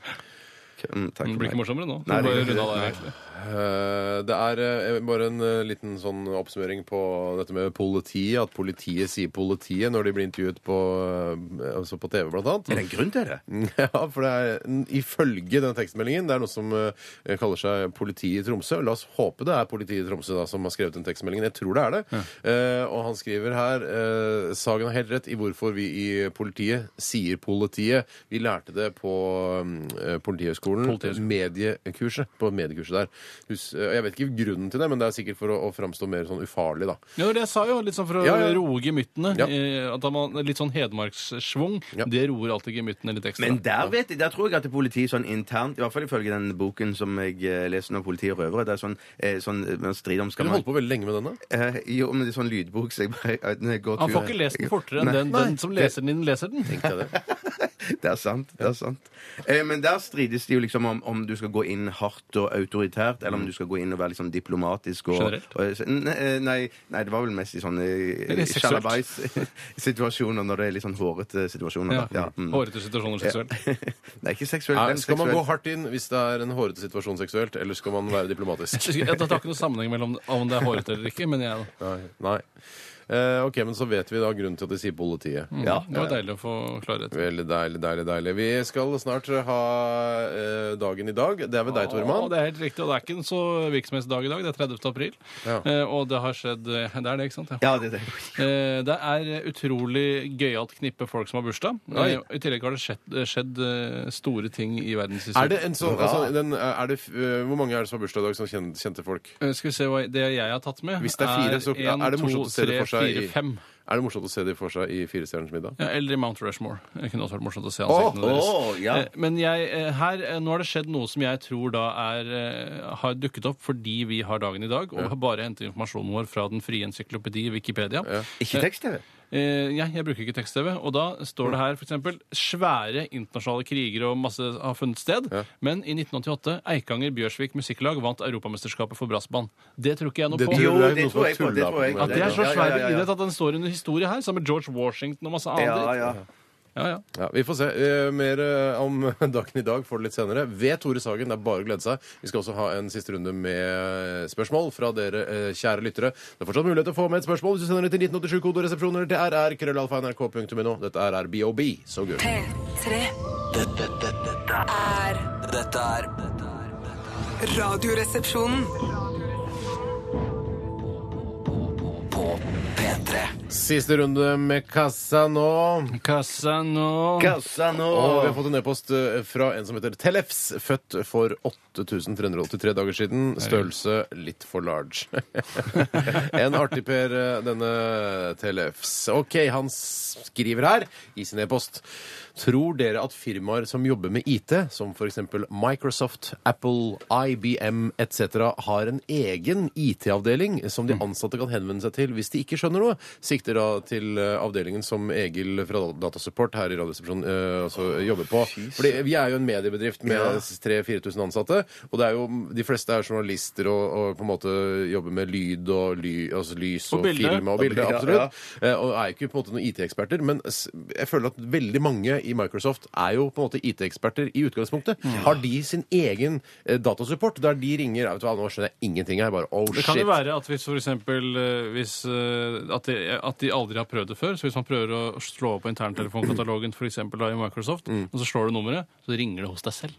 [SPEAKER 4] Køln, takk
[SPEAKER 5] Mm, Det
[SPEAKER 4] for
[SPEAKER 5] blir ikke
[SPEAKER 4] meg.
[SPEAKER 5] morsommere nå.
[SPEAKER 4] Nei, det
[SPEAKER 5] Bare
[SPEAKER 4] gjør ikke
[SPEAKER 5] runde av
[SPEAKER 4] det.
[SPEAKER 5] der,
[SPEAKER 4] Nei.
[SPEAKER 5] egentlig.
[SPEAKER 3] Eh, Det er eh, bare en eh, liten sånn oppsummering på dette med politiet. At politiet sier politiet når de blir intervjuet på, eh, altså på TV, blant annet.
[SPEAKER 4] Er det en grunn til det?
[SPEAKER 3] Ja, for det er n- ifølge den tekstmeldingen Det er noe som eh, kaller seg Politiet i Tromsø. La oss håpe det er Politiet i Tromsø da, som har skrevet den tekstmeldingen. Jeg tror det er det. Eh, og han skriver her eh, Sagen har helt rett i hvorfor vi i politiet sier politiet. Vi lærte det på eh, Politihøgskolen,
[SPEAKER 5] Politihøgskolen.
[SPEAKER 3] mediekurset. På mediekurset der. Hus, eh, jeg vet ikke grunnen til det, men det er sikkert for å, å framstå mer sånn ufarlig, da.
[SPEAKER 5] Ja, det var det jeg sa jo, litt sånn for å
[SPEAKER 3] Ja, ja.
[SPEAKER 5] roe gemyttene.
[SPEAKER 3] Ja.
[SPEAKER 5] eh, At man, litt sånn hedmarkssvung,
[SPEAKER 3] Ja.
[SPEAKER 5] det roer alltid gemyttene litt ekstra.
[SPEAKER 4] Men der vet jeg, der tror jeg at det politiet sånn internt, i hvert fall ifølge den boken som jeg eh, leser nå, 'Politi og røvere', det er sånn, eh, sånn eh, man strider om
[SPEAKER 3] Du
[SPEAKER 4] skal man
[SPEAKER 3] holdt på veldig lenge med denne.
[SPEAKER 4] eh, Jo, men det er sånn lydbok, så jeg bare eh, når jeg går
[SPEAKER 5] Han
[SPEAKER 4] tur-
[SPEAKER 5] får ikke lest den fortere enn
[SPEAKER 4] Nei.
[SPEAKER 5] den, den som leser den, leser den.
[SPEAKER 4] Det er sant. det er sant eh, Men der strides det jo liksom om, om du skal gå inn hardt og autoritært, eller om du skal gå inn og være liksom diplomatisk og,
[SPEAKER 5] Mm. Generelt?
[SPEAKER 4] og nei, nei, nei, det var vel mest i sånne eh,
[SPEAKER 5] Eller seksuelt.
[SPEAKER 4] sjalabais-situasjoner, når det er litt sånn hårete situasjoner.
[SPEAKER 5] Ja.
[SPEAKER 4] da. Ja, mm.
[SPEAKER 5] Hårete situasjoner seksuelt.
[SPEAKER 4] Nei, ikke seksuelt.
[SPEAKER 3] Er,
[SPEAKER 4] men
[SPEAKER 3] Eh, skal man gå
[SPEAKER 4] seksuelt.
[SPEAKER 3] hardt inn hvis det er en hårete situasjon seksuelt, eller skal man være diplomatisk?
[SPEAKER 5] Jeg synes- Det har ikke noen sammenheng mellom om det er hårete eller ikke, men jeg,
[SPEAKER 3] Nei. Nei. Eh, ok, men så vet vi da grunnen til at de sier politiet.
[SPEAKER 4] Ja,
[SPEAKER 5] det var deilig å få klarhet.
[SPEAKER 3] Veldig deilig, deilig, deilig. Vi skal snart ha eh, dagen i dag. Det er ved deg,
[SPEAKER 5] Ja,
[SPEAKER 3] Toremann.
[SPEAKER 5] det er helt riktig, og det er ikke en så virksomhetsdag i dag. Det er 30. april,
[SPEAKER 3] Ja.
[SPEAKER 5] Eh, og det har skjedd eh, Det er det, ikke sant? Ja.
[SPEAKER 4] Ja, det, det.
[SPEAKER 5] Eh, Det er utrolig gøyalt knippe folk som har bursdag.
[SPEAKER 3] Oi.
[SPEAKER 5] Eh, I tillegg har det skjedd, skjedd eh, store ting i verdenshistorien.
[SPEAKER 3] Er det en sånn, altså, den, er det, f- eh, hvor mange er det som har bursdag i dag, som kjente, kjente folk?
[SPEAKER 5] Eh, Skal vi se hva det jeg har tatt med.
[SPEAKER 3] Hvis det er fire, så
[SPEAKER 5] en,
[SPEAKER 3] er det
[SPEAKER 5] to,
[SPEAKER 3] morsomt å se det
[SPEAKER 5] tre,
[SPEAKER 3] for seg
[SPEAKER 5] fire,
[SPEAKER 3] i-
[SPEAKER 5] fem.
[SPEAKER 3] Er det morsomt å se de for seg i Firestjerners middag?
[SPEAKER 5] Ja, eller i Mount Rushmore. Det kunne også vært morsomt å se ansiktene
[SPEAKER 4] Åh,
[SPEAKER 5] deres.
[SPEAKER 4] åh, ja.
[SPEAKER 5] Eh, Men jeg, eh, her, eh, nå har det skjedd noe som jeg tror da er, eh, har dukket opp fordi vi har dagen i dag, og har bare hentet informasjonen vår fra den frie encyklopedi Wikipedia.
[SPEAKER 4] Ikke tekst-TV?
[SPEAKER 5] Eh, jeg, jeg bruker ikke tekst-TV, og da står det her f.eks.: Svære internasjonale kriger og masse har funnet sted, men i 1988 Eikanger Bjørsvik Musikklag vant Europamesterskapet for brassband. Det tror ikke jeg noe på.
[SPEAKER 3] tror
[SPEAKER 4] Jo,
[SPEAKER 3] jeg er
[SPEAKER 4] det tror
[SPEAKER 3] noe som
[SPEAKER 4] jeg på,
[SPEAKER 3] tuller
[SPEAKER 4] det
[SPEAKER 3] på
[SPEAKER 4] tror jeg
[SPEAKER 3] meg.
[SPEAKER 4] på.
[SPEAKER 5] At det er så
[SPEAKER 4] Ja, ja,
[SPEAKER 5] svær
[SPEAKER 4] ja, ja.
[SPEAKER 5] idrett at den står under historie her, sammen med George Washington og masse annet.
[SPEAKER 4] Ja,
[SPEAKER 5] dritt.
[SPEAKER 4] ja.
[SPEAKER 5] Ja, ja.
[SPEAKER 3] Ja, vi får se. Eh, mer eh, om dagen i dag får du litt senere. Ved Tore Sagen. Det er bare å glede seg. Vi skal også ha en siste runde med eh, spørsmål fra dere eh, kjære lyttere. Det er fortsatt mulighet til å få med et spørsmål hvis du sender det til 1987 kodoresepsjoner til rr.krøllalfa.nrk.no. Dette er RBOB. So good.
[SPEAKER 6] P3
[SPEAKER 2] Dette, dette, dette er-
[SPEAKER 6] er
[SPEAKER 2] dette er dette er-
[SPEAKER 6] Radioresepsjonen.
[SPEAKER 2] på P3.
[SPEAKER 3] Siste runde med kassa nå.
[SPEAKER 5] Kassa nå
[SPEAKER 4] Kassa nå!
[SPEAKER 3] Og vi har fått en e-post eh, fra en som heter Tellefs, født for 8383 dager siden. Størrelse litt for large. en artig per, eh, denne Tellefs. OK, han skriver her i sin e-post. Tror dere at firmaer som jobber med IT, som f.eks. Microsoft, Apple, IBM
[SPEAKER 4] Mm.
[SPEAKER 3] etc., har en egen IT-avdeling som de ansatte kan henvende seg til hvis de ikke skjønner noe? Sikter plikter da til eh, avdelingen som Egil fra Datasupport her i Radioresepsjonen eh, altså, jobber på. Fordi vi er jo en mediebedrift med
[SPEAKER 4] Ja.
[SPEAKER 3] 3000-4000 ansatte, og det er jo, de fleste er journalister og, og på en måte jobber med lyd og ly, altså lys
[SPEAKER 5] Og
[SPEAKER 3] og,
[SPEAKER 5] bilde.
[SPEAKER 3] film og bilde.
[SPEAKER 4] Ja,
[SPEAKER 3] Absolutt. Eh, Og er jo ikke på en måte noen IT-eksperter, men s- jeg føler at veldig mange i Microsoft er jo på en måte IT-eksperter i utgangspunktet.
[SPEAKER 5] Mm.
[SPEAKER 3] Har de sin egen eh, datasupport, der de ringer ja, vet du hva, Nå skjønner jeg ingenting her. Bare oh
[SPEAKER 5] Det
[SPEAKER 3] shit.
[SPEAKER 5] kan jo være at hvis for eksempel, eh, hvis, eh, at, de, at de aldri har prøvd det før, så hvis man prøver å slå opp på interntelefonkatalogen for eksempel, da, i Microsoft,
[SPEAKER 3] Mm.
[SPEAKER 5] og så slår du nummeret, så ringer det hos deg selv.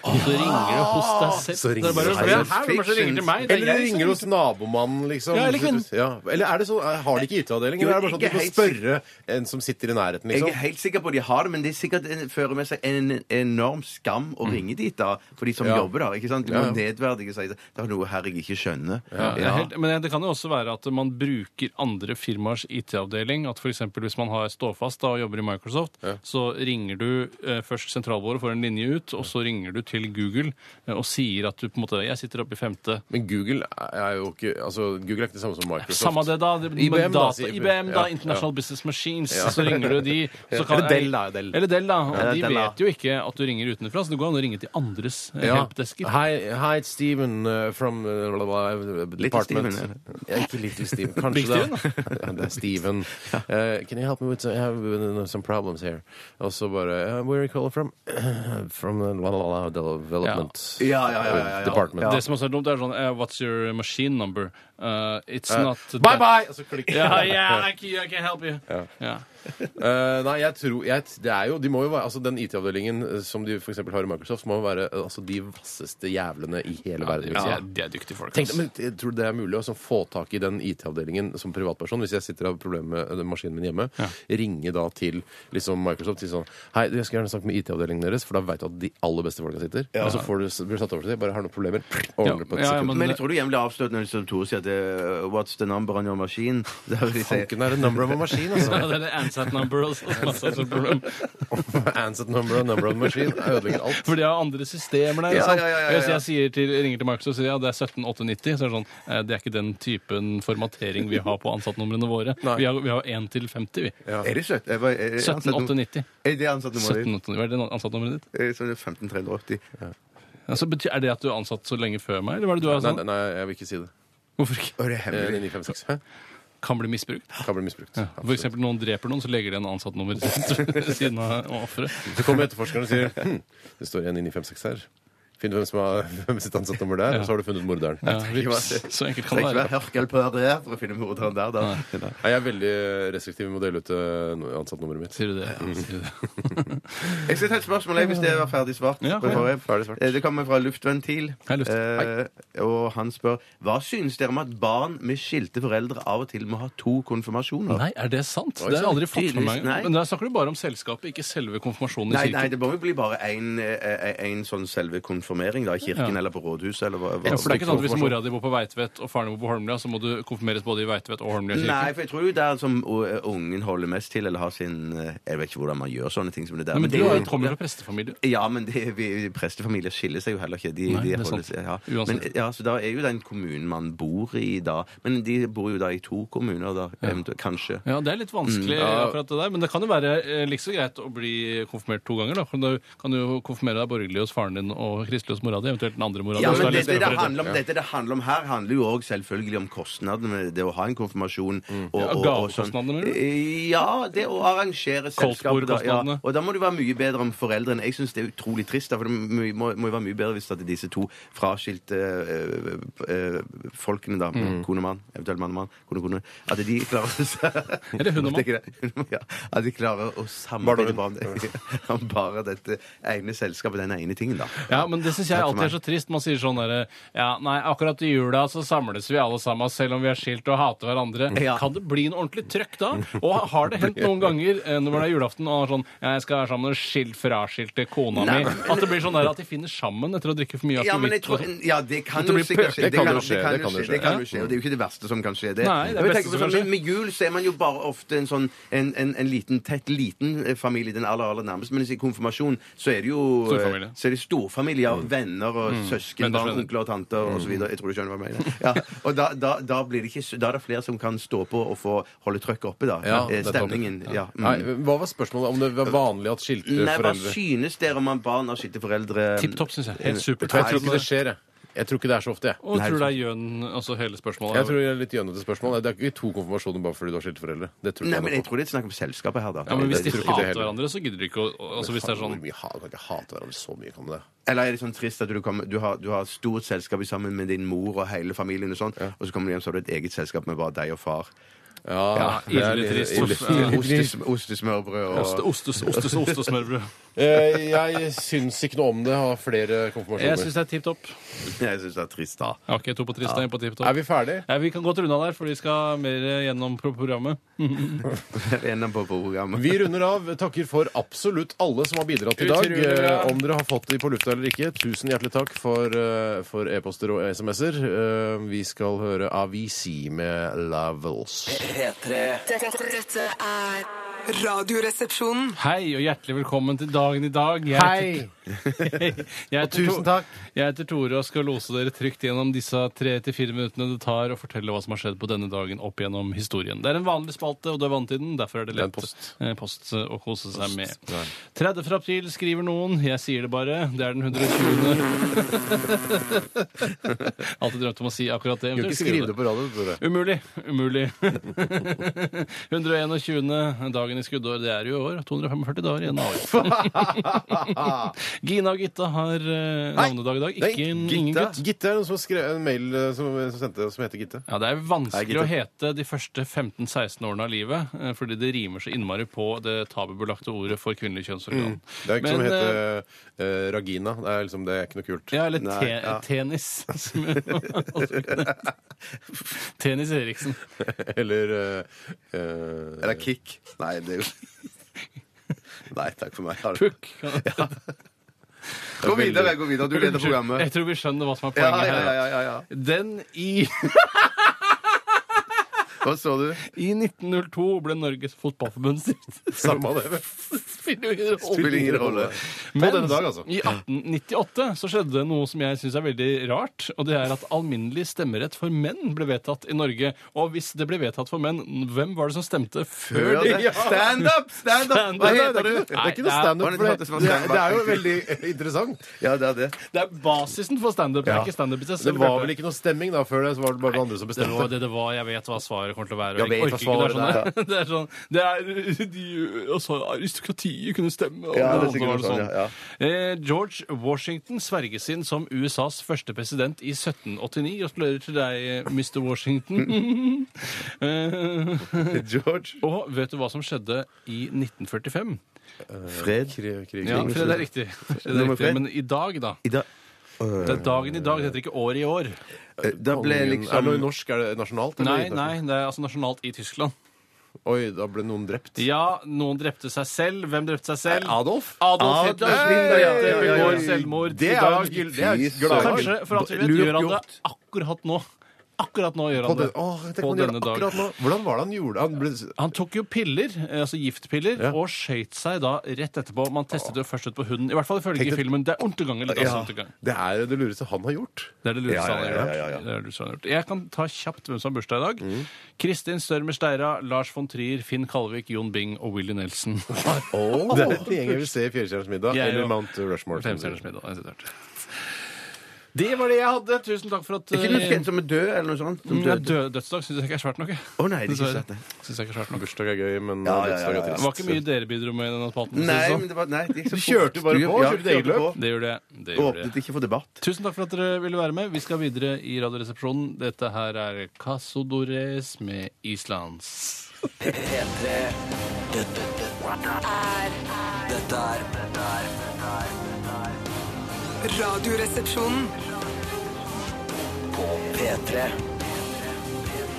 [SPEAKER 5] Så ringer det hos deg selv.
[SPEAKER 3] Ah, Så ringer
[SPEAKER 5] det er bare,
[SPEAKER 3] det hos
[SPEAKER 5] «Hvem
[SPEAKER 4] deg
[SPEAKER 5] er her, Hvem er det som ringer til meg? Det er
[SPEAKER 3] Eller de
[SPEAKER 5] jeg som
[SPEAKER 3] ringer hos nabomannen, liksom.
[SPEAKER 5] Ja, eller kvinnen.
[SPEAKER 3] Ja. Eller er det sånn, har de ikke IT-avdeling?
[SPEAKER 4] Jo,
[SPEAKER 3] Eller er det bare sånn at
[SPEAKER 4] ikke
[SPEAKER 3] du får
[SPEAKER 4] helt
[SPEAKER 3] spørre en som sitter i nærheten,
[SPEAKER 4] Jeg er
[SPEAKER 3] liksom?
[SPEAKER 4] helt sikker på at de har det, men det er sikkert en, fører med seg en enorm skam å ringe dit da, for de som
[SPEAKER 3] Ja.
[SPEAKER 4] jobber der. ikke sant? Du må
[SPEAKER 3] Ja, ja.
[SPEAKER 4] nedverdige seg. Det er noe her jeg ikke skjønner.
[SPEAKER 5] Ja, det er
[SPEAKER 4] Ja.
[SPEAKER 5] Helt, men det kan jo også være at man bruker andre firmaers IT-avdeling. At f.eks. hvis man har ståfast da, og jobber i Microsoft, så ringer du eh, først sentralbordet, får en linje ut, og så ringer du til Google eh, og sier at du på en måte Jeg sitter oppe i femte.
[SPEAKER 3] Men Google er jo ikke altså, Google er ikke det samme som Microsoft.
[SPEAKER 5] Samme det, da. det- men
[SPEAKER 3] IBM, da,
[SPEAKER 5] data-
[SPEAKER 3] sier-
[SPEAKER 5] IBM, da.
[SPEAKER 3] ja,
[SPEAKER 5] International Business Machines. Så ringer du de. Så
[SPEAKER 3] Eller Dell, da, Dell.
[SPEAKER 5] Eller Dell, da. Og
[SPEAKER 4] Ja,
[SPEAKER 5] de
[SPEAKER 4] Dell, da.
[SPEAKER 5] vet jo ikke at du ringer utenfra, så det går an å ringe til andres eh,
[SPEAKER 3] Ja.
[SPEAKER 5] helpdesker.
[SPEAKER 3] Hi, hi, it's Steven uh, from uh, blah, blah, blah, department.
[SPEAKER 4] Steven,
[SPEAKER 3] ja, ikke Little Steven, kanskje
[SPEAKER 5] Big
[SPEAKER 3] det.
[SPEAKER 5] Steven,
[SPEAKER 3] ja, det er Steven. Uh, can you help me with some, I have uh, some problems here? Og så bare uh, Where are you calling from? from uh, blah, blah, blah, development
[SPEAKER 4] Ja. Ja, ja, ja, ja, ja.
[SPEAKER 3] department.
[SPEAKER 5] Det som også er dumt, er sånn eh, What's your machine number? Eh, it's not
[SPEAKER 3] Bye, bye! Og så klikker
[SPEAKER 5] Yeah, yeah, I can, I can help you. Ja.
[SPEAKER 3] Eh, nei, jeg tror jeg, det er jo, de må jo være, altså Den IT-avdelingen eh, som de for eksempel har i Microsoft, må jo være eh, altså, de vasseste jævlene i hele verden. vil jeg si.
[SPEAKER 5] Ja, de er dyktige folk.
[SPEAKER 3] Tenk, deg,
[SPEAKER 5] ass.
[SPEAKER 3] men jeg tror det er mulig å sånn få tak i den IT-avdelingen som privatperson, hvis jeg sitter og har problemer med den maskinen min hjemme. Ringe da til liksom Microsoft og si sånn Hei, du, jeg skulle gjerne snakke med IT-avdelingen deres, for da veit du at de aller beste folka sitter. Og så får du, blir du satt over til dem. Bare har noen problemer. Og
[SPEAKER 5] Ja,
[SPEAKER 3] ordner det på et
[SPEAKER 5] ja, ja,
[SPEAKER 3] sekund.
[SPEAKER 5] men-
[SPEAKER 4] Men jeg tror du gjerne blir avslørt når liksom Tore sier at eh, What's the number on your machine? Da vil de si,
[SPEAKER 3] Tanken er en number on a machine,
[SPEAKER 5] Ja,
[SPEAKER 3] altså.
[SPEAKER 5] det er det ansat number også. Masse sånne problem.
[SPEAKER 3] Ansett number og number on a machine ødelegger alt.
[SPEAKER 5] For de har andre systemer der.
[SPEAKER 4] Ja,
[SPEAKER 5] sant?
[SPEAKER 4] ja, ja, ja, ja.
[SPEAKER 5] Hvis jeg sier til, ringer til Markus og sier ja, det er 17890, så er det sånn eh, Det er ikke den typen formatering vi har på ansattnumrene våre.
[SPEAKER 3] Nei.
[SPEAKER 5] Vi har, vi har 1 til 50, vi.
[SPEAKER 4] Er det 17? Er det ansatt nummer-
[SPEAKER 5] 17890.
[SPEAKER 4] Er det ansatt nummeret ditt?
[SPEAKER 5] 1780. Hva er det ansattnummeret ditt?
[SPEAKER 4] Eh, Så det er 15380.
[SPEAKER 5] Altså, betyr, er det at du er ansatt så lenge før meg, eller hva er det du er
[SPEAKER 3] Nei,
[SPEAKER 5] sånn?
[SPEAKER 3] nei, nei, jeg vil ikke si det.
[SPEAKER 5] Hvorfor ikke?
[SPEAKER 4] Å, det er
[SPEAKER 3] Eh,
[SPEAKER 4] hemmelig.
[SPEAKER 3] 9956. Hæ?
[SPEAKER 5] Kan bli misbrukt.
[SPEAKER 3] Kan bli misbrukt.
[SPEAKER 5] For eksempel noen dreper noen, så legger de en ansattnummer ved siden av offeret.
[SPEAKER 3] Så kommer etterforskeren og sier hm, det står igjen 9956 her. Finn hvem som har hvem sitt ansattnummer der, og så har du funnet morderen.
[SPEAKER 5] Ja, vips. så enkelt
[SPEAKER 4] Trenger
[SPEAKER 5] kan det
[SPEAKER 4] ikke
[SPEAKER 5] være.
[SPEAKER 4] være hørkel på det for å finne morderen der, da. Nei.
[SPEAKER 3] Nei, Jeg er veldig restriktiv med å dele ut eh, ansattnummeret mitt.
[SPEAKER 5] Sier du det? Sier du det?
[SPEAKER 4] Jeg skal ta et spørsmål jeg, hvis det var ferdig svart.
[SPEAKER 5] Ja,
[SPEAKER 4] på
[SPEAKER 5] ja.
[SPEAKER 4] forrige.
[SPEAKER 3] Ferdig svart.
[SPEAKER 4] Eh, Det kommer fra Luftventil.
[SPEAKER 5] Hei, Luft.
[SPEAKER 4] Eh, og han spør hva synes dere om at barn med skilte foreldre av og til må ha to konfirmasjoner?
[SPEAKER 5] Nei, er det sant?
[SPEAKER 3] Oi,
[SPEAKER 5] Det har jeg aldri
[SPEAKER 4] sant.
[SPEAKER 5] fått med meg.
[SPEAKER 4] Tydeligvis, nei.
[SPEAKER 5] Men der snakker du bare om selskapet, ikke selve konfirmasjonen i
[SPEAKER 4] Nei, nei,
[SPEAKER 5] kirken.
[SPEAKER 4] det må jo bli bare én sånn selve konfirmering da, i kirken
[SPEAKER 5] Ja.
[SPEAKER 4] eller på rådhuset. Eller hva, hva.
[SPEAKER 5] Ja, for det er ikke sånn at Hvis mora di bor på Veitvet og faren din bor på Holmlia, så må du konfirmeres både i Veitvet og Holmlia kirke.
[SPEAKER 4] Nei, for jeg tror jo det er som uh, ungen holder mest til, eller har sin uh, Jeg vet ikke hvordan man gjør sånne ting som det der.
[SPEAKER 5] Men
[SPEAKER 4] men
[SPEAKER 5] du
[SPEAKER 4] det er jo-
[SPEAKER 5] er jo- kommer jo fra prestefamilie.
[SPEAKER 4] Ja, men det, vi, prestefamilier skiller seg jo heller ikke. De,
[SPEAKER 5] Nei,
[SPEAKER 4] de
[SPEAKER 5] det er
[SPEAKER 4] holder
[SPEAKER 5] sant.
[SPEAKER 4] seg, ja. Men,
[SPEAKER 5] Uansett.
[SPEAKER 4] ja, så da er jo den kommunen man bor i da. Men de bor jo da i to kommuner, da, eventuelt, kanskje.
[SPEAKER 5] Ja, Det er litt
[SPEAKER 4] Mm,
[SPEAKER 5] vanskelig, akkurat det der, men det kan jo være eh, like så greit å bli konfirmert to ganger. da. Kan du, kan du jo konfirmere deg borgerlig hos faren din og kristelig hos mora di, eventuelt den andre mora di.
[SPEAKER 4] Ja,
[SPEAKER 5] hvis du
[SPEAKER 4] men
[SPEAKER 5] er litt
[SPEAKER 4] dette det,
[SPEAKER 5] bedre.
[SPEAKER 4] handler om, dette det handler om her, handler jo òg selvfølgelig om kostnadene med det å ha en konfirmasjon. Og,
[SPEAKER 5] Mm. Ja,
[SPEAKER 4] og, og sånn.
[SPEAKER 5] gavekostnadene, mener du?
[SPEAKER 4] Ja, det å arrangere selskapet. Da, ja.
[SPEAKER 5] Koldtbordkostnadene.
[SPEAKER 4] Og da må det være mye bedre om foreldrene. Jeg syns det er utrolig trist, da, for det må, må må jo være mye bedre hvis at disse to fraskilte eh, eh, folkene, da,
[SPEAKER 5] Mm.
[SPEAKER 4] kone og mann, eventuelt mann og mann, kone og kone, at de klarer å
[SPEAKER 5] Eller hun og mann.
[SPEAKER 4] Det er ikke det. Ja, at de klarer å samarbeide bare om, det, om bare dette ene selskapet, den ene tingen, da.
[SPEAKER 5] Ja, men det syns jeg
[SPEAKER 4] Takk for
[SPEAKER 5] alltid er så trist. Man sier sånn derre Ja, nei, akkurat i jula så samles vi alle sammen, selv om vi er skilt og hater hverandre.
[SPEAKER 4] Ja.
[SPEAKER 5] Kan det bli en ordentlig trøkk da? Og har det hendt noen ganger eh, når det er julaften og sånn ja, Jeg skal være sammen med den skilt fraskilte kona
[SPEAKER 4] Nei,
[SPEAKER 5] mi
[SPEAKER 4] men-
[SPEAKER 5] At det blir sånn der at de finner sammen etter å drikke for mye
[SPEAKER 4] Ja, men jeg
[SPEAKER 5] akevitt.
[SPEAKER 4] tror,
[SPEAKER 5] og sånn.
[SPEAKER 4] ja, det kan
[SPEAKER 5] Det
[SPEAKER 4] jo
[SPEAKER 5] blir
[SPEAKER 4] sikkert
[SPEAKER 5] pøk.
[SPEAKER 4] skje.
[SPEAKER 3] Det kan jo skje,
[SPEAKER 4] Det
[SPEAKER 3] det kan jo skje.
[SPEAKER 4] det kan jo skje, og det er jo ikke det verste som kan skje. det.
[SPEAKER 5] Nei, det
[SPEAKER 4] Men
[SPEAKER 5] er
[SPEAKER 4] jeg
[SPEAKER 5] beste
[SPEAKER 4] tenker på
[SPEAKER 5] som kan
[SPEAKER 4] sånn,
[SPEAKER 5] skje.
[SPEAKER 4] Med jul så er man jo bare ofte en sånn en, en, en liten, tett liten eh, familie, den aller aller nærmeste. Men i konfirmasjon så er det jo eh,
[SPEAKER 5] Storfamilie. Mm.
[SPEAKER 4] Så er det storfamilie, ja. ja, venner og søskenbarn,
[SPEAKER 5] Venner,
[SPEAKER 4] onkler og tanter og osv. Jeg tror du skjønner hva jeg mener. Ja, og da, da, da, blir det ikke, s- da er det flere som kan stå på og få holde trøkket oppe, da.
[SPEAKER 3] Ja,
[SPEAKER 4] Eh,
[SPEAKER 3] nettopp.
[SPEAKER 4] Stemningen. Ja. Mm.
[SPEAKER 3] Nei, hva var spørsmålet? Om det var vanlig at skilte
[SPEAKER 4] Nei, hva
[SPEAKER 3] foreldre
[SPEAKER 4] synes dere om man barn av skilte foreldre eh,
[SPEAKER 5] Tipp topp, syns jeg. Helt supert.
[SPEAKER 3] Jeg tror ikke det skjer, jeg. Jeg tror ikke det er så ofte, jeg.
[SPEAKER 5] Og tror det er gjøn, altså hele spørsmålet.
[SPEAKER 3] Jeg tror det er litt gjønete spørsmål. Det er ikke to konfirmasjoner bare fordi du har skilte foreldre. Det tror ikke
[SPEAKER 4] Nei,
[SPEAKER 3] jeg
[SPEAKER 4] men
[SPEAKER 3] noe
[SPEAKER 4] jeg
[SPEAKER 3] på.
[SPEAKER 4] tror det er snakk om selskapet her, da.
[SPEAKER 5] ja, men Hvis de
[SPEAKER 3] Jeg tror ikke det
[SPEAKER 5] hater
[SPEAKER 3] heller.
[SPEAKER 5] hverandre, så gidder de ikke å altså Hvis det er
[SPEAKER 3] Faen,
[SPEAKER 5] sånn
[SPEAKER 3] hvor mye ha- Kan ikke hate hverandre så mye, kan det?
[SPEAKER 4] Eller er det sånn trist at du, kommer, du, har, du har stort selskap sammen med din mor og hele familien, og sånn, og så kommer du hjem så har du et eget selskap med bare deg og far.
[SPEAKER 5] Ja,
[SPEAKER 3] det er
[SPEAKER 5] ille trist.
[SPEAKER 3] ille-
[SPEAKER 5] Uff,
[SPEAKER 3] ille-
[SPEAKER 5] ja.
[SPEAKER 3] ille-
[SPEAKER 4] Ostes, ostesmørbrød og
[SPEAKER 5] Oste, ostes, ostes, ostesmørbrød.
[SPEAKER 3] Eh, Jeg syns ikke noe om det. Har flere
[SPEAKER 5] Jeg
[SPEAKER 3] konfirmasjoner.
[SPEAKER 5] syns det er tipp topp.
[SPEAKER 4] Jeg syns det er trist, da.
[SPEAKER 5] Ok, to på trist, en på tipp
[SPEAKER 3] Er
[SPEAKER 5] topp.
[SPEAKER 3] vi ferdig?
[SPEAKER 5] Ja, vi kan godt runde av der, for vi skal mer eh, gjennom pro- programmet.
[SPEAKER 4] Enda på programmet.
[SPEAKER 3] Vi runder av. Takker for absolutt alle som har bidratt i dag.
[SPEAKER 5] Utrolig bra.
[SPEAKER 3] Eh, Om dere har fått de på lufta eller ikke, tusen hjertelig takk for, eh, for e-poster og SMS-er. Eh, Vi skal høre Avisi med Levels.
[SPEAKER 2] P3
[SPEAKER 6] Dette, dette er Radioresepsjonen.
[SPEAKER 5] Hei og hjertelig velkommen til dagen i dag. Jeg heter- Jeg heter
[SPEAKER 3] tusen
[SPEAKER 5] To-
[SPEAKER 3] takk.
[SPEAKER 5] Jeg heter Tore og skal lose dere trygt gjennom disse tre til fire minuttene det tar å fortelle hva som har skjedd på denne dagen opp gjennom historien. Det er en vanlig spalte, og det er vanntiden. Derfor er det lett
[SPEAKER 3] post.
[SPEAKER 5] eh, post å kose seg med. 30. april skriver noen. Jeg sier det bare. Det er den 120. Alltid drømt om å si akkurat det.
[SPEAKER 3] Du kan ikke skrive det på radio. Tore.
[SPEAKER 5] Umulig. Umulig. 121. dagen i skuddår. Det er jo i år. 245 dager igjen av året. Gina og Gitta har eh, navnedag i dag. Ikke en, ingen
[SPEAKER 3] Gitte.
[SPEAKER 5] gutt.
[SPEAKER 3] Gitte er noen som har skrevet en mail eh, som, som, sendte, som heter Gitte.
[SPEAKER 5] Ja, Det er vanskelig
[SPEAKER 3] Hei,
[SPEAKER 5] å hete de første 15-16 årene av livet, eh, fordi det rimer så innmari på det tabubelagte ordet for kvinnelig kjønnsorgan.
[SPEAKER 4] Mm.
[SPEAKER 3] Det er ikke som
[SPEAKER 5] Men,
[SPEAKER 3] heter eh, Ragina. Det er, liksom, det er ikke noe kult.
[SPEAKER 5] Ja, eller
[SPEAKER 4] Nei,
[SPEAKER 5] te
[SPEAKER 4] ja.
[SPEAKER 5] Tenis. som jeg også kunne hete. Tenis Eriksen.
[SPEAKER 3] Eller eh, eh,
[SPEAKER 4] Eller kick. Nei, det er jo Nei, takk for meg. Ha det.
[SPEAKER 5] Pukk. kan-
[SPEAKER 4] Gå videre, gå videre. Du leder
[SPEAKER 5] Jeg
[SPEAKER 4] programmet.
[SPEAKER 5] tror vi skjønner hva som er
[SPEAKER 4] Ja,
[SPEAKER 5] poenget
[SPEAKER 4] ja,
[SPEAKER 5] her.
[SPEAKER 4] ja, ja, ja.
[SPEAKER 5] Den i,
[SPEAKER 4] Hva så du?
[SPEAKER 5] i 1902 ble Norges fotballforbund stiftet.
[SPEAKER 3] Samme det. vel.
[SPEAKER 5] Spiller jo ingen rolle.
[SPEAKER 4] Spiller ingen rolle.
[SPEAKER 5] Men
[SPEAKER 3] denne dag, altså.
[SPEAKER 5] i 1898 så skjedde det noe som jeg syns er veldig rart. Og det er at alminnelig stemmerett for menn ble vedtatt i Norge. Og hvis det ble vedtatt for menn, hvem var det som stemte før
[SPEAKER 4] Hør
[SPEAKER 5] det?
[SPEAKER 4] det. Stand up! Stand up! Hva
[SPEAKER 3] Nei,
[SPEAKER 4] heter
[SPEAKER 3] det er ikke-
[SPEAKER 4] du?
[SPEAKER 3] Det er ikke noe
[SPEAKER 5] Nei,
[SPEAKER 3] standup.
[SPEAKER 4] det
[SPEAKER 3] for
[SPEAKER 4] var
[SPEAKER 3] Det,
[SPEAKER 4] det som var
[SPEAKER 5] sånn
[SPEAKER 3] det, er-
[SPEAKER 4] standup.
[SPEAKER 3] det er jo veldig interessant.
[SPEAKER 4] Ja, det er det.
[SPEAKER 5] Det er basisen for standup. Det
[SPEAKER 4] Ja.
[SPEAKER 5] er ikke standup i
[SPEAKER 3] Det
[SPEAKER 5] seg selv.
[SPEAKER 3] var
[SPEAKER 5] Bjarte.
[SPEAKER 3] vel ikke noe stemming da før det, så var det bare noen andre som
[SPEAKER 5] det var
[SPEAKER 3] bestemte.
[SPEAKER 5] det det var. Jeg vet hva svaret kommer til å være.
[SPEAKER 4] Jeg vet hva
[SPEAKER 5] orker ikke,
[SPEAKER 4] svaret
[SPEAKER 5] det, er sånn, det er sånn Det er de, altså, Aristokratiet kunne stemme. og
[SPEAKER 4] Ja, det er
[SPEAKER 5] så
[SPEAKER 4] sikkert
[SPEAKER 5] var det
[SPEAKER 4] sånn, ja,
[SPEAKER 5] Eh, George Washington sverges inn som USAs første president i 1789. Gratulerer til deg, eh, Mr. Washington. eh,
[SPEAKER 4] George.
[SPEAKER 5] og vet du hva som skjedde i 1945?
[SPEAKER 4] Fred.
[SPEAKER 5] Ja, for det er riktig. Det er
[SPEAKER 4] Nummer
[SPEAKER 5] riktig.
[SPEAKER 4] fem.
[SPEAKER 5] Men i dag, da.
[SPEAKER 4] I dag
[SPEAKER 5] Det er dagen i dag. Det heter ikke året i år.
[SPEAKER 4] eh, Da ble
[SPEAKER 3] Er det noe
[SPEAKER 4] liksom
[SPEAKER 3] norsk? Er det nasjonalt? eller
[SPEAKER 5] Nei,
[SPEAKER 3] internasjonalt?
[SPEAKER 5] nei, det er altså nasjonalt i Tyskland.
[SPEAKER 3] Oi, da ble noen drept.
[SPEAKER 5] Ja, noen drepte seg selv. Hvem drepte seg selv?
[SPEAKER 3] Adolf?
[SPEAKER 5] Adolf
[SPEAKER 4] Adolf
[SPEAKER 5] Hitler
[SPEAKER 4] Hitler, ja.
[SPEAKER 5] Hitler
[SPEAKER 4] Ja, ja, ja,
[SPEAKER 5] begår
[SPEAKER 4] ja.
[SPEAKER 5] selvmord
[SPEAKER 3] Det
[SPEAKER 5] i
[SPEAKER 3] er jo
[SPEAKER 5] dag.
[SPEAKER 3] en gyll- det eh, er jo
[SPEAKER 4] Fy
[SPEAKER 3] et gladdag.
[SPEAKER 5] Kanskje, for alt vi vet,
[SPEAKER 4] Lurt
[SPEAKER 5] gjør han det
[SPEAKER 4] gjort.
[SPEAKER 5] akkurat nå. Akkurat nå gjør
[SPEAKER 3] På
[SPEAKER 5] han det.
[SPEAKER 3] den- Åh, jeg tenker
[SPEAKER 5] På
[SPEAKER 3] man gjør
[SPEAKER 5] denne
[SPEAKER 3] det
[SPEAKER 5] dag.
[SPEAKER 3] akkurat nå. Hvordan var det han gjorde det? Han ble...
[SPEAKER 5] Han tok jo piller, eh, altså giftpiller,
[SPEAKER 3] Ja.
[SPEAKER 5] og skøyt seg da rett etterpå. Man testet det jo først ut på hunden. I hvert fall ifølge
[SPEAKER 3] Tenk det-
[SPEAKER 5] filmen. Det er Untergang eller Das Untergang.
[SPEAKER 3] Det er det lureste han har gjort.
[SPEAKER 5] altså, Det er det lureste
[SPEAKER 4] Ja, ja,
[SPEAKER 5] han har
[SPEAKER 4] ja, ja,
[SPEAKER 5] gjort.
[SPEAKER 4] ja.
[SPEAKER 5] Det er det lureste han har gjort. Jeg kan ta kjapt hvem som har bursdag i dag. Kristin Størmer Steira, Lars von Trier, Finn Kalvik, Jon Bing og Willy Nelson.
[SPEAKER 3] Det er den gjengen vi ser i Fjellstjerners middag,
[SPEAKER 5] Jeg
[SPEAKER 3] eller
[SPEAKER 5] òg.
[SPEAKER 3] Mount Rushmore. som
[SPEAKER 5] Femstjerners
[SPEAKER 3] sier.
[SPEAKER 5] middag, jeg sitter her. Det var det jeg hadde. Tusen takk for at
[SPEAKER 4] Ikke noe
[SPEAKER 5] eh,
[SPEAKER 4] kjent som er død, eller noe sånt? Som
[SPEAKER 5] Mm, ja,
[SPEAKER 4] døde.
[SPEAKER 5] død, dødsdag syns jeg ikke er svært nok. jeg.
[SPEAKER 4] Å nei, det er ikke
[SPEAKER 5] Dessverre.
[SPEAKER 4] sant, det.
[SPEAKER 5] Synes jeg ikke er svært nok.
[SPEAKER 3] Bursdag er gøy, men
[SPEAKER 4] Ja, ja, ja,
[SPEAKER 3] bursdag er
[SPEAKER 4] ja, ja.
[SPEAKER 5] Det
[SPEAKER 3] trist.
[SPEAKER 5] var ikke mye dere bidro med i den spalten. for å si det
[SPEAKER 4] Nei,
[SPEAKER 5] sånn.
[SPEAKER 4] men det var Nei, det gikk så
[SPEAKER 3] Du
[SPEAKER 4] fort.
[SPEAKER 3] kjørte bare på,
[SPEAKER 4] Ja,
[SPEAKER 3] kjørte ditt eget
[SPEAKER 4] kjørte
[SPEAKER 3] løp.
[SPEAKER 4] på.
[SPEAKER 5] Det gjorde jeg. Det
[SPEAKER 4] Og
[SPEAKER 5] gjorde
[SPEAKER 4] Åpnet
[SPEAKER 5] jeg.
[SPEAKER 4] ikke for debatt.
[SPEAKER 5] Tusen takk for at dere ville være med. Vi skal videre i Radioresepsjonen. Dette her er Casodores med Islands.
[SPEAKER 2] P3 Dette, dette, dette er Dette er
[SPEAKER 6] Radioresepsjonen.
[SPEAKER 2] På P3
[SPEAKER 6] P3.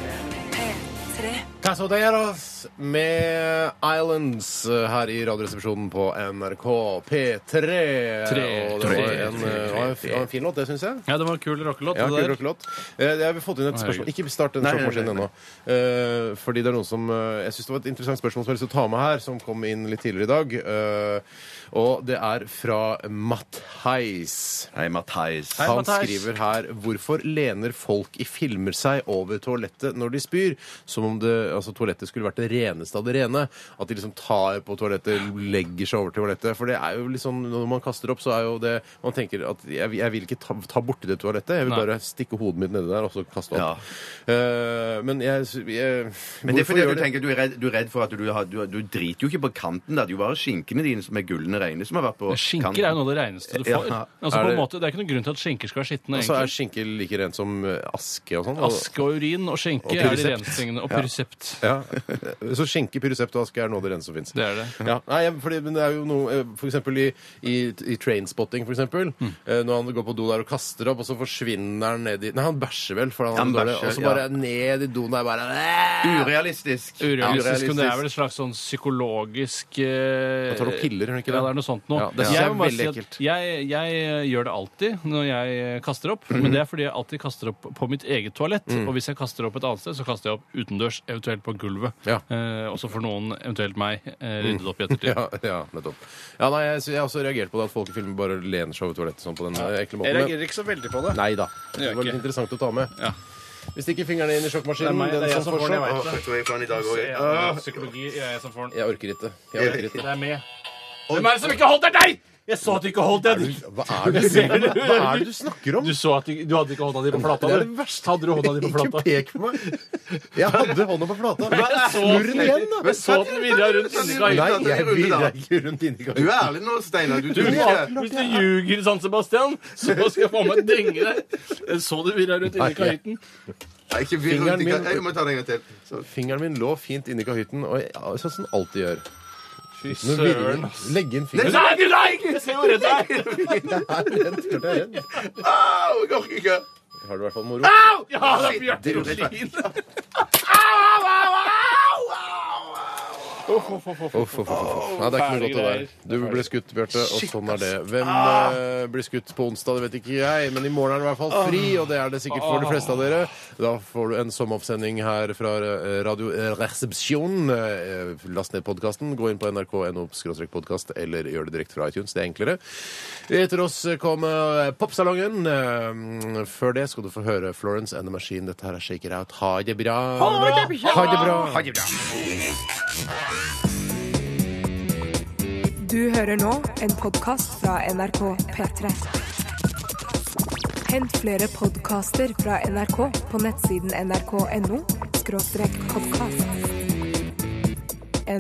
[SPEAKER 6] P3.
[SPEAKER 3] Casoderas med Islands eh, her i Radioresepsjonen på NRK P3.
[SPEAKER 5] Tre.
[SPEAKER 3] Og det var
[SPEAKER 5] Tre.
[SPEAKER 3] en, eh, det var en, f- det var en fin låt, det syns jeg.
[SPEAKER 5] Ja, det var en kul rockelåt.
[SPEAKER 3] Ja,
[SPEAKER 5] det
[SPEAKER 3] kul
[SPEAKER 5] der.
[SPEAKER 3] rockelåt. Eh, Jeg har fått inn et spørsmål. Ikke start den
[SPEAKER 4] Nei, nei, nei,
[SPEAKER 3] sjakkmaskinen
[SPEAKER 4] nei.
[SPEAKER 3] ennå. Eh, Fordi det er noen som eh, Jeg syns det var et interessant spørsmål som jeg har lyst til å ta med her, som kom inn litt tidligere i dag. Eh, Og det er fra Matheis.
[SPEAKER 4] Hei, Matheis.
[SPEAKER 5] Hei,
[SPEAKER 3] Han
[SPEAKER 5] Matheis.
[SPEAKER 3] skriver her hvorfor lener folk i filmer seg over toalettet når de spyr, som om det, altså, toalettet skulle vært det reneste av det rene. At de liksom tar på toalettet, legger seg over toalettet. For det er jo litt sånn, når man kaster opp, så er jo det Man tenker at jeg, jeg vil ikke ta, ta borti det toalettet, jeg vil
[SPEAKER 5] Nei.
[SPEAKER 3] bare stikke hodet mitt nedi der og så kaste opp.
[SPEAKER 4] Ja.
[SPEAKER 3] Eh, men jeg, jeg
[SPEAKER 4] Men det er
[SPEAKER 3] hvorfor
[SPEAKER 4] fordi
[SPEAKER 3] gjør
[SPEAKER 4] at du tenker du er redd, du er redd for at du, har, du, du driter jo ikke på kanten. da. Det er jo bare skinkene dine som er gullende reine som har vært på
[SPEAKER 5] Skinker
[SPEAKER 4] kanten.
[SPEAKER 5] er jo noe av det reineste du
[SPEAKER 4] Ja.
[SPEAKER 5] får.
[SPEAKER 3] Er
[SPEAKER 5] Altså, på
[SPEAKER 3] det-
[SPEAKER 5] en måte, det er ikke noen grunn til at skinker skal være
[SPEAKER 3] Og
[SPEAKER 5] skitne.
[SPEAKER 3] så Altså, er
[SPEAKER 5] egentlig.
[SPEAKER 3] skinke like rent som eh, aske og sånn. og-
[SPEAKER 5] Aske og urin og skinke
[SPEAKER 3] Og
[SPEAKER 5] er de
[SPEAKER 3] pyrosept.
[SPEAKER 5] reneste tingene. Og pyrosept.
[SPEAKER 3] Ja. Så skinke, pyrosept og aske er noe av det reneste som fins.
[SPEAKER 5] Det er det.
[SPEAKER 3] Ja. Nei, jeg- fordi, men det er jo noe eh, For eksempel i, i, i Trainspotting, for eksempel.
[SPEAKER 5] Mm.
[SPEAKER 3] eh, Når han går på do der og kaster opp, og så forsvinner han ned i Nei, han bæsjer vel, for han,
[SPEAKER 4] Han
[SPEAKER 3] er dårlig.
[SPEAKER 4] bæsjer,
[SPEAKER 3] Og så
[SPEAKER 4] ja.
[SPEAKER 3] bare ned i doen der bare
[SPEAKER 4] Urealistisk.
[SPEAKER 5] Urealistisk. men Det er vel et slags sånn psykologisk eh,
[SPEAKER 3] Da tar du piller, gjør du ikke det?
[SPEAKER 5] Ja, det er noe sånt noe.
[SPEAKER 3] Ja, det synes jeg
[SPEAKER 5] jeg,
[SPEAKER 3] er
[SPEAKER 5] må bare
[SPEAKER 3] veldig
[SPEAKER 5] si at
[SPEAKER 3] ekkelt.
[SPEAKER 5] jeg, jeg eh, gjør det alltid når jeg eh, kaster opp,
[SPEAKER 3] Mhm.
[SPEAKER 5] men det er fordi jeg alltid kaster opp på mitt eget toalett.
[SPEAKER 3] Mm.
[SPEAKER 5] Og hvis jeg kaster opp et annet sted, så kaster jeg opp utendørs, eventuelt på gulvet.
[SPEAKER 3] Ja. Mm.
[SPEAKER 5] Eh, og så får noen, eventuelt meg, eh, ryddet opp i ettertid.
[SPEAKER 3] ja, ja, nettopp. Ja, nei, jeg, jeg har også reagert på det at folk i filmer bare lener seg over toalettet sånn på den eh, ekle måten. men-
[SPEAKER 5] ikke så veldig på det.
[SPEAKER 3] Nei da. Det
[SPEAKER 5] gjør
[SPEAKER 3] var
[SPEAKER 5] ikke.
[SPEAKER 3] litt interessant å ta med.
[SPEAKER 5] Ja.
[SPEAKER 3] Vi stikker fingrene inn i sjokkmaskinen.
[SPEAKER 5] Det er meg, det er
[SPEAKER 3] den
[SPEAKER 5] jeg som får den,
[SPEAKER 3] sjopp.
[SPEAKER 5] jeg vet
[SPEAKER 4] Åh, jeg tror jeg får den i dag også, jeg.
[SPEAKER 5] Psykologi jeg er jeg som får den.
[SPEAKER 3] Jeg orker ikke. Jeg orker ikke.
[SPEAKER 5] Det er med. Hvem er det som ikke holdt deg? Deg! Jeg så at du ikke holdt den!
[SPEAKER 3] Hva er det,
[SPEAKER 5] ser det.
[SPEAKER 3] hva er det du snakker om?
[SPEAKER 5] Du så at du, du hadde ikke hånda di på flata.
[SPEAKER 3] Det er
[SPEAKER 5] du.
[SPEAKER 3] det verste.
[SPEAKER 5] Hadde du hånda di på
[SPEAKER 3] Ikke
[SPEAKER 5] flata?
[SPEAKER 3] pek på meg! Jeg hadde hånda på flata.
[SPEAKER 5] Jeg så
[SPEAKER 3] Snurr den igjen, da!
[SPEAKER 5] Jeg så den virra rundt inni
[SPEAKER 4] Nei,
[SPEAKER 3] Nei,
[SPEAKER 5] gangen.
[SPEAKER 3] jeg
[SPEAKER 4] runde, da.
[SPEAKER 3] virrer ikke rundt inni
[SPEAKER 4] Du
[SPEAKER 3] gangen.
[SPEAKER 4] er ærlig nå, Steinar. Du
[SPEAKER 5] Du
[SPEAKER 4] tror
[SPEAKER 5] må-
[SPEAKER 4] ikke
[SPEAKER 5] Hvis du ljuger, San Sebastian, så skal jeg faen meg denge deg. Jeg så du virra rundt inni kahytten.
[SPEAKER 4] Nei, ikke vi
[SPEAKER 3] Fingeren
[SPEAKER 4] rundt i
[SPEAKER 3] min-
[SPEAKER 4] kan- Jeg må ta den en gang til. Så.
[SPEAKER 3] Fingeren min lå fint inni kahytten, og jeg, ja, sånn som den alltid gjør.
[SPEAKER 5] Fy
[SPEAKER 3] Nå virrer
[SPEAKER 5] søren.
[SPEAKER 3] den. Legg inn
[SPEAKER 5] Nei,
[SPEAKER 3] fingeren.
[SPEAKER 5] nei, nei! Jeg ser jo redd deg er!
[SPEAKER 3] Jeg er redd. Klart jeg er redd.
[SPEAKER 4] Au, jeg orker ikke.
[SPEAKER 3] Har du i hvert fall moro?
[SPEAKER 5] Au! Ja, det er Bjarte Jolin. Au, au, au, au!
[SPEAKER 3] Uff, uff, uff, uff. Nei, det er ikke noe
[SPEAKER 5] Fæle
[SPEAKER 3] godt det der. Du ble skutt, Bjarte, og sånn er det. Hvem eh, blir skutt på onsdag, det vet ikke jeg, men i morgen er det i hvert fall fri, og det er det sikkert for de fleste av dere. Da får du en sommeroppsending her fra eh, Radio Resepsjon. Eh, Last ned podkasten, gå inn på nrk.no podkast, eller gjør det direkte fra iTunes. Det er enklere. Etter oss kommer eh, Popsalongen. Eh, Før det skal du få høre Florence and the Machine. Dette her er Shake It Out. Ha det bra! Ha det bra!
[SPEAKER 1] Du hører nå en podkast fra NRK P3. Hent flere podkaster fra NRK på nettsiden nrk.no podkast.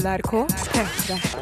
[SPEAKER 1] NRK P3.